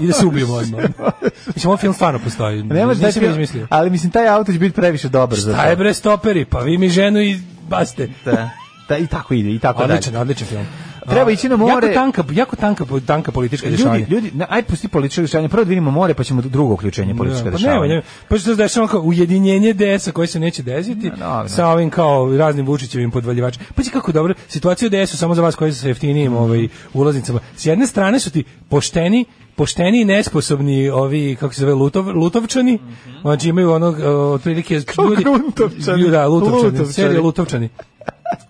S6: I da se ubijemo odmah. Mislim, ovaj film stvarno postoji.
S5: Ne može Pa taj
S6: Nisam ga
S5: film,
S6: izmislio.
S5: ali mislim taj auto će biti previše dobar za to.
S6: Šta je bre stoperi? Pa vi mi ženu i baste.
S5: Da, da i tako ide, i tako
S6: Odličan,
S5: dalje.
S6: odličan film.
S5: Pa Treba ići na more.
S6: Jako tanka, jako tanka, tanka politička
S5: Ljudi,
S6: dešavanja.
S5: ljudi, na, aj pusti političko dešavanje, prvo da vidimo more, pa ćemo drugo uključenje politička
S6: Da, Pa nema,
S5: dešavanja.
S6: nema. Pa što se dešava kao ujedinjenje DS-a koje se neće desiti
S5: Da, dobro.
S6: sa ovim kao raznim Vučićevim podvaljivačima. Pa će kako dobro, situacija u DS-u samo za vas koji su sa jeftinijim
S5: Mhm.
S6: ovaj, ulaznicama. S jedne strane su ti pošteni pošteni i nesposobni ovi kako se zove lutov, lutovčani znači imaju onog e, otprilike ljudi
S5: Mhm. gruntovčani.
S6: da lutovčani,
S5: Lutovčani.
S6: serija lutovčani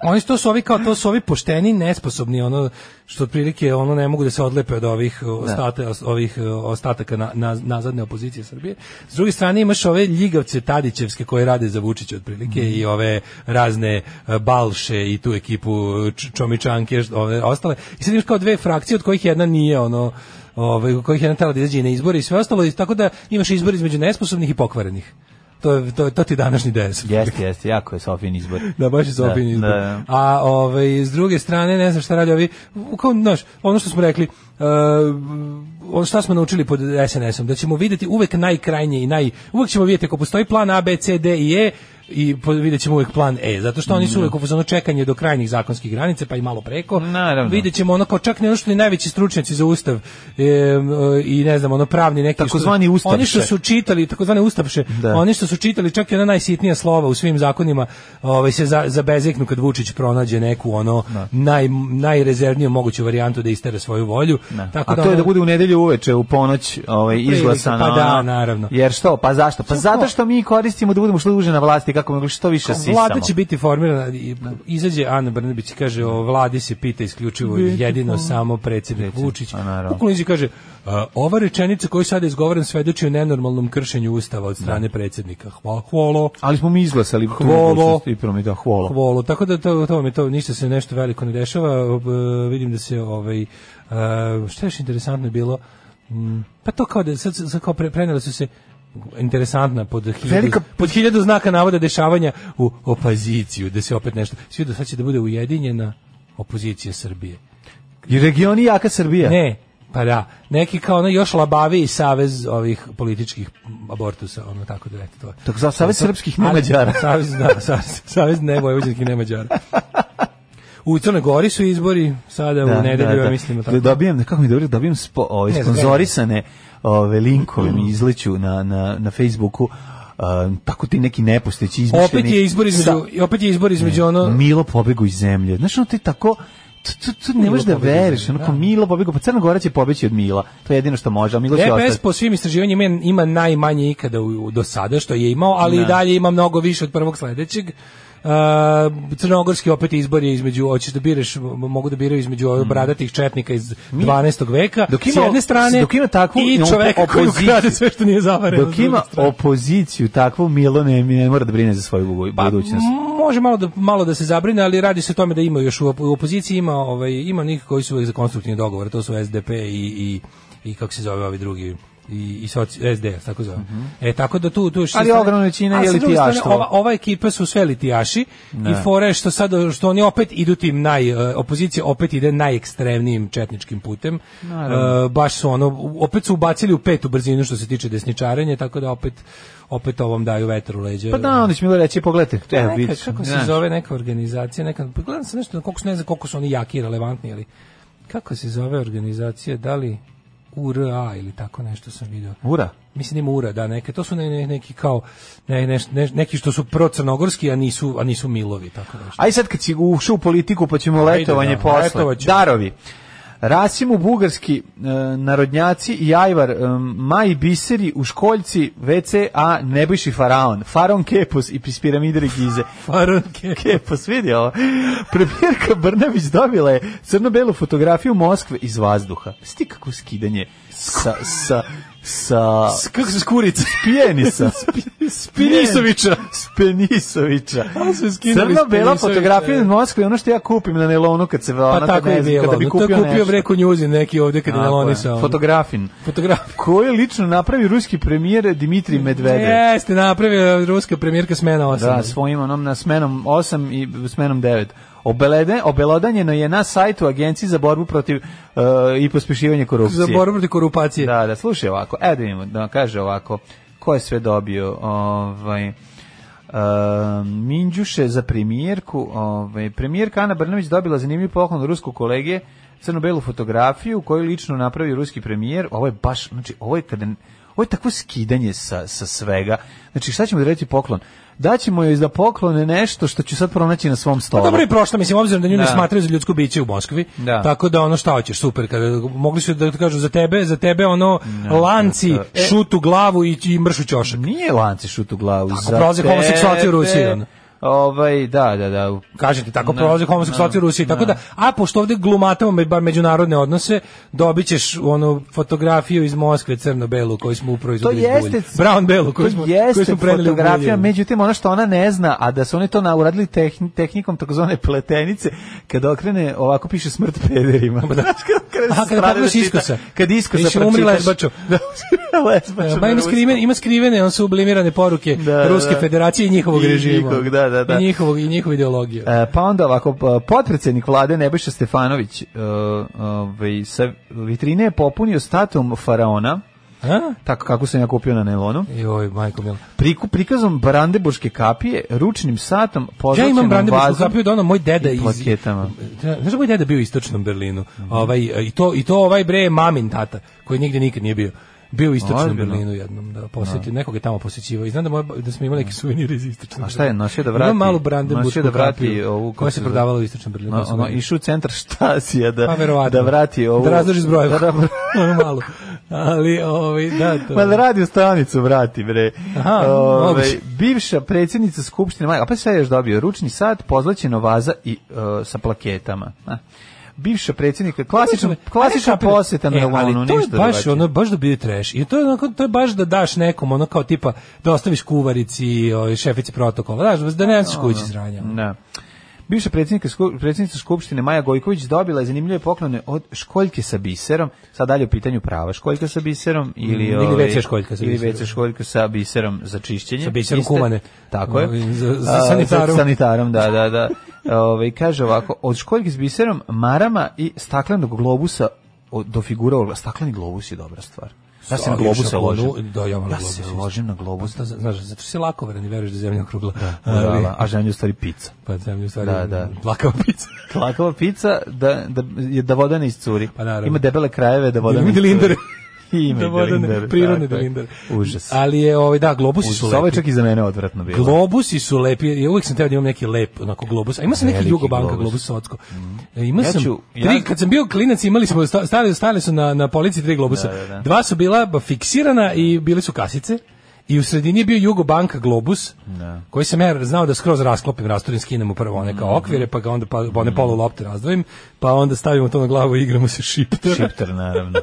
S6: oni što su ovi kao to su ovi pošteni nesposobni ono što otprilike ono ne mogu da se odlepe od ovih ostata, ovih e, ostataka na, na- nazadne opozicije Srbije. S druge strane imaš ove ljigavce Tadićevske koje rade za Vučića otprilike i ove razne e, Balše i tu ekipu e, Č- Čomičanke št- ove ostale. I sad imaš kao dve frakcije od kojih jedna nije ono ovaj, od kojih jedna tela da izađe i na izbore i sve ostalo i tako da imaš izbor između nesposobnih i pokvarenih. to, je, to, je- to ti je današnji DS.
S5: Jeste, jeste, jako je Sofin izbor.
S6: Da, baš je Sofin izbor.
S5: Da, da.
S6: A ovaj, s druge strane, ne znam šta radi ovi, u- kao, znaš, ono što smo rekli, uh, ono šta smo naučili pod SNS-om, da ćemo vidjeti uvek najkrajnje i naj... Uvek ćemo vidjeti ako postoji plan A, B, C, D i E, i po- vidjet ćemo uvek plan E, zato što oni su uvek u fazonu čekanje do krajnjih zakonskih granice, pa i malo preko.
S5: Naravno.
S6: Vidjet ćemo ono kao čak ne ono što ni najveći stručnjaci za ustav e, e, i ne znam, ono pravni neki... što-
S5: Takozvani
S6: Oni što
S5: ustavše.
S6: su čitali, takozvane ustavše,
S5: Da.
S6: oni što su čitali čak i ona najsitnija slova u svim zakonima, ovaj se za, zabezeknu kad Vučić pronađe neku ono naj najrezervniju moguću varijantu da istere svoju volju. Tako
S5: A
S6: da
S5: to je da
S6: ono-
S5: bude u nedelju uveče, u ponoć ovaj,
S6: Otprilike,
S5: izglasano.
S6: pa da,
S5: ono.
S6: naravno.
S5: Jer što? Pa zašto? Pa zato što mi koristimo da budemo što duže na vlasti, kako mogli što više sisamo.
S6: Vlada će biti formirana, i- izađe Ana Brnabić i kaže o vladi se pita isključivo i jedino samo predsjednik
S5: Predsjednik,
S6: Vučić.
S5: a naravno.
S6: Bukvalno izađe i kaže "A, ova rečenica koju sada izgovaram svedoči o nenormalnom kršenju ustava od strane predsjednika. Hvala, hvala.
S5: Ali smo mi izglasali tu
S6: Hvolo.
S5: mogućnost i promi da hvolo.
S6: Hvolu. Tako da to, to vam je to, ništa se nešto veliko ne dešava. Ob- e, vidim da se ovaj e, šta je još interesantno je bilo? Mm, Pa to kao da sad, sad kao pre, preneli su se interesantna pod hiljadu,
S5: Velika-
S6: pod hiljadu znaka navoda dešavanja u opoziciju, da se opet nešto svi do sad će da bude ujedinjena opozicija Srbije.
S5: I regioni jaka Srbija.
S6: Ne, pa da, neki kao ono još labavi savez ovih političkih abortusa, ono tako da eto to. je.
S5: Tako za Savez srpskih
S6: Ali-
S5: nemađara.
S6: *laughs* Savez, da, savez, savez ne vojvođanskih ne Mađara. U Crnoj Gori su izbori, sada u nedelju, ja mislim. Tako.
S5: Da dobijem, kako mi je dobro, dobijem spo, ove,
S6: Ne znam,
S5: sponzorisane ove, linkove mi izliću na, na, na Facebooku, a, tako ti neki neposteći izmišljeni.
S6: opet je izbor
S5: sa-
S6: između, opet je izbor između ono...
S5: Milo pobegu iz zemlje. Znaš, ono ti tako to, to, to ne
S6: Milo
S5: možeš da
S6: pobegao iz
S5: veriš,
S6: zemlje,
S5: onako
S6: da.
S5: Milo pobegu, pa Crna Gora će pobeći od Mila, to je jedino što može, a Milo će
S6: DPS
S5: ostati.
S6: po svim istraživanjima ima, ima najmanje ikada u, u- do sada što je imao, ali i dalje ima mnogo više od prvog sledećeg. Uh, crnogorski opet izbor je između hoćeš da biraš m- mogu da biraju između ovih bradatih četnika iz 12. veka
S5: Mm. dok
S6: s
S5: ima-
S6: jedne strane
S5: dok ima takvu
S6: i čoveka koji
S5: opoziciju-
S6: ukrade sve što nije zavareno s
S5: Dok
S6: druge
S5: ima
S6: strane.
S5: opoziciju takvu, Milo ne, ne mora da brine za svoju bugu-
S6: Pa
S5: budućnost.
S6: Može malo da malo da se zabrine, ali radi se o tome da ima još u, op- u opoziciji ima ovaj ima onih koji su uvek za konstruktivni dogovor, to su SDP i i i kako se zove ovi drugi i, i soci, SD, tako zove. E, tako da tu... tu još
S5: Mhm. Ali
S6: sa strane-
S5: ogromna većina
S6: A
S5: je
S6: sa druge strane,
S5: litijaštvo.
S6: Ova, ova ekipa su sve litijaši i fora je što sad, što oni opet idu tim naj... e, Opozicija opet ide najekstremnijim četničkim putem. E, baš su ono... u- Opet su ubacili u petu brzinu što se tiče desničarenja, tako da opet opet ovom daju vetar u leđa.
S5: Pa da, onda će Milo reći, pogledajte, evo
S6: Neka,
S5: vidiš.
S6: kako se
S5: znaš.
S6: zove neka organizacija, neka, pa gledam sam nešto, koliko su, ne znam koliko su oni jaki i relevantni, ali kako se zove organizacija, da li URA ili tako nešto sam vidio.
S5: Ura.
S6: Mislim da ima URA, da, neke, to su ne, ne- neki kao, ne, neš- ne- neki što su procrnogorski, a nisu, a nisu milovi, tako nešto.
S5: Aj sad kad si ušao u politiku, pa ćemo
S6: Ajde,
S5: letovanje
S6: da,
S5: posle.
S6: letovaćemo.
S5: Darovi. Rasimu bugarski e, narodnjaci i ajvar e, Maji Biseri u školjci WC a Nebojši faraon faraon Kepos i iz piramide
S6: *laughs*
S5: Gize
S6: Faronke.
S5: Kepos vidi ovo premijerka Brnabić dobila je crno-belu fotografiju Moskve iz vazduha sti kako skidanje sa sa sa
S6: Kako se skurica? *laughs*
S5: Pijenisa
S6: Spinisovića.
S5: Spenisovića.
S6: Ali su skinuli
S5: Crno-bela
S6: Spenisovića,
S5: fotografija iz
S6: da.
S5: Moskve, ono što ja kupim na nelonu ono kad se
S6: Pa
S5: ona
S6: tako je bilo.
S5: kada bi
S6: no, to
S5: kupio,
S6: je kupio
S5: nešto.
S6: Breko Njuzin neki ovdje kad je
S5: Tako
S6: nalonisao.
S5: Fotografin.
S6: Fotograf.
S5: Koji lično napravi ruski premijer Dimitrij
S6: Mm,
S5: Medvedev.
S6: Jeste, napravio ruska premijerka smena 8.
S5: Da, svojim onom na smenom 8 i smenom 9. Obelede, obelodanjeno je na sajtu Agencije za borbu protiv uh, i pospešivanje korupcije.
S6: za borbu protiv *laughs* korupcije.
S5: Da, da, slušaj ovako. E, da vidimo, da kaže ovako. Ko je sve dobio? Ovaj, e, Minđuše za premijerku. Ovaj, premijerka Ana Brnović dobila zanimljiv poklon od ruskog kolege crno-belu fotografiju koju lično napravio ruski premijer. Ovo je baš, znači, ovo je kada... Ovo je takvo skidanje sa, sa svega. Znači, šta ćemo da reći poklon? Daćemo joj za poklone nešto što ću sad pronaći na svom
S6: Pa
S5: stolu.
S6: dobro je prošla, mislim, obzirom da nju ne
S5: Ono- Da.
S6: smatraju za ljudsko biće u Moskvi.
S5: Da.
S6: Tako da ono šta hoćeš, super. Kada, mogli su da kažu za tebe, za tebe ono lanci,
S5: da, da. E-
S6: šut u glavu i, i mršu ćošak.
S5: Nije lance šut u glavu.
S6: Tako
S5: za
S6: prolaze homoseksualci u
S5: tebe.
S6: Rusiji, ono.
S5: Ovaj, da, da, da.
S6: Kažete, tako
S5: Ne,
S6: prolaze homoseksualci u
S5: ne,
S6: Rusiji. Tako
S5: ne.
S6: da, a pošto ovdje glumatamo me- bar međunarodne odnose, dobit ćeš onu fotografiju iz Moskve crno-belu koju smo upravo
S5: To
S6: izvodili iz
S5: jeste
S6: bulje. Brown belu koju
S5: to
S6: smo,
S5: jeste
S6: koju smo preneli u
S5: fotografija,
S6: bulje.
S5: međutim ono što ona ne zna, a da su oni to na- uradili tehn- tehnikom takozvane pletenice, kada okrene ovako piše smrt pederima. *laughs* Znaš, kad-
S6: A, kada pogledaš iskosa.
S5: Kad iskosa
S6: Više umri
S5: pročitaš.
S6: lesbačo.
S5: *laughs*
S6: E,
S5: Da, lesbačo.
S6: Ma ima skrivene, ima skrivene, on su sublimirane poruke
S5: Da,
S6: Ruske
S5: da.
S6: federacije i njihovog
S5: I
S6: režima.
S5: njihovog, da, da, da.
S6: I njihovog i njihove ideologije.
S5: E, pa onda ovako, p- potpredsednik vlade Nebojša Stefanović e, ovaj, sa vitrine je popunio statom faraona,
S6: A?
S5: tako kako sam ja kupio na nelonu,
S6: Joj, majko mila.
S5: priku, prikazom brandeburške kapije, ručnim satom,
S6: Pa Ja
S5: pozvaćenom
S6: imam brandebursku
S5: vazom
S6: kapiju da ono moj deda
S5: i
S6: iz
S5: plaketama. Mhm.
S6: Da, Znaš da moj deda bio u istočnom Berlinu. Ovaj i to i to ovaj bre mamin tata koji nigde nikad nije bio. Bio u istočnom
S5: Ozbiljno?
S6: Berlinu jednom, da posetio, nekog je tamo posećivao. I znam da moja ba- da smo imali neke suvenire iz istočnog.
S5: A šta je, nosio da
S6: Berlina.
S5: vrati?
S6: Imam malu brandebursku
S5: nosio da vrati
S6: kapiju
S5: ovu, kako
S6: koja
S5: se
S6: se
S5: zove?
S6: prodavala u istočnom Berlinu.
S5: No, ono, išu u centar *laughs* štasija da,
S6: pa verovatno.
S5: da vrati ovu...
S6: Da razloži
S5: *laughs*
S6: zbrojeva. *laughs*
S5: Da, da,
S6: Ono malo. Ali ovaj da to.
S5: Ma da radio stanicu vrati, bre.
S6: Aha,
S5: Ovaj,
S6: moguće.
S5: bivša predsjednica Skupštine Maja, a pa sve još dobio, ručni sat, pozlaćeno vaza i e, sa plaketama. A. Bivša predsjednika, klasična, klasična
S6: Ajde, kapiram.
S5: poseta na
S6: E, ali
S5: Elonu,
S6: to je
S5: ništa
S6: baš
S5: drugačije.
S6: ono baš da bio trash. I to je onako to je baš da daš nekom ono kao tipa da ostaviš kuvarici, ovaj šefici protokola, znaš, da ne nosiš kući ono. sranja.
S5: Da. ono, Bivša predsjednika, sku- predsjednica Skupštine Maja Gojković dobila je zanimljive poklone od školjke sa biserom, sad dalje u pitanju prava školjka sa biserom ili...
S6: Ili
S5: ovaj,
S6: WC Mm, školjka sa
S5: ili
S6: biserom.
S5: WC školjka sa biserom za čišćenje.
S6: Sa biserom
S5: Iste-
S6: kumane.
S5: Tako je.
S6: Ovi, za- za
S5: A,
S6: sanitarom.
S5: sanitarom, da, da, da. Ove, kaže ovako, od školjke s biserom, marama i staklenog globusa od- do figura orla. Stakleni globus je dobra stvar. Ja se na
S6: Sa- još
S5: globusa
S6: ako
S5: ložim.
S6: nu- Da, ja moram
S5: se
S6: globus.
S5: ložim na
S6: Pa
S5: globus.
S6: to za- Znaš, zato što si lako veren i veruješ da je zemlja okrugla. *laughs* Ali-
S5: Da, a žena je u stvari pizza.
S6: Pa zemlja u stvari
S5: Da, da.
S6: plakava pizza.
S5: Plakava pica da, da, je- da voda ne iscuri.
S6: Pa naravno.
S5: Ima debele krajeve da
S6: *laughs*
S5: voda ne
S6: Ima
S5: iscuri.
S6: dilindare.
S5: *laughs* Ima
S6: Da
S5: i
S6: voda ne-
S5: dilindare,
S6: prirodne
S5: tako je.
S6: dilindare.
S5: Užas.
S6: Ali je, ovaj, da, globusi su
S5: Užas. Ovo je
S6: lepi.
S5: čak i za mene odvratno bilo.
S6: Globusi su lepi, ja uvijek sam teo da imam neki lep onako globus, a ima sam neki
S5: Veliki
S6: Jugobanka globus,
S5: globus. Mm.
S6: globus Sotsko. E, Ima
S5: Ja
S6: sam,
S5: ću- ja-
S6: tri, kad sam bio klinac imali smo, sta- stali, stali su na, na polici tri globusa.
S5: Da, da, da.
S6: Dva su bila ba, fiksirana i bili su kasice. I u sredini je bio Jugobanka globus, koji sam ja znao da skroz rasklopim, rasturim, skinem u prvo one
S5: Mhm.
S6: kao okvire, pa ga onda pa, pa one polu lopte razdvojim, pa onda stavimo to na glavu i igramo se šipter.
S5: Šiptar, naravno.
S6: *laughs*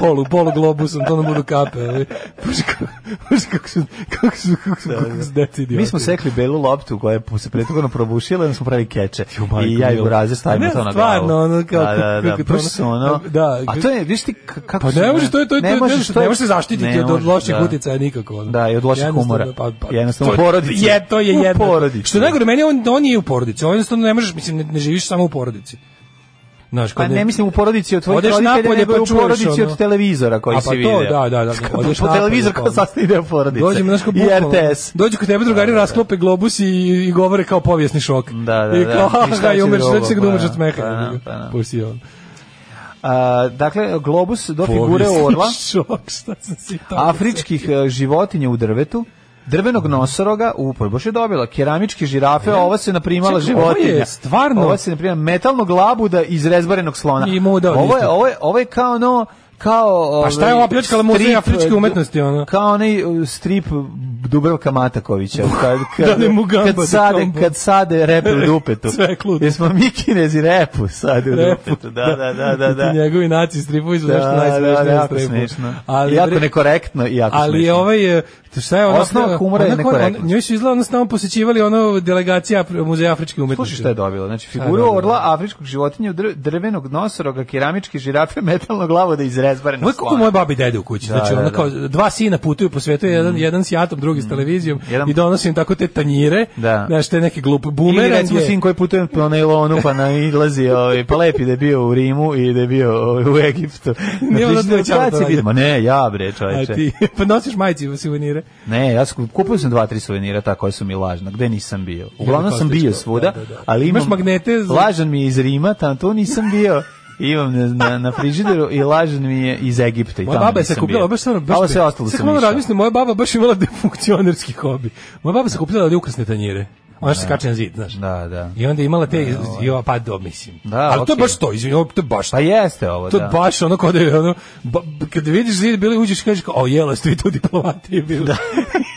S6: polu, polu globusom, to nam budu kape, ali *laughs* puši kako, puši kako su, kako su, kako su, kako su deca idioti.
S5: Mi smo sekli belu loptu koja je se prethodno probušila i onda smo pravi keče. I ja i burazer stavimo
S6: Ne,
S5: to na glavu.
S6: stvarno, ono, kao-
S5: Da, da, da,
S6: kako to
S5: baš su
S6: ono-
S5: ono...
S6: Da,
S5: a to je, viš ti k- kako
S6: Pa
S5: su
S6: ne
S5: one-
S6: možeš, to je to je to je- ne
S5: možeš,
S6: možeš,
S5: to je-
S6: ne možeš se zaštititi
S5: ne
S6: od
S5: možeš,
S6: loših
S5: da.
S6: uticaja nikako. ono.
S5: Da, i od loših
S6: Jednostavno,
S5: humora.
S6: Pa, pa,
S5: Jednostavno,
S6: to je-
S5: porodica.
S6: Je, to je
S5: U
S6: jedno.
S5: porodici.
S6: Što je najgore, meni on, on je u porodici. On jednostavno ne možeš, mislim, ne, ne živiš samo u porodici. Znaš,
S5: Pa
S6: kad
S5: ne mislim u porodici od tvojih
S6: Odeš
S5: roditelja,
S6: napolje
S5: nego
S6: pa
S5: u
S6: čuješ
S5: porodici
S6: ono.
S5: od televizora koji
S6: A pa
S5: si
S6: to,
S5: vidio.
S6: da, da, da. Odeš
S5: Po
S6: napolje,
S5: televizor
S6: pa
S5: kao
S6: ono.
S5: sastavni deo porodice.
S6: Dođemo, znaš, kao
S5: I
S6: bukvalno, ono.
S5: RTS.
S6: Dođu kod tebe drugari, rasklope globus i, i govore kao povijesni šok.
S5: Da, da,
S6: I
S5: da.
S6: kao,
S5: I šta
S6: da, i
S5: će
S6: umreš,
S5: drugo,
S6: sve će se
S5: pa
S6: glumeš
S5: da,
S6: od smeha.
S5: pa da, pa da.
S6: Pusti on.
S5: A, dakle, globus do figure
S6: Povijesni *laughs*
S5: orla,
S6: šok, šta sam si to... Mhm.
S5: afričkih e, životinja u drvetu, drvenog nosoroga, upravo baš je dobila, keramičke žirafe, a ova se naprimala
S6: Čekaj, ovo je
S5: životinja.
S6: stvarno-
S5: Ova se naprimala metalnog labuda iz rezbarenog slona.
S6: I muda od
S5: Ovo je,
S6: istog.
S5: ovo je, ovo je kao ono, kao...
S6: Pa šta je
S5: ovaj,
S6: ova pljačkala muzej
S5: strip,
S6: afričke
S5: e,
S6: umetnosti, ono?
S5: Kao onaj e, strip Dubravka
S6: *laughs*
S5: Matakovića. Kad, kad,
S6: Dade mu gamba za
S5: kad, sade,
S6: kombo.
S5: kad sade repe u
S6: *laughs*
S5: dupetu.
S6: Cveklu u dupetu.
S5: Jer smo mi kinezi repu sade u
S6: Repu.
S5: dupetu. Da, da, da, da. da.
S6: Ti njegovi naci stripovi su nešto
S5: da, da,
S6: najsmešnije u
S5: jako
S6: stripu.
S5: smešno.
S6: Ali,
S5: jako
S6: bre-
S5: nekorektno i jako
S6: ali je
S5: smešno.
S6: ovaj, e, to šta je ono...
S5: Osnova humora je nekorektnost.
S6: Njoj su izgleda, ono s nama posjećivali ono delegacija Afri- muzeja afričke umetnosti.
S5: Slušaj šta je dobila. Znači, figuru
S6: dobila?
S5: orla, afričkog životinja, dr- drvenog nosoroga, keramičke žirafe, *laughs* metalno glavo da izrezbareno
S6: Ovo je kako moje babi i dede u kući. znači,
S5: da, da.
S6: ono
S5: Mm.
S6: kao, dva sina putuju po svetu, jedan, jedan s jatom, drugi s televizijom,
S5: Jedan-
S6: i donosim tako te tanjire,
S5: Da.
S6: znaš, te neke glupe
S5: Ili
S6: bumerange.
S5: recimo sin koji putuje po nailonu pa nailazi, ovaj, pa lepi da je bio u Rimu i da je bio ovaj, u Egiptu.
S6: Nije ono
S5: Znači,
S6: da je
S5: šta
S6: ćao
S5: će
S6: to
S5: biti?
S6: radi.
S5: Ma ne, ja bre,
S6: A
S5: čoveče.
S6: ti, *laughs* pa nosiš majici suvenire.
S5: Ne, ja sam, kupio sam dva, tri suvenira ta koja su mi lažna, gde nisam bio. Uglavnom sam
S6: Kostićko,
S5: bio svuda,
S6: da, da, da.
S5: ali imam...
S6: Imaš magnete za-
S5: Lažan mi je iz Rima, tam tu nisam bio. Imam na, na, na frižideru i lažan mi je iz Egipta i
S6: Moja
S5: tamo
S6: baba je
S5: nisam
S6: sakupljala,
S5: bio.
S6: baš stvarno, baš...
S5: A Ovo
S6: bi-
S5: sve ostalo
S6: Sad
S5: sam
S6: malo
S5: išao.
S6: razmislim, moja baba baš imala defunkcionerski hobi. Moja baba sakupljala ukrasne tanjire. Ona što se kače na zid, znaš.
S5: Da, da.
S6: I onda je imala te, jo, pa do, mislim.
S5: ovaj. Da,
S6: Ali to je
S5: okej.
S6: baš to, izvini, ovo- to je baš
S5: Pa jeste ovo,
S6: To je
S5: da.
S6: baš
S5: *laughs*
S6: ono kao da je ono, ba, kada vidiš zid bili uđeš i kažeš kao, o jela, ste vi tu diplomatije bili. Da.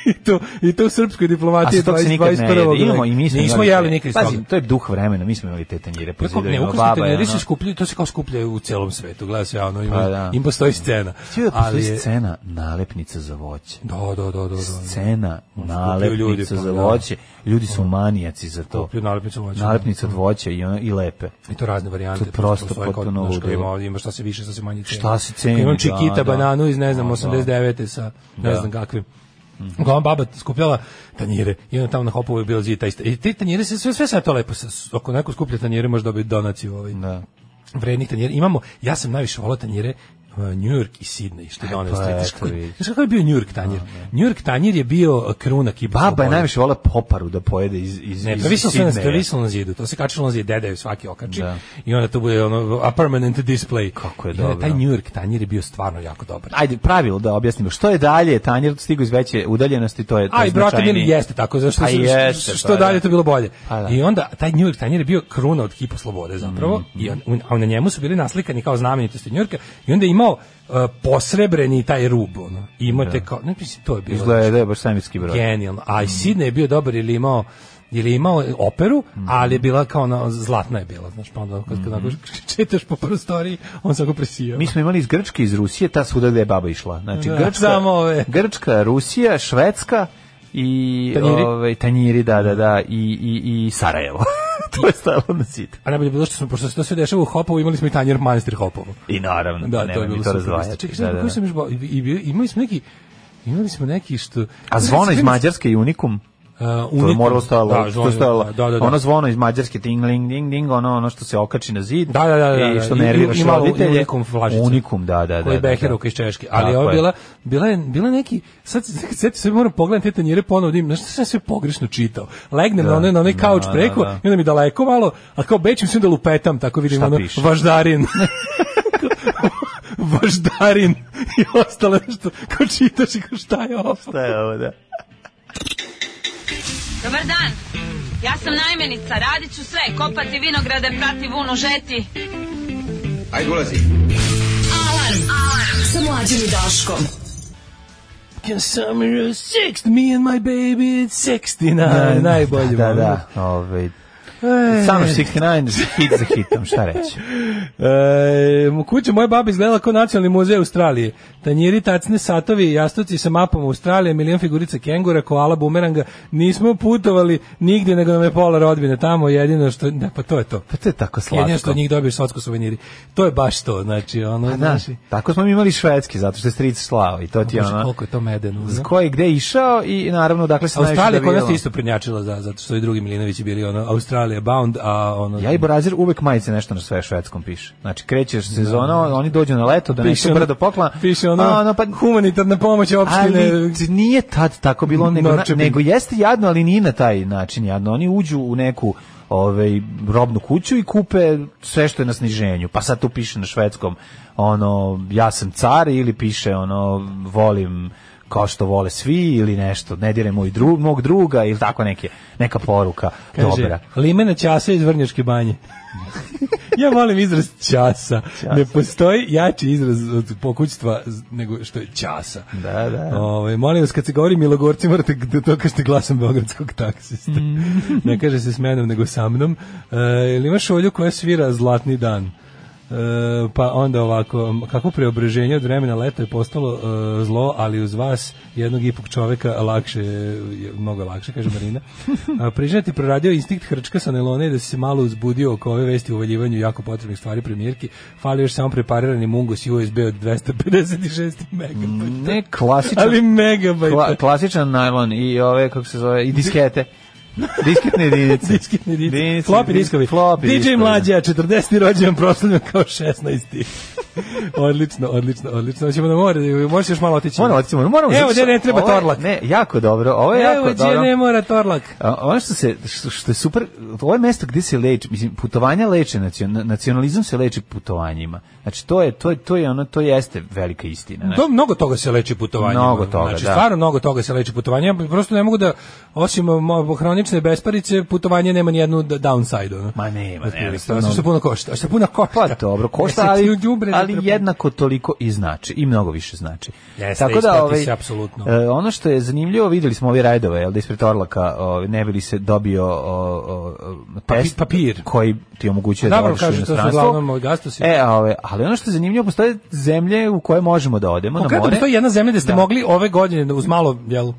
S6: I to, I to u srpskoj
S5: A
S6: diplomatiji
S5: se to se
S6: 20,
S5: nikad ne
S6: 21.
S5: jede. Imamo i mi smo
S6: Nismo
S5: imali-
S6: jeli nikad iz
S5: Pazi, to je duh vremena, mi smo imali te tanjire po
S6: Kako ne,
S5: zidovima.
S6: ukrasni
S5: Baba je ono-
S6: tanjiri se skupljaju, to se kao skuplja u celom svetu, gleda se, ono, ima,
S5: Pa da.
S6: im postoji scena.
S5: Ti da postoji
S6: je-
S5: scena nalepnica za voće.
S6: Da, da, da, da, da.
S5: Scena
S6: skupljaju ljudi,
S5: nalepnica
S6: pa
S5: za
S6: da. Ono-
S5: voće. Ljudi su manijaci za to.
S6: Kupio nalepnicu voća.
S5: Nalepnica od voća i, ono- i lepe.
S6: I to razne varijante.
S5: To je prosto
S6: postoje kao,
S5: potpuno
S6: znaš, kao
S5: ludilo.
S6: Ima, ovdje, ima šta se više, šta se manje ceni.
S5: Šta se ceni,
S6: Imam
S5: da,
S6: čikita,
S5: da.
S6: bananu iz, ne znam,
S5: Da.
S6: 89. sa ne
S5: Da. Mhm.
S6: znam kakvim. Uglavnom baba skupljala tanjire i onda tamo na hopovu je bilo zid taj sta- I te tanjire, se, sve, sve sad to lepo, sa- ako neko skuplja tanjire može dobiti donaciju ovaj,
S5: Da.
S6: vrednih tanjira. Imamo, ja sam najviše volao tanjire uh, New York i Sydney, što je donio
S5: pa
S6: pa,
S5: eto vidiš.
S6: Znaš kako je bio New York tanjir? New York tanjir je bio uh, krunak i
S5: Baba je najviše vola poparu da pojede iz, iz,
S6: ne,
S5: iz
S6: to visilo se na, to
S5: Sidneja.
S6: visilo na zidu, to se kačilo na zid, deda je svaki okači.
S5: Da.
S6: I onda to bude ono, a permanent display.
S5: Kako je
S6: I onda
S5: dobro.
S6: Taj New York tanjir je bio stvarno jako dobar.
S5: Ajde, pravilo da objasnimo. Što je dalje, tanjer stigu iz veće udaljenosti, to je to je
S6: Aj, brate,
S5: značajnije.
S6: mili, jeste tako, zato što,
S5: Pa
S6: što,
S5: jeste,
S6: što
S5: pa
S6: dalje
S5: da.
S6: to bilo bolje.
S5: Pa da.
S6: I onda, taj New York tanjir je bio kruna od kipa slobode zapravo, i on, a na njemu su bili naslikani kao znamenitosti New Yorka, i onda je imao uh, posrebreni taj rub, ono. I imao te kao, ne mislim, to je bilo.
S5: Izgleda da je baš svemirski broj.
S6: Genijalno.
S5: Mm.
S6: A i Sidney je bio dobar ili imao jer je imao operu,
S5: Mm.
S6: ali je bila kao ona, zlatna je bila, znaš, pa onda kad, kad onako *laughs* čitaš po prostoriji, on se ako presijao.
S5: Mi smo imali iz Grčke, iz Rusije, ta svuda gde je baba išla. Znači,
S6: Da,
S5: Grčka,
S6: samo ove.
S5: Grčka, Rusija, Švedska i
S6: Tanjiri.
S5: ovaj, tanjiri da, da, da, i, i, i Sarajevo. *laughs* to je stalo na zid.
S6: A najbolje je bilo što smo, pošto se to sve dešava u Hopovu, imali smo i tanjer manastir Hopovu.
S5: I naravno,
S6: Da, to je
S5: nemoj mi
S6: bilo
S5: to
S6: super.
S5: razdvajati.
S6: Čekaj,
S5: Da,
S6: čekaj,
S5: da,
S6: koji
S5: da.
S6: sam još bo- i, i, imali smo neki, imali smo neki što...
S5: A zvono iz Mađarske i Unikum?
S6: Uh,
S5: To je
S6: unikum.
S5: moralo stajalo,
S6: Da, zvono-
S5: to je stajalo.
S6: da, da, da.
S5: Ono zvono iz Mađarske, ting, ling, ding, ding, ono, ono što se okači na zid
S6: Da, da, da, da,
S5: i što
S6: da.
S5: nerviraš
S6: I- i malo
S5: roditelje.
S6: unikum flašica.
S5: Unikum, da, da, da.
S6: koji je
S5: da, da.
S6: Beherovka iz Češke, ali
S5: Tako
S6: ovo
S5: je.
S6: bila, bila je, bila je neki, sad se sad se moram pogledati te tanjire ponovo, da vidim, znaš šta sam sve pogrešno čitao. Legnem na onaj, na onaj kauč
S5: da,
S6: preko
S5: da.
S6: i onda mi daleko malo, a kao bećim se da lupetam, tako vidim
S5: Šta
S6: ono,
S5: piše?
S6: važdarin. *laughs* važdarin i ostalo nešto, kao čitaš i kao šta je ovo.
S5: Da je ovo,
S6: *laughs*
S5: da.
S2: Dobar dan. Ja sam najmenica, radit ću sve, kopati vinograde, prati vunu, žeti.
S10: Ajde, ulazi.
S8: Alarm. Alarm. Sa mlađom i Daškom.
S6: Can summer of sixth, me and my baby, it's 69, najbolje.
S5: E, Da,
S6: molim.
S5: da, Ovaj, da. Ove,
S6: E.
S5: Samo 69, hit za hitom, šta reći.
S6: E, mu- kuća moje babe izgledala kao nacionalni muzej Australije. Tanjiri, tacne, satovi, jastuci sa mapom Australije, milion figurica kengura, koala, bumeranga. Nismo putovali nigdje, nego nam je pola rodbine tamo. Jedino što... Ne, pa to je to.
S5: Pa to je tako slatko.
S6: Jedino što od njih dobiješ socko suveniri. To je baš to, znači, ono,
S5: Pa da,
S6: znaš,
S5: tako smo mi imali švedski, zato što je stric slao i to ti je
S6: Bože,
S5: ono...
S6: koliko je to medeno.
S5: Z
S6: ono.
S5: koje gde je išao i naravno dakle se najviše
S6: Australija kod nas
S5: dobijalo.
S6: je isto prednjačila za, zato što i drugi Milinovići bili ono Australija bound, a ono...
S5: Ja i Borazir uvek majice nešto na sve švedskom piše. Znači krećeš sezona, oni dođu na leto da nešto
S6: ono-
S5: brdo pokla.
S6: Piše ono,
S5: a, ono pa
S6: humanitarna pomoć opštine.
S5: Ali t- nije tad tako bilo, nego, na,
S6: Norčepin.
S5: nego jeste jadno, ali nije na taj način jadno. Oni uđu u neku ovaj, robnu kuću i kupe sve što je na sniženju. Pa sad tu piše na švedskom, ono, ja sam car ili piše, ono, volim kao što vole svi ili nešto, ne dire moj dru, mog druga ili tako neke, neka poruka
S6: Kaže,
S5: dobra.
S6: Limena ćasa iz Vrnjačke banje. *laughs* ja volim izraz ćasa. Ne postoji jači izraz od pokućstva z- nego što je ćasa.
S5: Da, da.
S6: Ovaj, molim vas, kad se govori Milogorci, morate da to kažete glasom beogradskog taksista. *laughs* ne kaže se s menom, nego sa mnom. E, ili imaš olju koja svira Zlatni dan? E, pa onda ovako, m, kako preobreženje od vremena leta je postalo e, zlo, ali uz vas jednog ipak čoveka lakše, je, mnogo lakše, kaže Marina. A, priznati proradio instinkt hrčka sa nelone i da si se malo uzbudio oko ove vesti o uvaljivanju jako potrebnih stvari premijerki. Fali još samo preparirani mungos USB od 256 megabajta.
S5: Ne klasičan,
S6: Ali megabajta.
S5: kla- klasičan najlon i ove, kako se zove, i diskete. Disketne jedinice.
S6: *laughs* Disketni disk.
S5: Jedinice,
S6: Floppy diskovi.
S5: Floppy
S6: DJ
S5: diskovi, da.
S6: Mlađa, 40. rođendan proslavljam kao 16. *laughs* odlično, odlično, odlično. Hoćemo na more, možeš još malo otići.
S5: Moramo otići, moramo. moramo,
S6: Evo,
S5: zato što-
S6: gdje ne treba
S5: ovo je-
S6: torlak.
S5: Ne, jako dobro. Ovo je
S6: Evo,
S5: jako
S6: gdje
S5: dobro.
S6: ne mora torlak.
S5: A, Ono što se što, što je super, ovo je mesto gdje se leči, mislim putovanja leče nacion- nacionalizam se leči putovanjima. Znači to je to je to je ono to jeste velika istina, znači.
S6: To, mnogo toga se leči putovanjima.
S5: Mnogo toga,
S6: znači,
S5: da.
S6: stvarno mnogo toga se leči putovanjima. Ja prosto ne mogu da, osim mo- hranio granične besparice putovanje nema ni jednu downside ono.
S5: Ma nema, nema.
S6: Osim što puno košta. Što puno košta.
S5: Pa dobro,
S6: *laughs*
S5: košta,
S6: Jesi ti
S5: ali,
S6: u đubre
S5: ali
S6: zatrpan?
S5: jednego toliko i znači, i mnogo više znači.
S6: Jeste, isplati se apsolutno.
S5: e, ono što je zanimljivo, videli smo ove rajdove, jel da ispred Orlaka, o, ne bi li se dobio o, o, o, test
S6: papir.
S5: koji ti omogućuje da
S6: Dobro,
S5: odeš u
S6: kažu to su
S5: inostranstvo.
S6: uglavnom ovaj, gastosi.
S5: E, a ove, ali ono što je zanimljivo, postoje zemlje u koje možemo da odemo na
S6: Konkretno
S5: more.
S6: postoji jedna zemlja gde ste
S5: Da.
S6: mogli ove godine da uz malo jel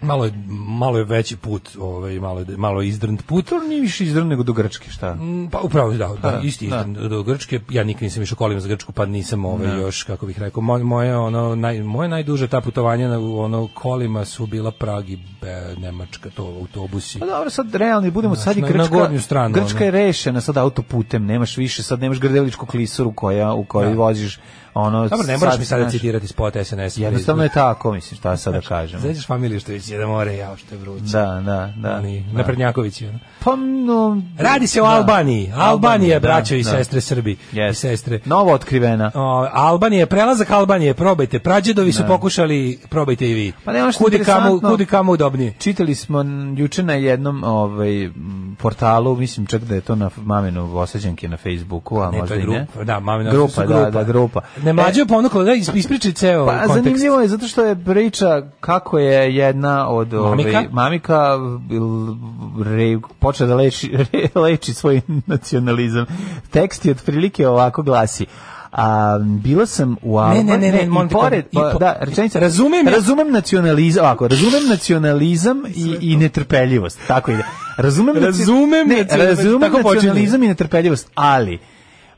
S6: malo je, malo je veći put, ovaj malo je, malo je izdrnt put.
S5: To nije više izdrno nego do Grčke, šta?
S6: Mm, Pa upravo da, da, isti izdrnt do Grčke. Ja nikad nisam išao kolima za Grčku, pa nisam ovaj još kako bih rekao moj- moje ono naj, moje najduže ta putovanja na ono kolima su bila Prag i Be- Nemačka, to autobusi.
S5: Pa dobro, sad realni budemo, sad je
S6: na- na
S5: Grčka,
S6: gornju stranu,
S5: Grčka
S6: ono.
S5: je rešena sad autoputem, nemaš više, sad nemaš grdeličku klisuru koja, u kojoj voziš ono...
S6: Dobro, ne moraš mi sada
S5: znaš,
S6: citirati spot SNS.
S5: Jednostavno je tako, mislim, šta sad da kažem.
S6: Zađeš familiju što već je da more, ja što je vruće.
S5: Da, da, da.
S6: Ali,
S5: da.
S6: Naprednjaković je, ono.
S5: Pa, no,
S6: Radi se o
S5: da.
S6: Albaniji. Albanija,
S5: da,
S6: braćo i
S5: da.
S6: sestre Srbi i
S5: Jeste.
S6: sestre.
S5: Novo otkrivena.
S6: O, Albanije, prelazak Albanije, probajte. Prađedovi su pokušali, probajte i vi.
S5: Pa ne, ono što je
S6: kudi kamo,
S5: interesantno-
S6: kudi kamo udobnije.
S5: Čitali smo n- juče na jednom ovaj m, portalu, mislim čak da je to na f- maminu osađanke na Facebooku, a
S6: Ne, to
S5: možda
S6: je
S5: i ne.
S6: grupa, da, mamina
S5: grupa,
S6: su
S5: Da, da, grupa. E-
S6: Ne mlađe je ponukalo, da is- ispriči ceo
S5: Pa
S6: kontekst.
S5: zanimljivo je zato što je priča kako je jedna od
S6: Mamika?
S5: ovaj, mamika l- re, počela da leči, *laughs* re- leči svoj nacionalizam. Tekst je otprilike ovako glasi. A, bila sam u
S6: ne,
S5: Albaniji.
S6: ne, ne,
S5: i
S6: molim te,
S5: pored,
S6: i po-
S5: da, rečenica,
S6: Razumem ja-
S5: razumem nacionalizam, ovako, razumem nacionalizam i, i netrpeljivost, tako ide. Razumem, naci-
S6: Razumem
S5: ne,
S6: nacionalizam,
S5: razumem
S6: tako počinje.
S5: nacionalizam i netrpeljivost, ali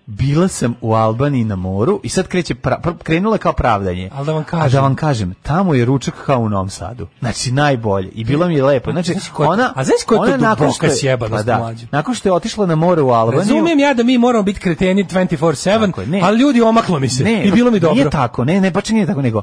S5: bila sam u Albaniji na moru i sad kreće pra, pr- krenula kao pravdanje.
S6: Ali da vam
S5: A da
S6: kažem.
S5: vam kažem, tamo je ručak kao u Novom Sadu. Znači najbolje i bilo mi je lepo. Znači
S6: Pa, Znaš ko je-
S5: ona
S6: a znaš ko je to
S5: ona nakon
S6: duboka
S5: što je- pa
S6: sjebanost,
S5: da,
S6: mlađe?
S5: Nakon što je otišla na more u Albaniju.
S6: Razumijem ja da mi moramo biti kreteni 24-7,
S5: Pa, Tako je, ne.
S6: ali ljudi omaklo mi se
S5: Ne,
S6: i bilo mi dobro.
S5: Nije tako, ne, ne, baš nije tako nego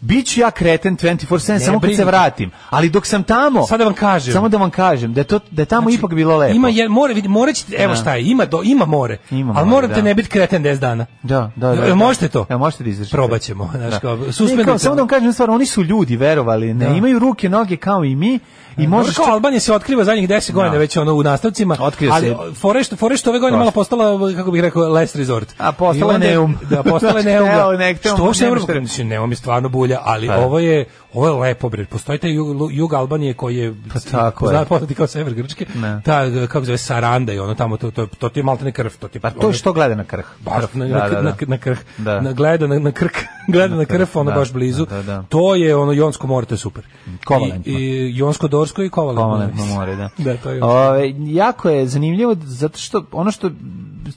S5: Biću ja kreten 24/7 samo kad
S6: brini.
S5: se vratim, ali dok sam tamo,
S6: Sad da vam kažem. Znači,
S5: samo da vam kažem da je to da je tamo ipak bilo lepo.
S6: Ima je more, vidi, more ćete, evo
S5: Da.
S6: šta je, ima do ima more.
S5: Ima
S6: ali
S5: more,
S6: morate
S5: da.
S6: ne biti kreten 10 dana.
S5: Da, da, da.
S6: Jel
S5: da.
S6: E, možete to?
S5: Jel možete da izdržite?
S6: Probaćemo, znaš,
S5: Da.
S6: kao,
S5: Ne,
S6: suspendujte
S5: kao, Samo da vam kažem stvar, oni su ljudi, verovali, ne,
S6: Da.
S5: imaju ruke, noge kao i mi i
S6: Može
S5: možeš
S6: kao Albanija se otkriva zadnjih 10 godina
S5: Da.
S6: već ono u nastavcima,
S5: Otkrio
S6: ali
S5: se-
S6: fore što fore što ove godine
S5: Prošlo.
S6: malo postala kako bih rekao last resort.
S5: A postala
S6: I onda-
S5: Neum.
S6: Da, postala
S5: *laughs*
S6: je
S5: Znači,
S6: Neum.
S5: hteo, ne hteo,
S6: što uopšte ne
S5: nema
S6: možemo
S5: šta.
S6: krenuti, Neum je stvarno bulja, ali
S5: Pa.
S6: ovo je ovo je lepo bre. Postoji taj jug, jug Albanije koji je
S5: Pa tako je.
S6: poznat poznati kao sever Grčke.
S5: Ne.
S6: Ta kako se zove Saranda i ono tamo to to to ti je maltene krv, to ti ono
S5: Pa to je što gleda na krh.
S6: baš na,
S5: Da, da,
S6: na,
S5: da.
S6: na, na krh,
S5: Da.
S6: na, gleda na, na krk, *laughs* gleda na krf, ono
S5: da,
S6: baš blizu.
S5: da, da, da.
S6: To je ono Jonsko more, to je super.
S5: Kovalentno.
S6: I, i Jonsko-Dorsko i Kovalentno.
S5: Kovalentno more, da.
S6: *laughs* da, to je. ono.
S5: Ove, jako je zanimljivo zato što ono što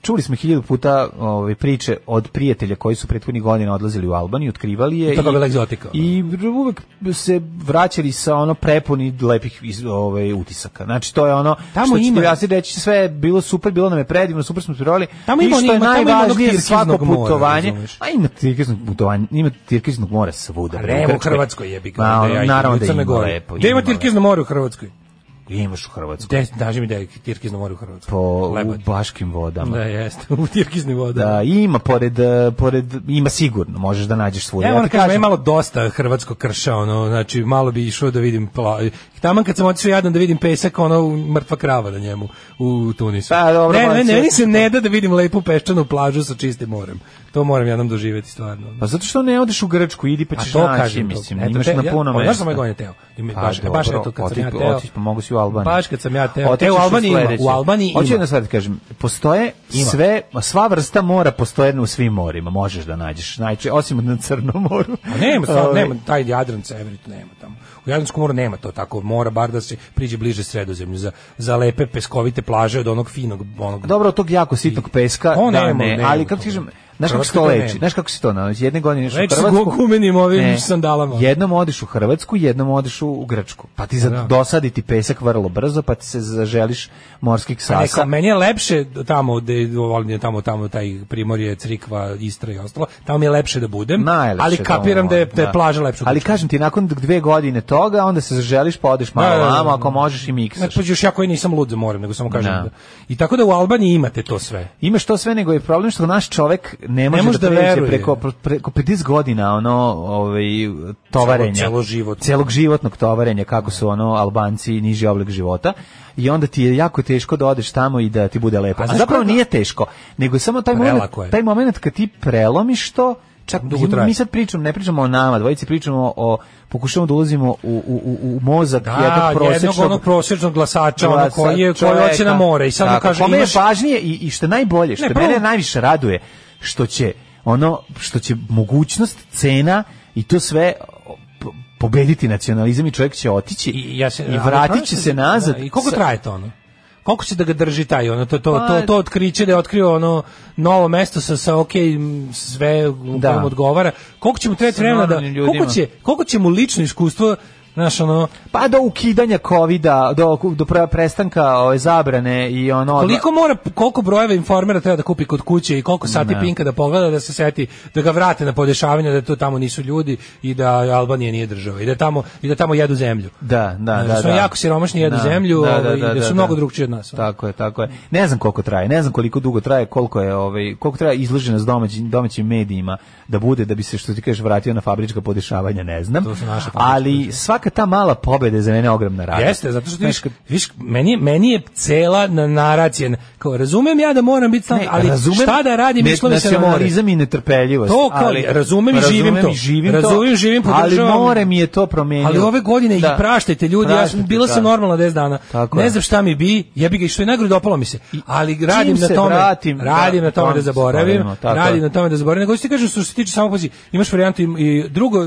S5: čuli smo hiljadu puta ove priče od prijatelja koji su prethodnih godina odlazili u Albaniju, otkrivali je
S6: I to je bila egzotika, ono.
S5: I uvek se vraćali sa ono prepuni lepih iz, ovaj utisaka. Znači to je ono
S6: Tamo
S5: što
S6: ima-
S5: ja reći sve je bilo super, bilo nam je predivno, super smo provali.
S6: Tamo
S5: I
S6: ima-
S5: što je
S6: ima- tamo ima onog
S5: najvažnije svako
S6: tirkiznog mora,
S5: putovanje.
S6: razumeš.
S5: a ima tirkiznog putovanja, ima tirkiznog mora svuda.
S6: Pa
S5: bre,
S6: nema u
S5: Grčkoj.
S6: Hrvatskoj jebi ga.
S5: Ma, ono,
S6: onda ja idem
S5: naravno
S6: u
S5: da
S6: Crne
S5: ima
S6: Gore.
S5: lepo.
S6: Gde ima
S5: lepo.
S6: Tirkizno more u Hrvatskoj?
S5: Imaš u Hrvatskoj.
S6: Gde, daži mi da je Tirkizno more u Hrvatskoj.
S5: po
S6: Lepo
S5: u
S6: je.
S5: baškim vodama.
S6: Da, jeste, *laughs* u Tirkizni voda.
S5: Da, ima pored e, pored ima sigurno, možeš da nađeš svuda.
S6: Evo,
S5: Ja
S6: ono
S5: ti
S6: kažem, meni je malo dosta hrvatskog krša, ono, znači, malo bi išao da vidim pla... Taman kad sam otišao jadan da vidim pesak, ono, mrtva krava na njemu u Tunisu.
S5: Pa, dobro,
S6: ne, ne,
S5: moći-
S6: ne, meni se ne da da vidim lepu peščanu plažu sa čistim morem. To moram jednom doživjeti stvarno.
S5: Pa zato što ne odeš u Grčku, idi pa
S6: A
S5: ćeš
S6: to
S5: naći,
S6: kažem, to-
S5: mislim,
S6: eto,
S5: imaš
S6: te-
S5: na
S6: ja-
S5: puno
S6: pa,
S5: mesta.
S6: znaš što me godine teo? Ima-
S5: Pa,
S6: baš- e,
S5: dobro,
S6: baš eto, kad sam
S5: oti-
S6: ja teo-
S5: otići, pa mogu si u Albaniju.
S6: Baš kad sam ja teo.
S5: Otići
S6: E, u
S5: ćeš
S6: Albaniji ima,
S5: sledeće.
S6: u Albaniji
S5: Hoću
S6: ima.
S5: jedno sad da kažem, postoje sve, sva vrsta mora postoje u svim morima, možeš da nađeš, znači, osim na Crnom moru.
S6: A nema, stvarno,
S5: Ovaj,
S6: nema, taj Jadran Severni to nema tamo. U Jadranskom moru nema to tako, mora bar da se priđe bliže sredozemlju za, za lepe peskovite plaže od onog finog, onog
S5: Dobro, od tog jako sitnog peska,
S6: O,
S5: da,
S6: nema,
S5: ne,
S6: nema
S5: ali kako
S6: toga.
S5: ti kažem, znaš kako se
S6: Hrvatska
S5: to
S6: to
S5: leči,
S6: nema.
S5: znaš kako se to nalazi, jedne godine ideš u
S6: Leči se
S5: Hrvatsku,
S6: gumenim ovim
S5: ne,
S6: sandalama.
S5: Jednom odeš u Hrvatsku, jednom odeš u, u Grčku, pa ti za,
S6: Da.
S5: dosadi ti pesak vrlo brzo, pa ti se zaželiš morskih
S6: Pa
S5: sasa.
S6: Neka, meni je lepše tamo gde volim je tamo tamo taj primorje, Crikva, Istra i ostalo. Tamo mi je lepše da budem.
S5: Najlepše
S6: ali
S5: tamo
S6: kapiram da je da je
S5: da.
S6: plaža lepša. od
S5: Ali
S6: kuće.
S5: kažem ti nakon dve godine toga onda se zaželiš pa odeš malo
S6: Da, da, da.
S5: vamo ako možeš i miksaš.
S6: znači pa još ja koji nisam lud za more, nego samo kažem
S5: Da.
S6: da. I tako da u Albaniji imate to sve.
S5: Imaš to sve nego je problem što naš čovek ne može,
S6: Ne može
S5: da,
S6: da
S5: pređe
S6: veruje.
S5: preko, preko 50 godina ono ovaj, tovarenja.
S6: Celo- celoživotno.
S5: Celog životnog tovarenja, kako su ono Albanci niži oblik života. I onda ti je jako teško da odeš tamo i da ti bude lepo.
S6: A
S5: A,
S6: znaš
S5: zapravo
S6: koliko-
S5: nije teško, nego samo taj
S6: Prelako je.
S5: moment, taj moment kad ti prelomiš to, čak
S6: Dugo traje.
S5: mi sad pričamo, ne pričamo o nama, dvojici pričamo o, pokušamo da ulazimo u, u, u, u mozak
S6: Da,
S5: jednog
S6: jednog
S5: prosječnog
S6: onog prosječnog glasača, ono
S5: Glas-
S6: koji, je, koji
S5: čoveka.
S6: hoće na more. I sad mu
S5: Tako,
S6: kaže,
S5: kome
S6: imaš,
S5: je važnije i, i što je najbolje, što
S6: Ne, prvo-
S5: mene najviše raduje, što će ono, što će mogućnost, cena i to sve o, po- pobediti nacionalizam i čovjek će otići
S6: I, ja se,
S5: i
S6: ali
S5: vratit
S6: pravi
S5: će se nazad.
S6: Da, I koliko
S5: sa-
S6: traje to ono? Koliko će da ga drži taj ono to to
S5: Pa-
S6: to to otkriće da je otkrio ono novo mesto sa sa ok sve u
S5: Da.
S6: kojem odgovara. Koliko će mu trebati
S5: Sa
S6: vremena da
S5: normalnim ljudima.
S6: koliko će koliko će mu lično iskustvo znaš ono
S5: Pa do ukidanja covida, do, do pre- prestanka ove zabrane i ono...
S6: koliko mora koliko brojeva informera treba da kupi kod kuće i koliko sati pinka da pogleda da se seti da ga vrate na podešavanje da to tamo nisu ljudi i da Albanija nije država i da tamo i da tamo jedu zemlju.
S5: Da, da,
S6: Znaš,
S5: da.
S6: su
S5: da.
S6: jako siromašni, jedu
S5: Da,
S6: zemlju, ovaj, i da su mnogo drugčiji od nas, ono.
S5: Tako je, tako je. Ne znam koliko traje, ne znam koliko dugo traje, koliko je, ovaj, koliko traje izloženost domaćim domaćim medijima da bude da bi se što ti kažeš vratio na fabrička podešavanja, ne znam.
S6: To su naše fabričke
S5: Ali svaka ta mala pobeda je za mene ogromna radost.
S6: Jeste, zato što ti
S5: Znaš,
S6: viš, viš, meni, je- meni je cela na- naracija, na- kao razumem ja da moram biti stalno,
S5: Ne,
S6: ali
S5: E, razumem
S6: šta da radim,
S5: ne-
S6: išlo mi se na more.
S5: nacionalizam i netrpeljivost.
S6: To kao, razumem i živim
S5: razumem
S6: to.
S5: i živim
S6: Razumem,
S5: to,
S6: živim,
S5: ali
S6: podržavam.
S5: more mi je to promenilo.
S6: Ali ove godine
S5: Da.
S6: ih praštajte ljudi, ja sam,
S5: Praštajte,
S6: bila sam
S5: da.
S6: normalna 10 dana.
S5: Tako
S6: ne
S5: je.
S6: znam šta mi bi, jebi ga i što je najgore dopalo mi se. Ali radim
S5: čim
S6: na
S5: se
S6: tome,
S5: vratim,
S6: radim
S5: da,
S6: na tome
S5: tome
S6: da
S5: se
S6: zaboravim,
S5: bavimo, tako
S6: radim
S5: je.
S6: na tome da zaboravim. Nego što ti kažem što se tiče samo pazi, imaš varijantu i, i drugo, e,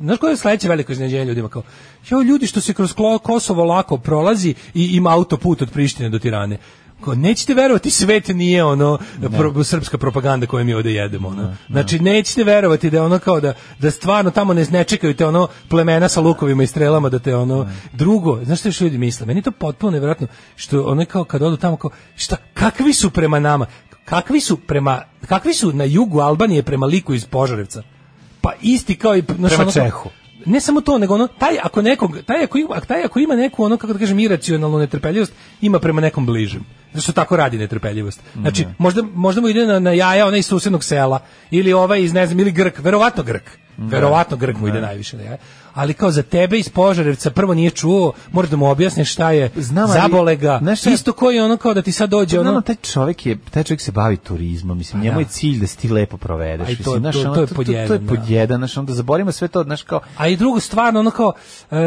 S6: znaš koje je sledeće veliko iznenađenje ljudima kao Jo, ljudi što se kroz Klo- Kosovo lako prolazi i ima autoput od Prištine do Tirane. Kao, nećete verovati, svet nije ono pro- srpska propaganda koju mi ovde jedemo. Ono. Znači, nećete verovati da je ono kao da, da stvarno tamo ne, ne čekaju te ono plemena sa lukovima i strelama da te ono... Drugo, znaš što još ljudi misle? Meni je to potpuno nevjerojatno što ono kao kad odu tamo kao, šta, kakvi su prema nama? Kakvi su prema, kakvi su na jugu Albanije prema liku iz Požarevca? Pa isti kao i... Znaš,
S5: Prema
S6: ono kao-
S5: Čehu.
S6: ne samo to, nego ono, taj ako nekog, taj ako ima, taj ako ima neku ono kako da kažem iracionalnu netrpeljivost, ima prema nekom bližem. Zašto tako radi netrpeljivost? Znači,
S5: Mhm.
S6: možda, možda mu ide na, na jaja onaj iz susednog sela ili ovaj iz ne znam ili Grk, verovatno Grk.
S5: Mhm.
S6: Verovatno Grk mu ide najviše na jaja. Ali kao za tebe iz Požarevca prvo nije čuo, mora da mu objasniš šta je,
S5: Znam, ali-
S6: zabole ga.
S5: znaš šta-
S6: Isto koji ono kao da ti sad dođe
S5: Pa
S6: ono... Pa
S5: naravno, taj čovjek je taj čovjek se bavi turizmom, mislim, njemu
S6: da.
S5: je cilj da se ti lepo provedeš,
S6: A i to-
S5: mislim, znaš,
S6: to-
S5: ono,
S6: to je pod
S5: to
S6: jedan,
S5: je pod
S6: da.
S5: jedan, znaš, onda zaborimo sve to, znaš, kao
S6: A i drugo, stvarno, ono kao, e,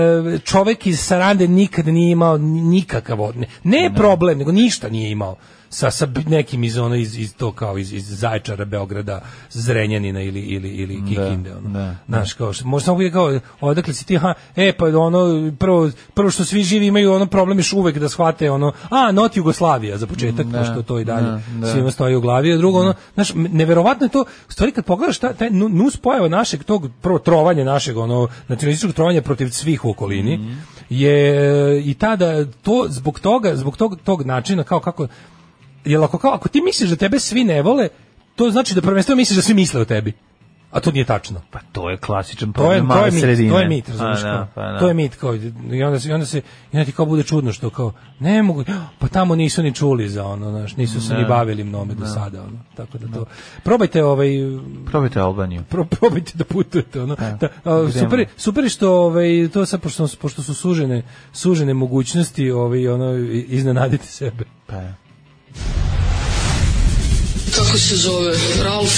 S6: čovek iz Sarande nikad nije imao ni- nikakav od, ne, ne problem, nego ništa nije imao sa, sa b- nekim iz, ono, iz, iz to kao iz, iz Zajčara, Beograda, Zrenjanina ili, ili, ili Kikinde. ono.
S5: da,
S6: Znaš, kao, što- možda mogu je kao, odakle si ti, ha, e, pa ono, prvo, prvo što svi živi imaju ono problem još uvek da shvate ono, a, not Jugoslavija za početak, pošto to i dalje
S5: da, da.
S6: svima stoji u glavi, a drugo, ono, znaš, m- neverovatno je to, u stvari kad pogledaš ta, taj nu- nus pojava našeg tog, prvo trovanja našeg, ono, nacionalističkog trovanja protiv svih u okolini, je i tada to zbog toga, zbog tog, tog načina, kao kako, jel ako, kao, ako ti misliš da tebe svi ne vole, to znači da prvenstveno misliš da svi misle o tebi. A to nije tačno.
S5: pa to je klasičan
S6: To je,
S5: problem
S6: to je
S5: male
S6: mit,
S5: sredine.
S6: to je mit,
S5: Pa
S6: razumiješ
S5: da,
S6: kao?
S5: pa da.
S6: To je mit, kao, i onda se, i onda se, i onda ti kao bude čudno što kao, ne mogu, pa tamo nisu ni čuli za ono, znaš, nisu se ni bavili mnome do sada, ono, tako da to. Probajte ovaj,
S5: Probajte Albaniju.
S6: pro, probajte da putujete, ono. Da, a,
S5: idemo.
S6: super, super je što, ovaj, to sad, pošto, pošto su sužene, sužene mogućnosti, ovaj, ono, i- iznenadite sebe.
S5: Pa je.
S11: Kako se zove? Ralf?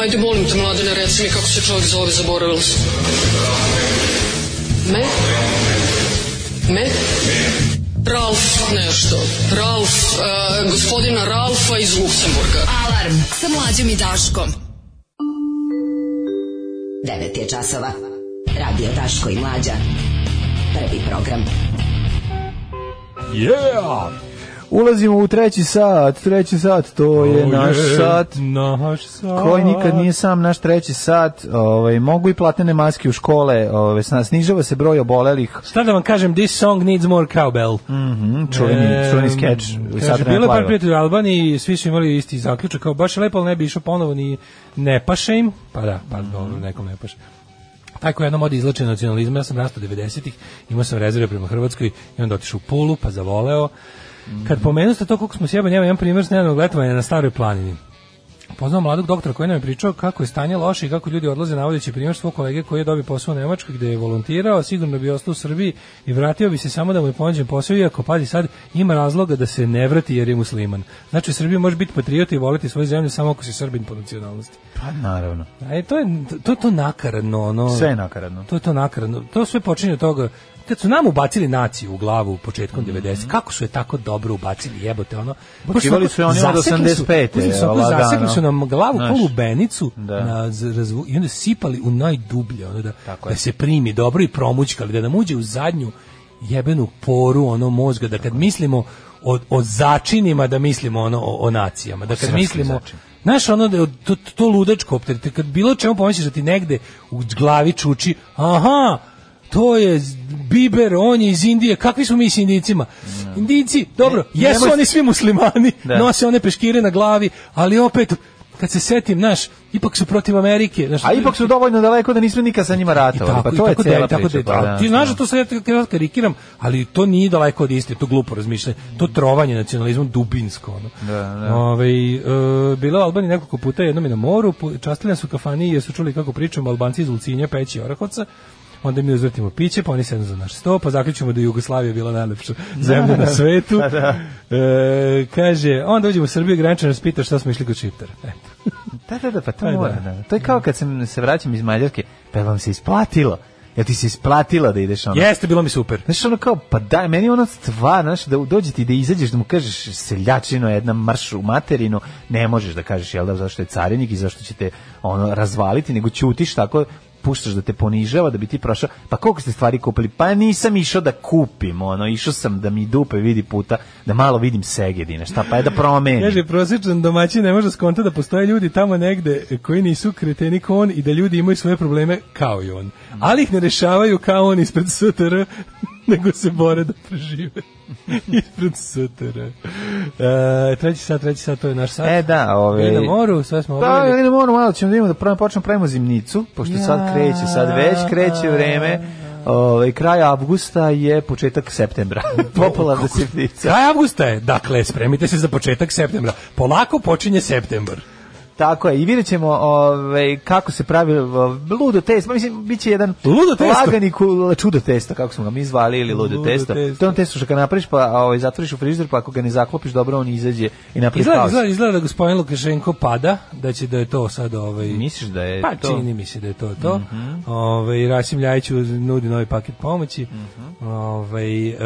S11: Ajde, molim te, mladine, reci mi kako se čovjek zove, zaboravila sam. Me? Me? Ralf nešto. Ralf, e, gospodina Ralfa iz Luksemburga.
S8: Alarm sa mlađom i Daškom. 9 je časova. Radio Daško i Mlađa. Prvi program.
S6: Yeah!
S5: Ulazimo u treći sat, treći sat,
S6: Oh,
S5: to je naš sat.
S6: Naš sat.
S5: Koji nikad nije sam naš treći sat, ovaj, mogu i platene maske u škole, ovaj, sna- snižava se broj obolelih,
S6: Šta da vam kažem, this song needs more cowbell.
S5: mm, čuveni, čuveni skeč.
S6: Kaže, bilo je par prijatelja u Albaniji, svi su imali isti zaključak, kao baš je lepo, ali ne bi išao ponovo ni ne paše im. Pa da, pa dobro, nekom ne paše. Taj koji jednom ode izlače nacionalizma, ja sam rastao 90-ih, imao sam rezerve prema Hrvatskoj i onda otišao u Pulu, pa zavoleo. Kad pomenu ste to koliko smo sjebali, njema jedan primjer s nedavnog letovanja na staroj planini. Poznao mladog doktora koji nam je pričao kako je stanje loše i kako ljudi odlaze navodeći primjer svog kolege koji je dobio posao u Nemačkoj gde je volontirao, sigurno bi ostao u Srbiji i vratio bi se samo da mu je ponuđen posao iako pazi sad ima razloga da se ne vrati jer je musliman. Znači u Srbiji može biti patriot i voliti svoju zemlju samo ako si Srbin po nacionalnosti.
S5: Pa naravno.
S6: E, to je to, je to nakaradno. Ono,
S5: sve je nakaradno.
S6: To je to nakaradno. To sve počinje od toga kad su nam ubacili naciju u glavu
S5: Mhm.
S6: početkom 90 kako su je tako dobro ubacili jebote ono
S5: Ubacivali su je oni od
S6: zasekli su-
S5: 85.,
S6: uzeli su, onako,
S5: lagano.
S6: zasekli su nam glavu
S5: Znaš.
S6: kao lubenicu
S5: Da.
S6: na z- razvu, i onda sipali u najdublje ono da,
S5: Tako je.
S6: da se primi dobro i promućkali da nam uđe u zadnju jebenu poru ono mozga da kad mislimo o, o začinima da mislimo ono o, o nacijama da kad
S5: srpskim
S6: mislimo
S5: začinima.
S6: Znaš, ono da je to, to ludačko opterite, kad bilo čemu pomisliš da ti negde u glavi čuči, aha, to je z- Biber, on je iz Indije, kakvi smo mi s Indijcima? Indijci, dobro,
S5: Ne-
S6: jesu
S5: nemoj-
S6: oni svi muslimani,
S5: *laughs* Da.
S6: nose one peškire na glavi, ali opet, kad se setim, znaš, ipak su protiv Amerike. Znaš,
S5: A ipak su dovoljno daleko da nismo nikad sa njima
S6: I
S5: ratovali.
S6: tako,
S5: Pa
S6: i
S5: to je
S6: tako da
S5: cela
S6: je, tako da
S5: priča.
S6: je,
S5: pa da,
S6: Ti znaš da
S5: da.
S6: to sad ja tako kad karikiram, ali to nije daleko od istine, to glupo razmišljanje, to trovanje nacionalizmom dubinsko. Ono.
S5: Da, da.
S6: Ovaj e, bilo je u Albaniji nekoliko puta, jednom je na moru, pu- častili nas u kafani jer su čuli kako pričamo Albanci iz Ulcinja, Peći i Orahovca. Onda mi uzvrtimo piće, pa oni sednu za naš sto, pa zaključimo da je Jugoslavija bila najlepša zemlja na svetu.
S5: Pa
S6: E, kaže, onda uđemo u Srbiju, graničar nas pita šta smo išli kod Šiptara. E, Eto.
S5: Da, da, da, pa to
S6: Pa da.
S5: mora. Da. To je kao kad sam se vraćam iz Mađarke, pa jel vam se isplatilo. Jel ti se isplatila da ideš ono?
S6: Jeste, bilo mi super.
S5: Znaš, ono kao, pa daj, meni je ono stvar, znaš, da dođe ti da izađeš, da mu kažeš seljačino, jedna marš u materinu, ne možeš da kažeš, jel da, zašto je carinik i zašto će te, ono, razvaliti, nego ćutiš tako, puštaš da te ponižava, da bi ti prošao, pa koliko ste stvari kupili? Pa nisam išao da kupim, ono, išao sam da mi dupe vidi puta, da malo vidim Segedina, šta, pa je da promenim.
S6: Kaže, prosječan domaćin ne može skonta da postoje ljudi tamo negde koji nisu kreteni kao on i da ljudi imaju svoje probleme kao i on. Ali ih ne rešavaju kao on ispred STR, *laughs* nego se bore da prežive. *laughs* ispred STR. E, treći sat, treći sat, to je naš sat. Pa,
S5: E, da, ove...
S6: Bili na moru, sve smo
S5: Da,
S6: obavili.
S5: ne moramo ono malo ćemo da imamo da prvo počnemo pravimo zimnicu, pošto sad kreće, sad već kreće vreme. Ovaj kraj avgusta je početak
S6: *laughs*
S5: septembra. Popularna zimnica.
S6: Kraj avgusta je, dakle, spremite se za početak septembra. Polako počinje septembar.
S5: Tako je. I vidjet ćemo ovaj, kako se pravi ovaj, ludo test. Ma, Mislim, bit će jedan
S6: Ludo testo?
S5: lagani kul- čudo testo, kako smo ga mi zvali, ili ludo,
S6: Ludo
S5: testo.
S6: testo.
S5: To je on testo što ga napraviš, pa ovaj, zatvoriš u frižider, pa ako ga ne zaklopiš, dobro, on izađe i napravi
S6: Pa Izgleda,
S5: haos.
S6: izgleda, izgleda da gospodin Lukašenko pada, da će da je to sad ovaj...
S5: Misliš da je
S6: Pa
S5: to? Mhm.
S6: čini mi se da je to to. Ovaj Rasim Ljajić uz- nudi novi paket pomoći.
S5: Mhm.
S6: Ovaj e,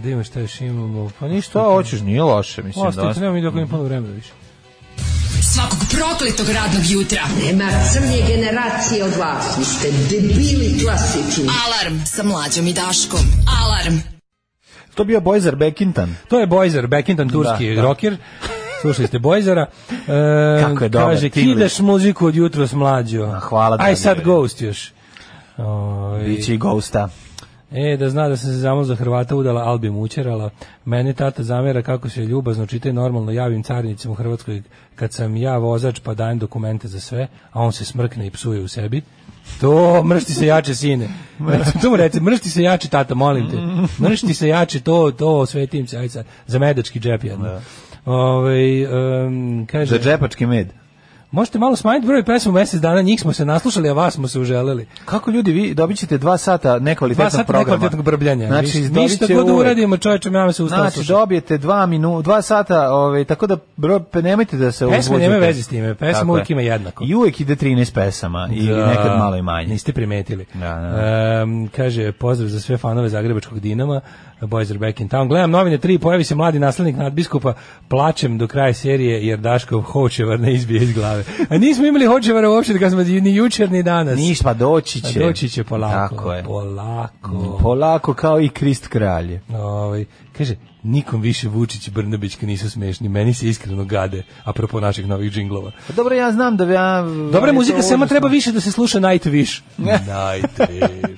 S6: da imamo šta još imamo. Pa ništa.
S5: Što hoćeš, nije loše, mislim. Mhm.
S6: Ostavite, nemamo mi dok imamo puno vremena više.
S8: Svakog prokletog radnog jutra.
S4: Nema crnje generacije od vas. Vi ste debili klasični.
S8: Alarm sa mlađom i Daškom. Alarm.
S5: To bio Bojzar Bekintan.
S6: To je Bojzer, Beckington, turski
S5: da.
S6: rocker. Slušali ste Bojzera.
S5: *laughs*
S6: E,
S5: Kako je dobar,
S6: Kaže,
S5: Tinglish.
S6: kidaš muziku od jutra s mlađo.
S5: hvala,
S6: Aj
S5: dragi
S6: sad
S5: ljudi.
S6: Ghost još. Ovaj,
S5: Biće i Ghosta.
S6: E, da zna da sam se samo za Hrvata udala, ali bi mu učerala. Meni tata zamera kako se ljubazno čite normalno javim carnicima u Hrvatskoj kad sam ja vozač pa dajem dokumente za sve, a on se smrkne i psuje u sebi. To, mršti se jače, sine. Eto, to mu reci, mršti se jače, tata, molim te. Mršti se jače, to, to, svetim se, aj sad. Za medački džep jedno. Ovaj, em, kaže,
S5: Za džepački med.
S6: možete malo smanjiti broj pesma u mesec dana, njih smo se naslušali, a vas smo se uželeli.
S5: Kako ljudi, vi dobit ćete dva sata
S6: Dva
S5: nekvalitetnog
S6: sata
S5: programa.
S6: nekvalitetnog brbljanja.
S5: Znači,
S6: Niš-
S5: dobit
S6: ništa
S5: će
S6: god da
S5: uvek.
S6: uradimo, čovječe, ja me se ustao
S5: Znači,
S6: slušati.
S5: dobijete dva, minu, dva sata, ovaj, tako da bro, pe- nemojte da se
S6: Pesme
S5: uvođete.
S6: nemaju veze s time, pesma
S5: Tako
S6: uvijek
S5: je.
S6: ima jednako.
S5: I uvijek ide 13 pesama, i
S6: Da,
S5: nekad malo i manje.
S6: Niste primetili.
S5: Da, da.
S6: Em, kaže, pozdrav za sve fanove Zagrebačkog Dinama, Boys are back in town. Gledam novine 3, pojavi se mladi naslednik nadbiskupa, plačem do kraja serije jer Daškov Hočevar ne izbije iz glave. A nismo imali Hočevara uopšte kad smo ni jučer ni danas.
S5: Ništa, pa doći će.
S6: A doći će polako.
S5: Tako je.
S6: Polako.
S5: Polako kao i Krist kralje.
S6: Ovaj, kaže, nikom više Vučić i Brnabićka nisu smešni, meni se iskreno gade, apropo naših novih džinglova.
S5: Pa dobro, ja znam da ja...
S6: Dobra
S5: je
S6: muzika
S5: to
S6: samo
S5: užasno. *laughs*
S6: treba više da se sluša Nightwish. Nightwish.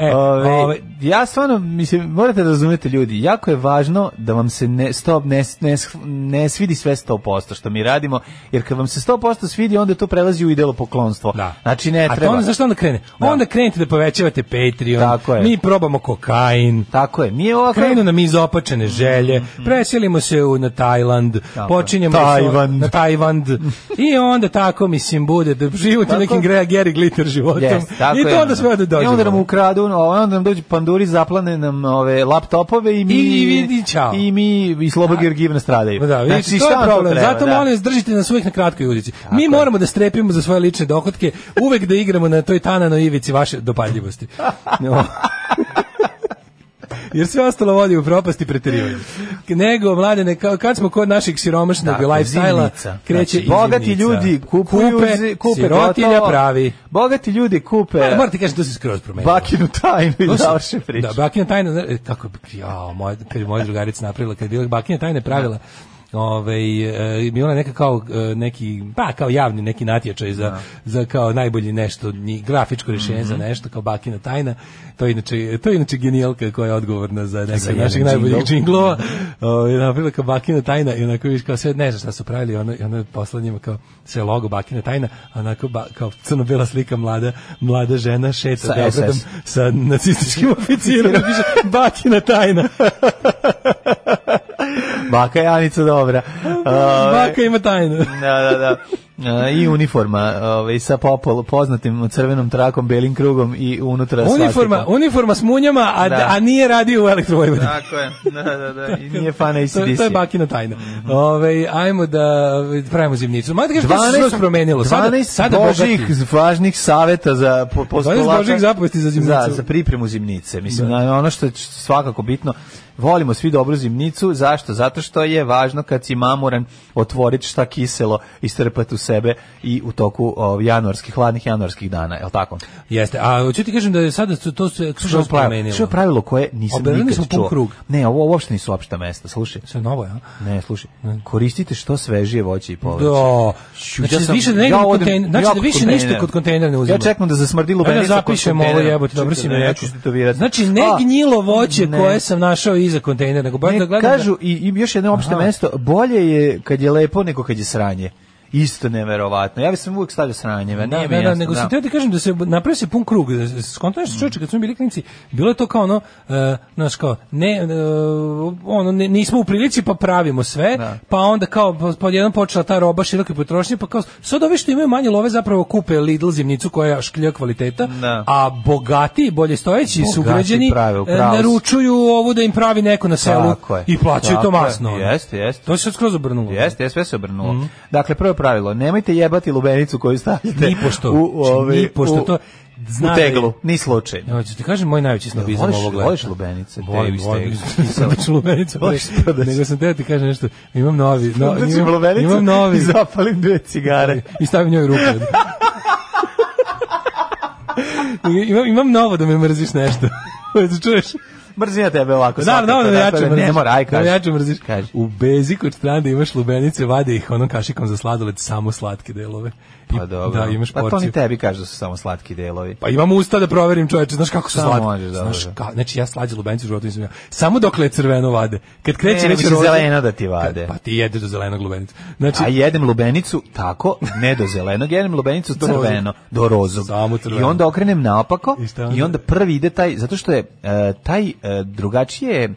S6: E,
S5: Ove,
S6: ove,
S5: ja stvarno, mislim, morate da razumete ljudi, jako je važno da vam se ne, stop, ne, ne, ne svidi sve 100% što mi radimo, jer kad vam se 100% svidi, onda to prelazi u idelo poklonstvo. Da. Znači, ne
S6: A to
S5: treba.
S6: onda, zašto onda krene?
S5: Da.
S6: Onda krenete da povećavate Patreon,
S5: Tako je.
S6: mi probamo kokain.
S5: Tako je. Mi ovako...
S6: Krenu nam izopačene želje, preselimo se u, na Tajland,
S5: Mhm. Tako.
S6: počinjemo sa-
S5: Tajvand.
S6: na
S5: *laughs*
S6: Tajvand i onda tako, mislim, bude da život je
S5: Tako.
S6: nekim greja Gary Glitter životom.
S5: Yes, tako
S6: I
S5: je,
S6: to onda sve
S5: ono.
S6: da dođe.
S5: I onda nam ukradu, ono, onda nam dođu panduri, zaplane nam ove laptopove i mi...
S6: I- i- i ćao.
S5: I mi, i Sloba Georgijevna nastradaju.
S6: Pa Da, vidite,
S5: Znači,
S6: to
S5: šta
S6: je
S5: vam
S6: problem.
S5: treba,
S6: Zato
S5: da.
S6: molim vas, držite nas uvijek na kratkoj ulici. Mi moramo da strepimo za svoje lične dohotke, uvek da igramo na toj tananoj ivici vaše
S5: *laughs*
S6: dopadljivosti. No. Jer sve ostalo vodi u propasti preterivanje. Nego, mladene, ka- kad smo kod naših siromašnog
S5: Tako,
S6: lifestyle-a,
S5: zimnica.
S6: kreće
S5: Znači,
S6: i
S5: bogati
S6: zimnica.
S5: ljudi kupuju,
S6: kupe,
S5: zi- kupe
S6: sirotilja
S5: gotovo. E.
S6: pravi.
S5: Bogati ljudi kupe
S6: Pa, moram ti kažem, to se skroz promenilo.
S5: bakinu tajnu *laughs* i
S6: To su-
S5: završe priču.
S6: Da, bakina tajna, znaš, e, kako, ja, moja, kad je moja drugarica napravila, kad je bila bakina tajna pravila, Ove, e, bila je neka kao e, neki, pa kao javni neki natječaj za, za kao najbolji nešto nji- grafičko rješenje
S5: Mhm.
S6: za nešto kao bakina tajna to je inače, to je inače genijalka koja je odgovorna za neke od
S5: jedan
S6: naših
S5: džingl.
S6: najboljih džinglova Ove, je napravila kao ovaj, bakina tajna i onako viš kao sve ne znam šta su pravili ono, i ono je poslala njima kao sve logo bakina tajna a onako ba, kao crno-bela slika mlada, mlada žena šeta
S5: Sa
S6: Beogradom
S5: SS.
S6: sa
S5: *laughs*
S6: nacističkim oficirom i piše Bakina tajna.
S5: Baka je Anica
S6: *laughs*
S5: dobra. Ove,
S6: Baka ima tajnu.
S5: Ovaj. da, da, da. E, I uniforma ove, sa popol, poznatim crvenom trakom, belim krugom i unutra
S6: Uniforma,
S5: svastikom.
S6: uniforma s munjama, a,
S5: Da.
S6: a nije radio u elektrovojvodi.
S5: Tako *laughs* je, da, da, da. I nije fan
S6: To, to je
S5: ACDC.
S6: bakina tajna. Ove, ajmo da pravimo zimnicu. Mada kažeš da se skroz promenilo. Sada,
S5: 12
S6: sada
S5: božih
S6: bogati.
S5: važnih saveta za po, postolaka.
S6: božjih zapovesti za zimnicu.
S5: Za, za pripremu zimnice. Mislim, na- ono što je č- svakako bitno, volimo svi dobru zimnicu. Zašto? Zato što je važno kad si mamuran otvoriti šta kiselo i strpati u sebe i u toku o, januarskih, hladnih januarskih dana. Je li tako?
S6: Jeste, a hoću ti kažem da je sada su- to se
S5: Što je
S6: skroz
S5: pravilo,
S6: promenilo.
S5: što je pravilo koje nisam
S6: Obelili smo
S5: nikad
S6: pun
S5: čuo.
S6: krug.
S5: Ne, ovo uopšte nisu opšta mesta, slušaj.
S6: Sve novo, ja?
S5: Ne, slušaj. Koristite što svežije voće i povrće.
S6: Da.
S5: Ću,
S6: Znači,
S5: ja sam-
S6: više da ne idemo
S5: ja
S6: kod
S5: odem-
S6: kontejnera. Znači,
S5: ja
S6: da
S5: kod
S6: više
S5: kontejnera.
S6: ništa kod kontejnera ne uzimamo.
S5: Ja čekam da zasmrdi
S6: Ajde da
S5: lubenica kod
S6: zapišemo ovo
S5: kontejnera.
S6: jebote, dobro si mi
S5: Čekaj,
S6: rekao.
S5: Ja ću tetovirati.
S6: Znači, ne
S5: A,
S6: gnjilo voće
S5: ne.
S6: koje sam našao iza kontejnera, nego baš
S5: Ne,
S6: da gledam
S5: kažu, i, i još jedno opšte
S6: Aha.
S5: mesto, bolje je kad je lepo nego kad je sranje. Isto neverovatno. Ja bi sam uvijek stavio sranje, ma
S6: da,
S5: nije
S6: da,
S5: mi
S6: da,
S5: jasno,
S6: nego
S5: da.
S6: sam teo ti kažem da se napravi se pun krug. da se- Skonto nešto čovječe, kad smo mi bili klinici, bilo je to kao ono, e, znaš kao, ne, e, ono, ne- nismo u prilici pa pravimo sve,
S5: Da.
S6: pa onda kao, pa- pa jedan počela ta roba široke potrošnje, pa kao, sad ovi što imaju manje love zapravo kupe Lidl zimnicu koja je šklja kvaliteta,
S5: Da.
S6: a bogati, bolje stojeći
S5: Bogati
S6: sugrađani,
S5: prave,
S6: e,
S5: upravo si.
S6: naručuju ovu da im pravi neko na selu
S5: Tako je.
S6: i plaćaju
S5: Tako
S6: to
S5: je.
S6: masno. ono.
S5: Jeste, jeste.
S6: To se sad skroz obrnulo.
S5: Jeste, jeste, sve se obrnulo.
S6: Mhm.
S5: Dakle, prvo pravilo, nemojte jebati lubenicu koju stavljate
S6: Nipošto,
S5: u,
S6: znači,
S5: ove,
S6: nipošto,
S5: u,
S6: to-
S5: u
S6: zna da je-
S5: teglu, ni slučajno.
S6: Ja hoću ti kažem moj najveći snobizam
S5: Voliš-
S6: ovog leta.
S5: voliš lubenice,
S6: Volim,
S5: Davis
S6: *laughs* volim.
S5: Davis.
S6: Nisam da ću lubenice.
S5: Voliš
S6: bre.
S5: prodaću.
S6: Nego sam teo ti kažem nešto. Imam novi. No,
S5: Onda ću
S6: imam,
S5: lubenicu
S6: imam novi.
S5: i zapalim dve cigare.
S6: I stavim njoj ruke. *laughs* imam, imam novo da me mrziš nešto. *laughs* Hoćeš čuješ?
S5: Mrzim ja tebe ovako.
S6: Da,
S5: svakako,
S6: da, da, me jače
S5: dakle,
S6: mrziš.
S5: Ne mora, aj
S6: Da me
S5: kaži.
S6: jače mrziš.
S5: Kaži.
S6: U bezi kod strane imaš lubenice, vade ih onom kašikom za sladoled, samo slatke delove. I-
S5: Pa dobro.
S6: Da, imaš
S5: pa
S6: porciju.
S5: to ni tebi kaže da su samo slatki delovi.
S6: Pa imam usta da proverim čoveče, znaš kako su
S5: Samo
S6: slatki.
S5: možeš, da,
S6: znaš
S5: da.
S6: ka, znači ja slađe lubenicu u životu nisam ja. Samo dokle je crveno vade. Kad kreće
S5: Ne,
S6: već
S5: nego će
S6: roze-
S5: zeleno da ti vade.
S6: Kad- Pa ti jedeš do zelenog lubenicu. Znači,
S5: A jedem lubenicu tako, ne do zelenog, jedem lubenicu
S6: *laughs* Do
S5: crveno,
S6: rozog.
S5: do rozog.
S6: Samo crveno.
S5: I onda okrenem naopako
S6: I šta
S5: i
S6: onda?
S5: onda prvi ide taj, zato što je e, taj e, drugačije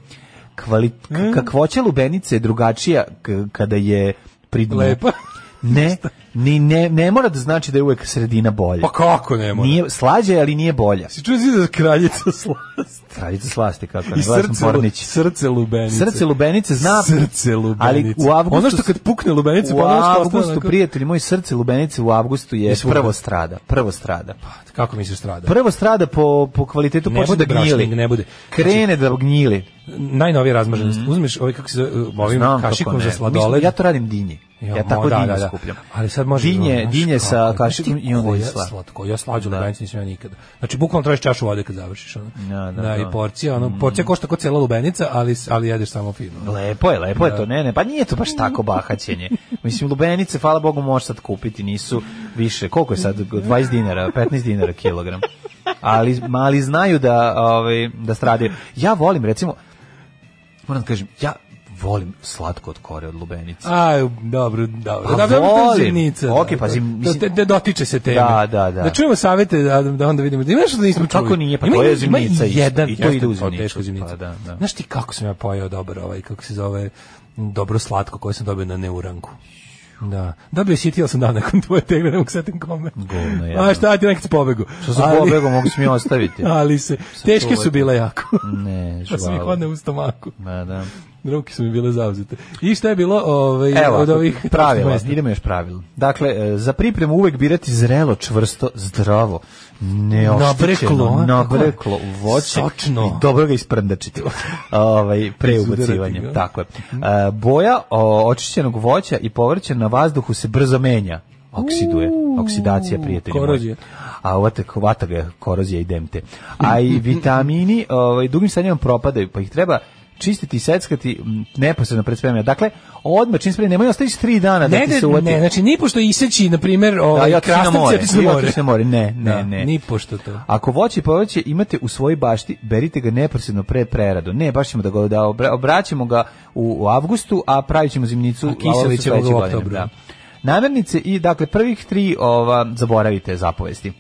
S5: kvalit,
S6: Mm.
S5: k- kakvoća lubenice je drugačija k- kada je pri dnu. *laughs*
S6: lepa.
S5: Ne, ni, ne, ne mora da znači da je uvek sredina bolja.
S6: Pa kako ne može?
S5: Nije, slađa je, ali nije bolja.
S6: Si čuo si da je kraljica slasti.
S5: Kraljica slasti, kako ne,
S6: I
S5: gledao sam
S6: srce, lu-
S5: Pornić.
S6: srce lubenice.
S5: Srce lubenice zna
S6: Srce lubenice.
S5: Ali u avgustu
S6: Ono što kad pukne lubenice,
S5: u
S6: pa ono što ostane
S5: avgustu
S6: onako-
S5: prijatelji moj srce lubenice u avgustu je
S6: Je svuda.
S5: prvo strada, prvo strada.
S6: Pa, Kako misliš strada?
S5: Prvo strada po po kvalitetu
S6: Ne
S5: počne da
S6: bude
S5: gnjili.
S6: brašning, ne bude.
S5: Krene da gnjili.
S6: Najnovije razmaženost. Uzmeš ovaj kako se zove, ovim
S5: Mhm. Znam kako
S6: kašikom
S5: ne.
S6: za
S5: Mislim,
S6: sladoled.
S5: Ja to radim dinje.
S6: Jo,
S5: Ja tako
S6: da,
S5: dinje
S6: da, da.
S5: skupljam.
S6: Ali sad može ono,
S5: dinje,
S6: znaš
S5: dinje
S6: kako
S5: sa
S6: je.
S5: kašikom
S6: Ti
S5: i onda je
S6: koja
S5: slatko.
S6: slatko. Ja slađu da. lubenicu nisam ja nikada. Znači bukvalno tražiš čašu vode kad završiš ono.
S5: Da, da, da. Mm.
S6: i porcija, ono porcija košta kao cela lubenica, ali ali jedeš samo fino.
S5: Lepo je, lepo je to, ne, ne, pa nije to baš tako bahaćenje. Mislim, lubenice, hvala Bogu, možeš sad kupiti, nisu više, koliko je sad, 20 dinara, 15 dinara kilogram. ali mali znaju da, ovaj, da stradaju. Ja volim, recimo, moram da kažem, ja volim slatko od kore od lubenice.
S6: Aj, dobro, dobro.
S5: Pa
S6: Da, dobro, to je
S5: volim.
S6: zenica,
S5: Ok,
S6: da,
S5: pazi,
S6: da,
S5: mislim-
S6: da, da dotiče se teme.
S5: Da, da, da.
S6: Da čujemo savete, da, da onda vidimo. Ima nešto da nismo čuli.
S5: Kako nije, pa
S6: Ima-
S5: to je
S6: ima i
S5: zimnica isto,
S6: jedan,
S5: i to ide u
S6: jeste,
S5: zimnicu.
S6: teško zimnica.
S5: Pa da, da.
S6: Znaš ti kako sam ja pojao dobar ovaj, kako se zove, m, dobro slatko koje sam dobio na neuranku. Da. Dobio si i ti, ali sam dao nakon tvoje tegle, ne mogu setim kome.
S5: Govno jedno.
S6: A šta ti nekad si pobegu.
S5: Što sam
S6: Ali-
S5: pobegao, mogu si mi
S6: *laughs*
S5: ostaviti.
S6: Ali se, teške su
S5: čuvaj.
S6: bile jako.
S5: Ne,
S6: *laughs* Pa sam ih
S5: žvala.
S6: odne u stomaku.
S5: Da, da.
S6: Ruke su mi bile zauzete. I šta je bilo ovaj,
S5: Evo,
S6: od ovih *laughs*
S5: pravila, idemo još pravila. Dakle, e, za pripremu uvek birati zrelo, čvrsto, zdravo, neoštećeno,
S6: Nabreklo, a?
S5: nabreklo
S6: Tako je.
S5: voće
S6: Sočno.
S5: i dobro ga
S6: *laughs*
S5: isprndačiti ovaj, pre ubacivanja.
S6: ga.
S5: Tako je. E, boja o, očišćenog voća i povrća na vazduhu se brzo menja. Oksiduje, oksidacija prijatelja. moji.
S6: korozija.
S5: A vata, vata ga korozija i demte. A
S6: *laughs*
S5: i vitamini ovaj, dugim stanjima propadaju, pa ih treba čistiti i seckati m, neposredno pred spremljama. Dakle, odmah čim spremljama, nemoj ostavići tri dana da
S6: Ne,
S5: ti
S6: ne,
S5: se uvati.
S6: ne, znači ni pošto iseći, na primjer,
S5: Da,
S6: ovaj,
S5: i
S6: da,
S5: otići na more,
S6: krastavce, ti se
S5: i
S6: more.
S5: otići na more, ne, ne,
S6: Da,
S5: ne.
S6: Ni pošto to.
S5: Ako voće i povrće imate u svojoj bašti, berite ga neposredno pre preradu. Ne, baš ćemo da ga da obra- obraćamo ga u, u avgustu, a pravit ćemo zimnicu
S6: A kiselit
S5: avgustu
S6: ćemo ga u
S5: sledeće godine,
S6: oktobru.
S5: Da. Namirnice i, dakle, prvih tri ova, zaboravite zapovesti.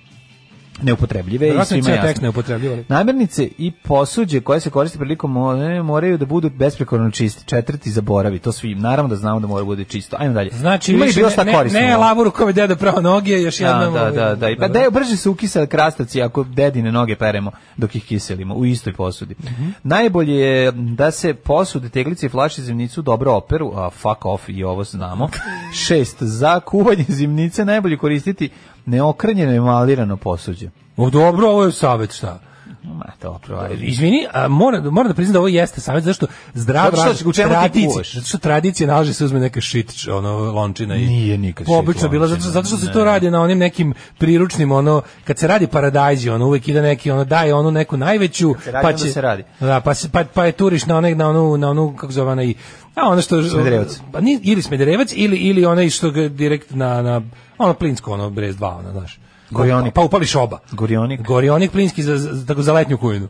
S5: Neupotrebljive i
S6: Verovatno je
S5: svima
S6: ceo tekst
S5: jasno.
S6: neupotrebljivali.
S5: Namirnice i posuđe koje se koriste prilikom one moraju da budu besprekorno čisti. Četvrti zaboravi, to svi naravno da znamo da mora da bude čisto. Ajmo dalje.
S6: Znači,
S5: Ima i
S6: više
S5: bilo
S6: ne-
S5: šta
S6: ne,
S5: korisno.
S6: ne, lavor u kome deda pravo noge, još
S5: Da,
S6: jednom...
S5: da,
S6: ovaj,
S5: da, da. I Pa da, brže se ukisa krastavci ako dedine noge peremo dok ih kiselimo u istoj posudi. Najbolje je da se posude, teglice i flaše zimnicu dobro operu, a fuck off i ovo znamo. Šest, za kuvanje zimnice najbolje koristiti neokrenjeno i malirano posuđe.
S6: O, dobro, ovo je savjet, šta?
S5: Ma, to provarim.
S6: Izvini, a moram, moram da priznam da ovo jeste savjet, zašto zdrav
S5: Zato što- u čemu ti
S6: tradicija,
S5: kuješ?
S6: zato što tradicija nalaže da se uzme neka shit, č- ono, lončina i...
S5: Nije nikad shit
S6: Obično bila, zato,
S5: lončina,
S6: zato što se
S5: ne.
S6: to radi na onim nekim priručnim, ono, kad se radi paradajzi, ono, uvek ide neki, ono, daje onu neku najveću,
S5: se radi,
S6: pa
S5: onda
S6: će...
S5: se radi.
S6: Da, pa, se, pa, pa je turiš na, onek, na, onu, na onu, kako zove, onaj, a ono što...
S5: Smederevac.
S6: Pa, ni, ili smederevac, ili, ili onaj što ga direkt na, na ono, plinsko, ono, brez dva, ono, znaš.
S5: Gorionik.
S6: Pa, pa upališ oba.
S5: Gorionik.
S6: Gorionik plinski za, za, tako za letnju kujinu.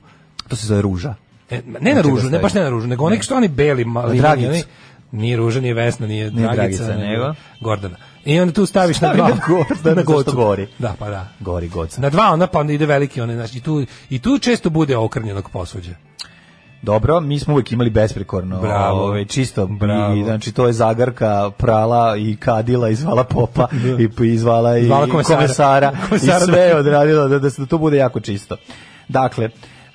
S5: To se zove ruža.
S6: E, ma, ne na ružu, ne baš ne na ružu, nego onih što oni beli mali.
S5: Dragica.
S6: oni- Nije ruža, nije Vesna, nije, Dragica,
S5: Dragica,
S6: nego
S5: nego?
S6: Gordana. I onda tu staviš na
S5: Stavi
S6: dva.
S5: na Gordana,
S6: na
S5: zašto
S6: Gocu.
S5: gori?
S6: Da, pa da.
S5: Gori goca.
S6: Na dva ona pa onda ide veliki onaj, znači i tu i tu često bude okrnjenog posuđa.
S5: Dobro, mi smo uvijek imali besprekorno,
S6: Bravo.
S5: ovaj, čisto,
S6: Bravo.
S5: I, znači to je zagarka prala i kadila, i zvala
S6: *laughs*
S5: popa, i, p- i zvala i
S6: Zvala
S5: i
S6: komesara.
S5: komesara, i
S6: *laughs* Komesara,
S5: sve je
S6: da.
S5: odradila da, da, se- da to bude jako čisto. Dakle,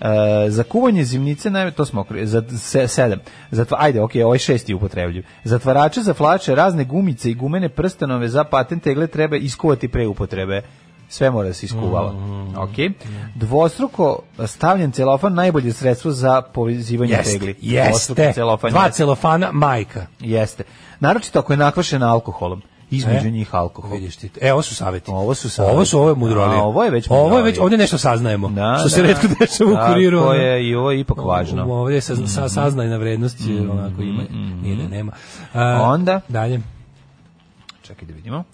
S5: e, za kuvanje zimnice, naj, to smo okre- za se, sedam, Zatva, ajde, ok, ovaj šesti je upotrebljiv. Zatvarače za flače, razne gumice i gumene prstanove za patent tegle treba iskuvati pre upotrebe. Sve mora da se iskuvava.
S6: Mm.
S5: Ok. Dvostruko stavljen celofan najbolje sredstvo za povezivanje
S6: Jeste,
S5: tegli. Dvostruko
S6: jeste.
S5: celofan,
S6: Dva
S5: jeste.
S6: celofana, majka.
S5: Jeste. Naročito ako je nakvašena alkoholom. Između
S6: E?
S5: njih alkohol.
S6: Vidiš ti. E, ovo su saveti.
S5: Ovo su saveti.
S6: Ovo su ovo je mudrolije.
S5: A, ovo je već
S6: Ovo je
S5: mudrolije.
S6: već ovdje nešto saznajemo.
S5: Da,
S6: što se
S5: da,
S6: retko
S5: da.
S6: dešava u kuriru.
S5: Tako
S6: ono.
S5: je, i ovo je ipak
S6: U-
S5: važno. Mhm.
S6: Ovdje sa, sa, saznajna vrednost je onako ima, nije da nema. A,
S5: Onda?
S6: Dalje.
S5: Čekaj da vidimo.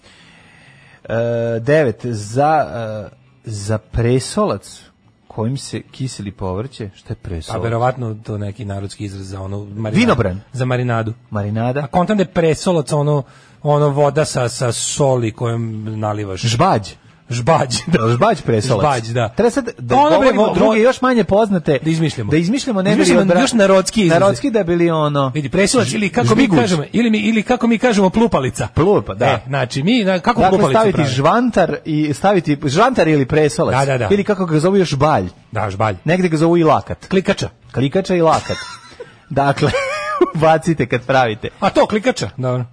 S5: E, devet, za, e, za presolac kojim se kiseli povrće, šta je
S6: Pa
S5: presolac?
S6: verovatno to neki narodski izraz za ono marinadu.
S5: Vinobran.
S6: Za marinadu.
S5: Marinada?
S6: A kontam da je presolac ono, ono voda sa, sa soli kojom nalivaš.
S5: Žbađ.
S6: Žbađ, da.
S5: Da, Žbađ presolac.
S6: Žbađ, da.
S5: Treba sad da
S6: Ono, bre,
S5: govorimo
S6: vo-
S5: druge,
S6: vo-
S5: još manje poznate.
S6: Da izmišljamo.
S5: Da izmišljamo ne
S6: Da
S5: bi li
S6: izmišljamo
S5: odbra-
S6: još narodski izraze.
S5: Narodski da bili ono...
S6: Vidi, presolac ili kako mi
S5: Žbiguć.
S6: kažemo, ili, mi, ili kako mi kažemo plupalica.
S5: Plupa, da.
S6: E, znači, mi, na, kako
S5: Dakle,
S6: plupalicu
S5: staviti
S6: pravi?
S5: žvantar i staviti žvantar ili presolac.
S6: Da, da, da.
S5: Ili kako ga zovu još balj.
S6: Da, žbalj.
S5: Negde ga zovu i lakat.
S6: Klikača.
S5: Klikača i
S6: *laughs*
S5: lakat. Dakle, *laughs* bacite kad pravite.
S6: A to, klikača. Dobro.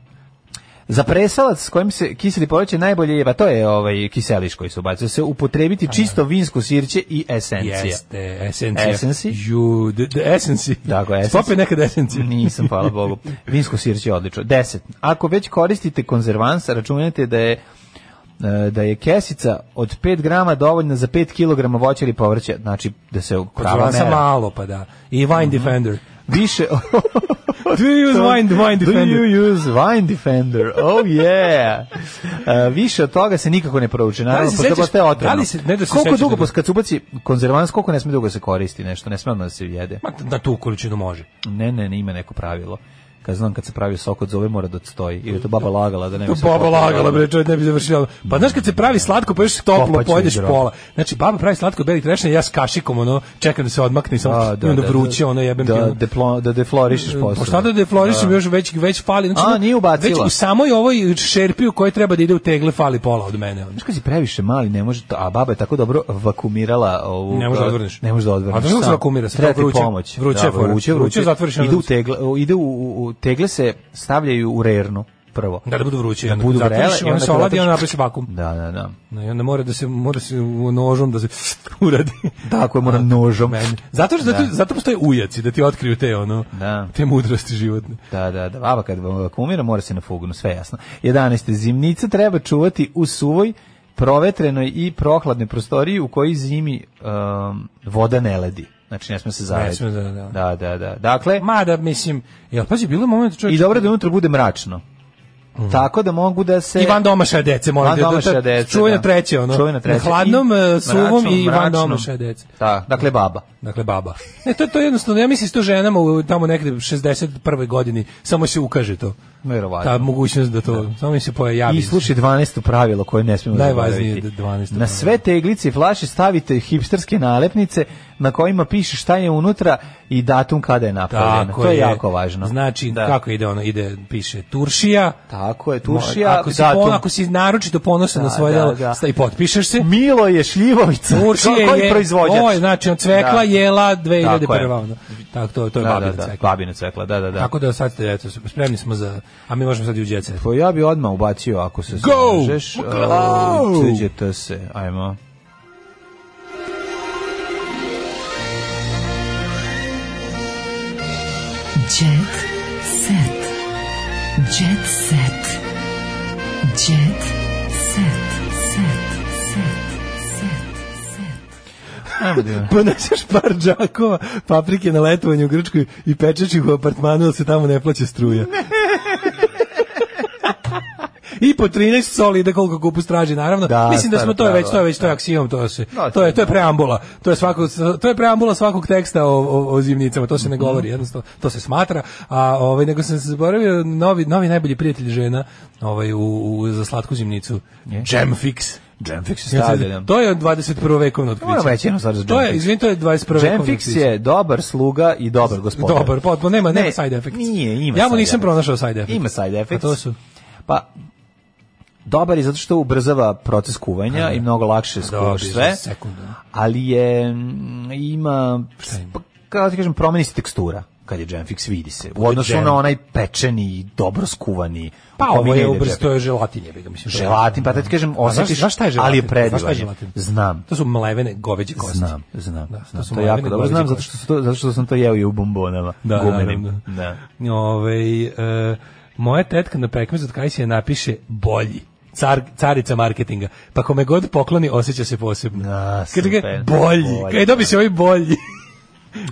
S5: Za presalac s kojim se kiseli povrće najbolje je, pa to je ovaj kiseliš koji se ubacuje, se upotrebiti čisto vinsko sirće i esencija.
S6: Pa, Jeste, esencija.
S5: Esensi?
S6: Ju, d- d- esensi.
S5: Tako, esensi.
S6: Stopaj nekad esencija.
S5: Nisam, hvala
S6: *laughs*
S5: Bogu. Vinsko sirće je odlično. 10. Ako već koristite konzervans, računajte da je e, da je kesica od 5 grama dovoljna za 5 kg voća ili povrća, znači da se prava
S6: Konzervansa
S5: mera. *laughs*
S6: malo, pa da. I Vine Defender. *laughs*
S5: Više
S6: Do you use Wine, wine Defender?
S5: Do you use Wine Defender? Oh
S6: *laughs*
S5: yeah. Uh, više od toga se nikako ne prouči. Naravno,
S6: se
S5: pošto
S6: sećaš-
S5: postaje otrovno.
S6: da li se- ne da se
S5: koliko
S6: sećaš
S5: dugo,
S6: da-
S5: da kad se ubaci konzervans, koliko ne sme dugo se koristi nešto, ne sme odmah da se jede.
S6: Ma, na tu količinu može.
S5: Ne, ne, ne, ima neko pravilo. Kad znam kad se pravi sok od zove mora da odstoji. Ili je to baba lagala da ne bi
S6: To
S5: se
S6: baba
S5: popila.
S6: lagala, bre, čovjek ne bi završila. Pa znaš kad se pravi slatko, pa još toplo
S5: Kopač
S6: pojedeš
S5: igra.
S6: pola. Znači baba pravi slatko beli trešnje, ja s kašikom ono čekam da se odmakne i samo
S5: A,
S6: i onda vruće ono jebem ti.
S5: da,
S6: ono.
S5: deplo- da deflorišeš posao.
S6: Pa šta da deflorišem još već već fali. Znači,
S5: A,
S6: ono,
S5: nije ubacila.
S6: Već u samoj ovoj šerpi u kojoj treba da ide u tegle fali pola od mene. ono.
S5: Znaš kad si previše mali, ne može to, a baba je tako dobro vakumirala ovu...
S6: Ne može da odvrneš.
S5: Ne može da odvrneš.
S6: A znaš kako se
S5: sam.
S6: vakumira? Sad
S5: Treba ti
S6: vruće.
S5: pomoć.
S6: Vruće
S5: da,
S6: je fora.
S5: vruće,
S6: Vruće,
S5: vruće.
S6: zatvoriš i onda-
S5: Ide u tegle, u- ide u, u, u- tegle se stavljaju u rernu prvo.
S6: Da da budu vruće,
S5: Da
S6: onda
S5: budu
S6: zatvoriš,
S5: vrele i
S6: ona
S5: onda
S6: se
S5: kad
S6: oladi,
S5: otvoriš-
S6: ona napravi se vakum.
S5: Da, da, da.
S6: No, I onda mora da se mora se u- nožom da se *laughs* uradi.
S5: Tako je, moram nožom.
S6: Meni. Zato što zato, zato postoje ujaci da ti otkriju te ono
S5: Da.
S6: te mudrosti životne.
S5: Da, da, da. Baba kad vam vakumira mora se na fugnu, sve jasno. 11. Zimnica treba čuvati u suvoj, provetrenoj i prohladnoj prostoriji u kojoj zimi um, voda ne ledi. Znači ne sme se zajediti.
S6: sme, da, da.
S5: da, da, da. Dakle,
S6: Mada mislim, jel pazi bilo je moment čovjek
S5: I dobro da unutra bude mračno. Tako da mogu da se...
S6: Mhm. I van domašaja dece, moram
S5: Van
S6: ti da- da-
S5: domašaja dece,
S6: čuvena
S5: da.
S6: treće, ono.
S5: Čuvena treće.
S6: Na hladnom,
S5: I
S6: e, suvom
S5: mračnom,
S6: i van
S5: mračnom.
S6: domašaja dece.
S5: Da, dakle baba.
S6: Dakle, baba. Ne, to, to je jednostavno, ja mislim s to ženama u, tamo negde 61. godini, samo se ukaže to.
S5: Verovatno.
S6: Ta mogućnost da to, samo mi se pojavi.
S5: I slušaj 12. pravilo koje ne smijemo
S6: Najvažnije je
S5: zaboraviti.
S6: 12.
S5: Na sve teglice i flaše stavite hipsterske nalepnice na kojima piše šta je unutra i datum kada je napravljeno.
S6: Tako
S5: to je, jako važno.
S6: Znači,
S5: Da.
S6: kako ide ono, ide, piše Turšija,
S5: Tako je, tušija,
S6: ako si,
S5: datum.
S6: pon, ako si naročito ponosan
S5: Da,
S6: na svoje
S5: da,
S6: delo,
S5: da.
S6: sta- i potpišeš se,
S5: Milo je Šljivovica.
S6: Turšije
S5: Koji
S6: je,
S5: proizvođač?
S6: Oj, znači, on cvekla
S5: Da.
S6: jela 2001.
S5: Tako je.
S6: ono. Tako, to, to je
S5: Da,
S6: babina
S5: da, da,
S6: cvekla.
S5: babina cvekla, da, da, da.
S6: Tako da sad, eto, spremni smo za, a mi možemo sad i u djece.
S5: Pa ja bi odmah ubacio ako se
S6: Go!
S5: slažeš.
S6: Go!
S5: Sviđete se, ajmo.
S8: Jet set. Jet set. Jet set. Set. Set. Set. Set.
S6: Poneseš par džakova paprike na letovanju u Grčkoj i pečeš ih u apartmanu, ali se tamo ne plaće struja. I po 13 soli ide koliko kupus traži, naravno.
S5: Da,
S6: Mislim da smo
S5: staro
S6: to je već,
S5: pravilo,
S6: to je već, to je aksiom, to se,
S5: No,
S6: to je, to je preambula. To je svakog, to je preambula svakog teksta o, o, o zimnicama, to se
S5: Mhm.
S6: ne govori, jednostavno, to se smatra. A ovaj, nego sam se zaboravio, novi, novi najbolji prijatelj žena ovaj, u, u, za slatku zimnicu. Jamfix.
S5: Jamfix se stavlja.
S6: To je 21. vekovno otkriće.
S5: Moram reći jednu stvar za
S6: To je,
S5: Jamfix.
S6: izvini, to je 21. vekovno
S5: Jamfix
S6: otkriće.
S5: je dobar sluga i dobar gospodar.
S6: Dobar, potpuno, nema, nema
S5: Ne,
S6: side effects.
S5: Nije, ima
S6: Ja mu
S5: side
S6: nisam
S5: effects.
S6: pronašao side effects.
S5: Ima side effects.
S6: A to su?
S5: Pa, dobar je zato što ubrzava proces kuvanja
S6: Pa
S5: i mnogo lakše skuvaš
S6: Dobiješ
S5: sve.
S6: za sekundu.
S5: Ali je, mm, ima, pa, kako ti kažem, promeni se tekstura kad je Jamfix vidi se. U odnosu
S6: džem.
S5: na onaj pečeni, i dobro skuvani.
S6: Pa
S5: u kome
S6: ovo je
S5: ide
S6: ubrz,
S5: Jamfix.
S6: to je želatin, je ga mislim. to je-
S5: Želatin, pa da ti kažem,
S6: A znaš-
S5: osjetiš,
S6: znaš šta je želatin?
S5: ali je predivan.
S6: Znaš šta je želatin?
S5: Znam.
S6: To su mlevene goveđe kosti.
S5: Znam, znam.
S6: Da,
S5: znam.
S6: su
S5: to je
S6: mlevene
S5: jako dobro.
S6: goveđe
S5: Znam zato
S6: kosti.
S5: što, su to, zato što sam to jeo i u bombonama.
S6: Da,
S5: gumenim.
S6: naravno.
S5: Da.
S6: Ovaj, e, moja tetka na pekmezu od Kajsija napiše bolji. Car, carica marketinga. Pa kome god pokloni, osjeća se posebno.
S5: Da,
S6: Kaže ga,
S5: super.
S6: bolji.
S5: Bolji,
S6: Kaj dobi se ovaj bolji. *laughs*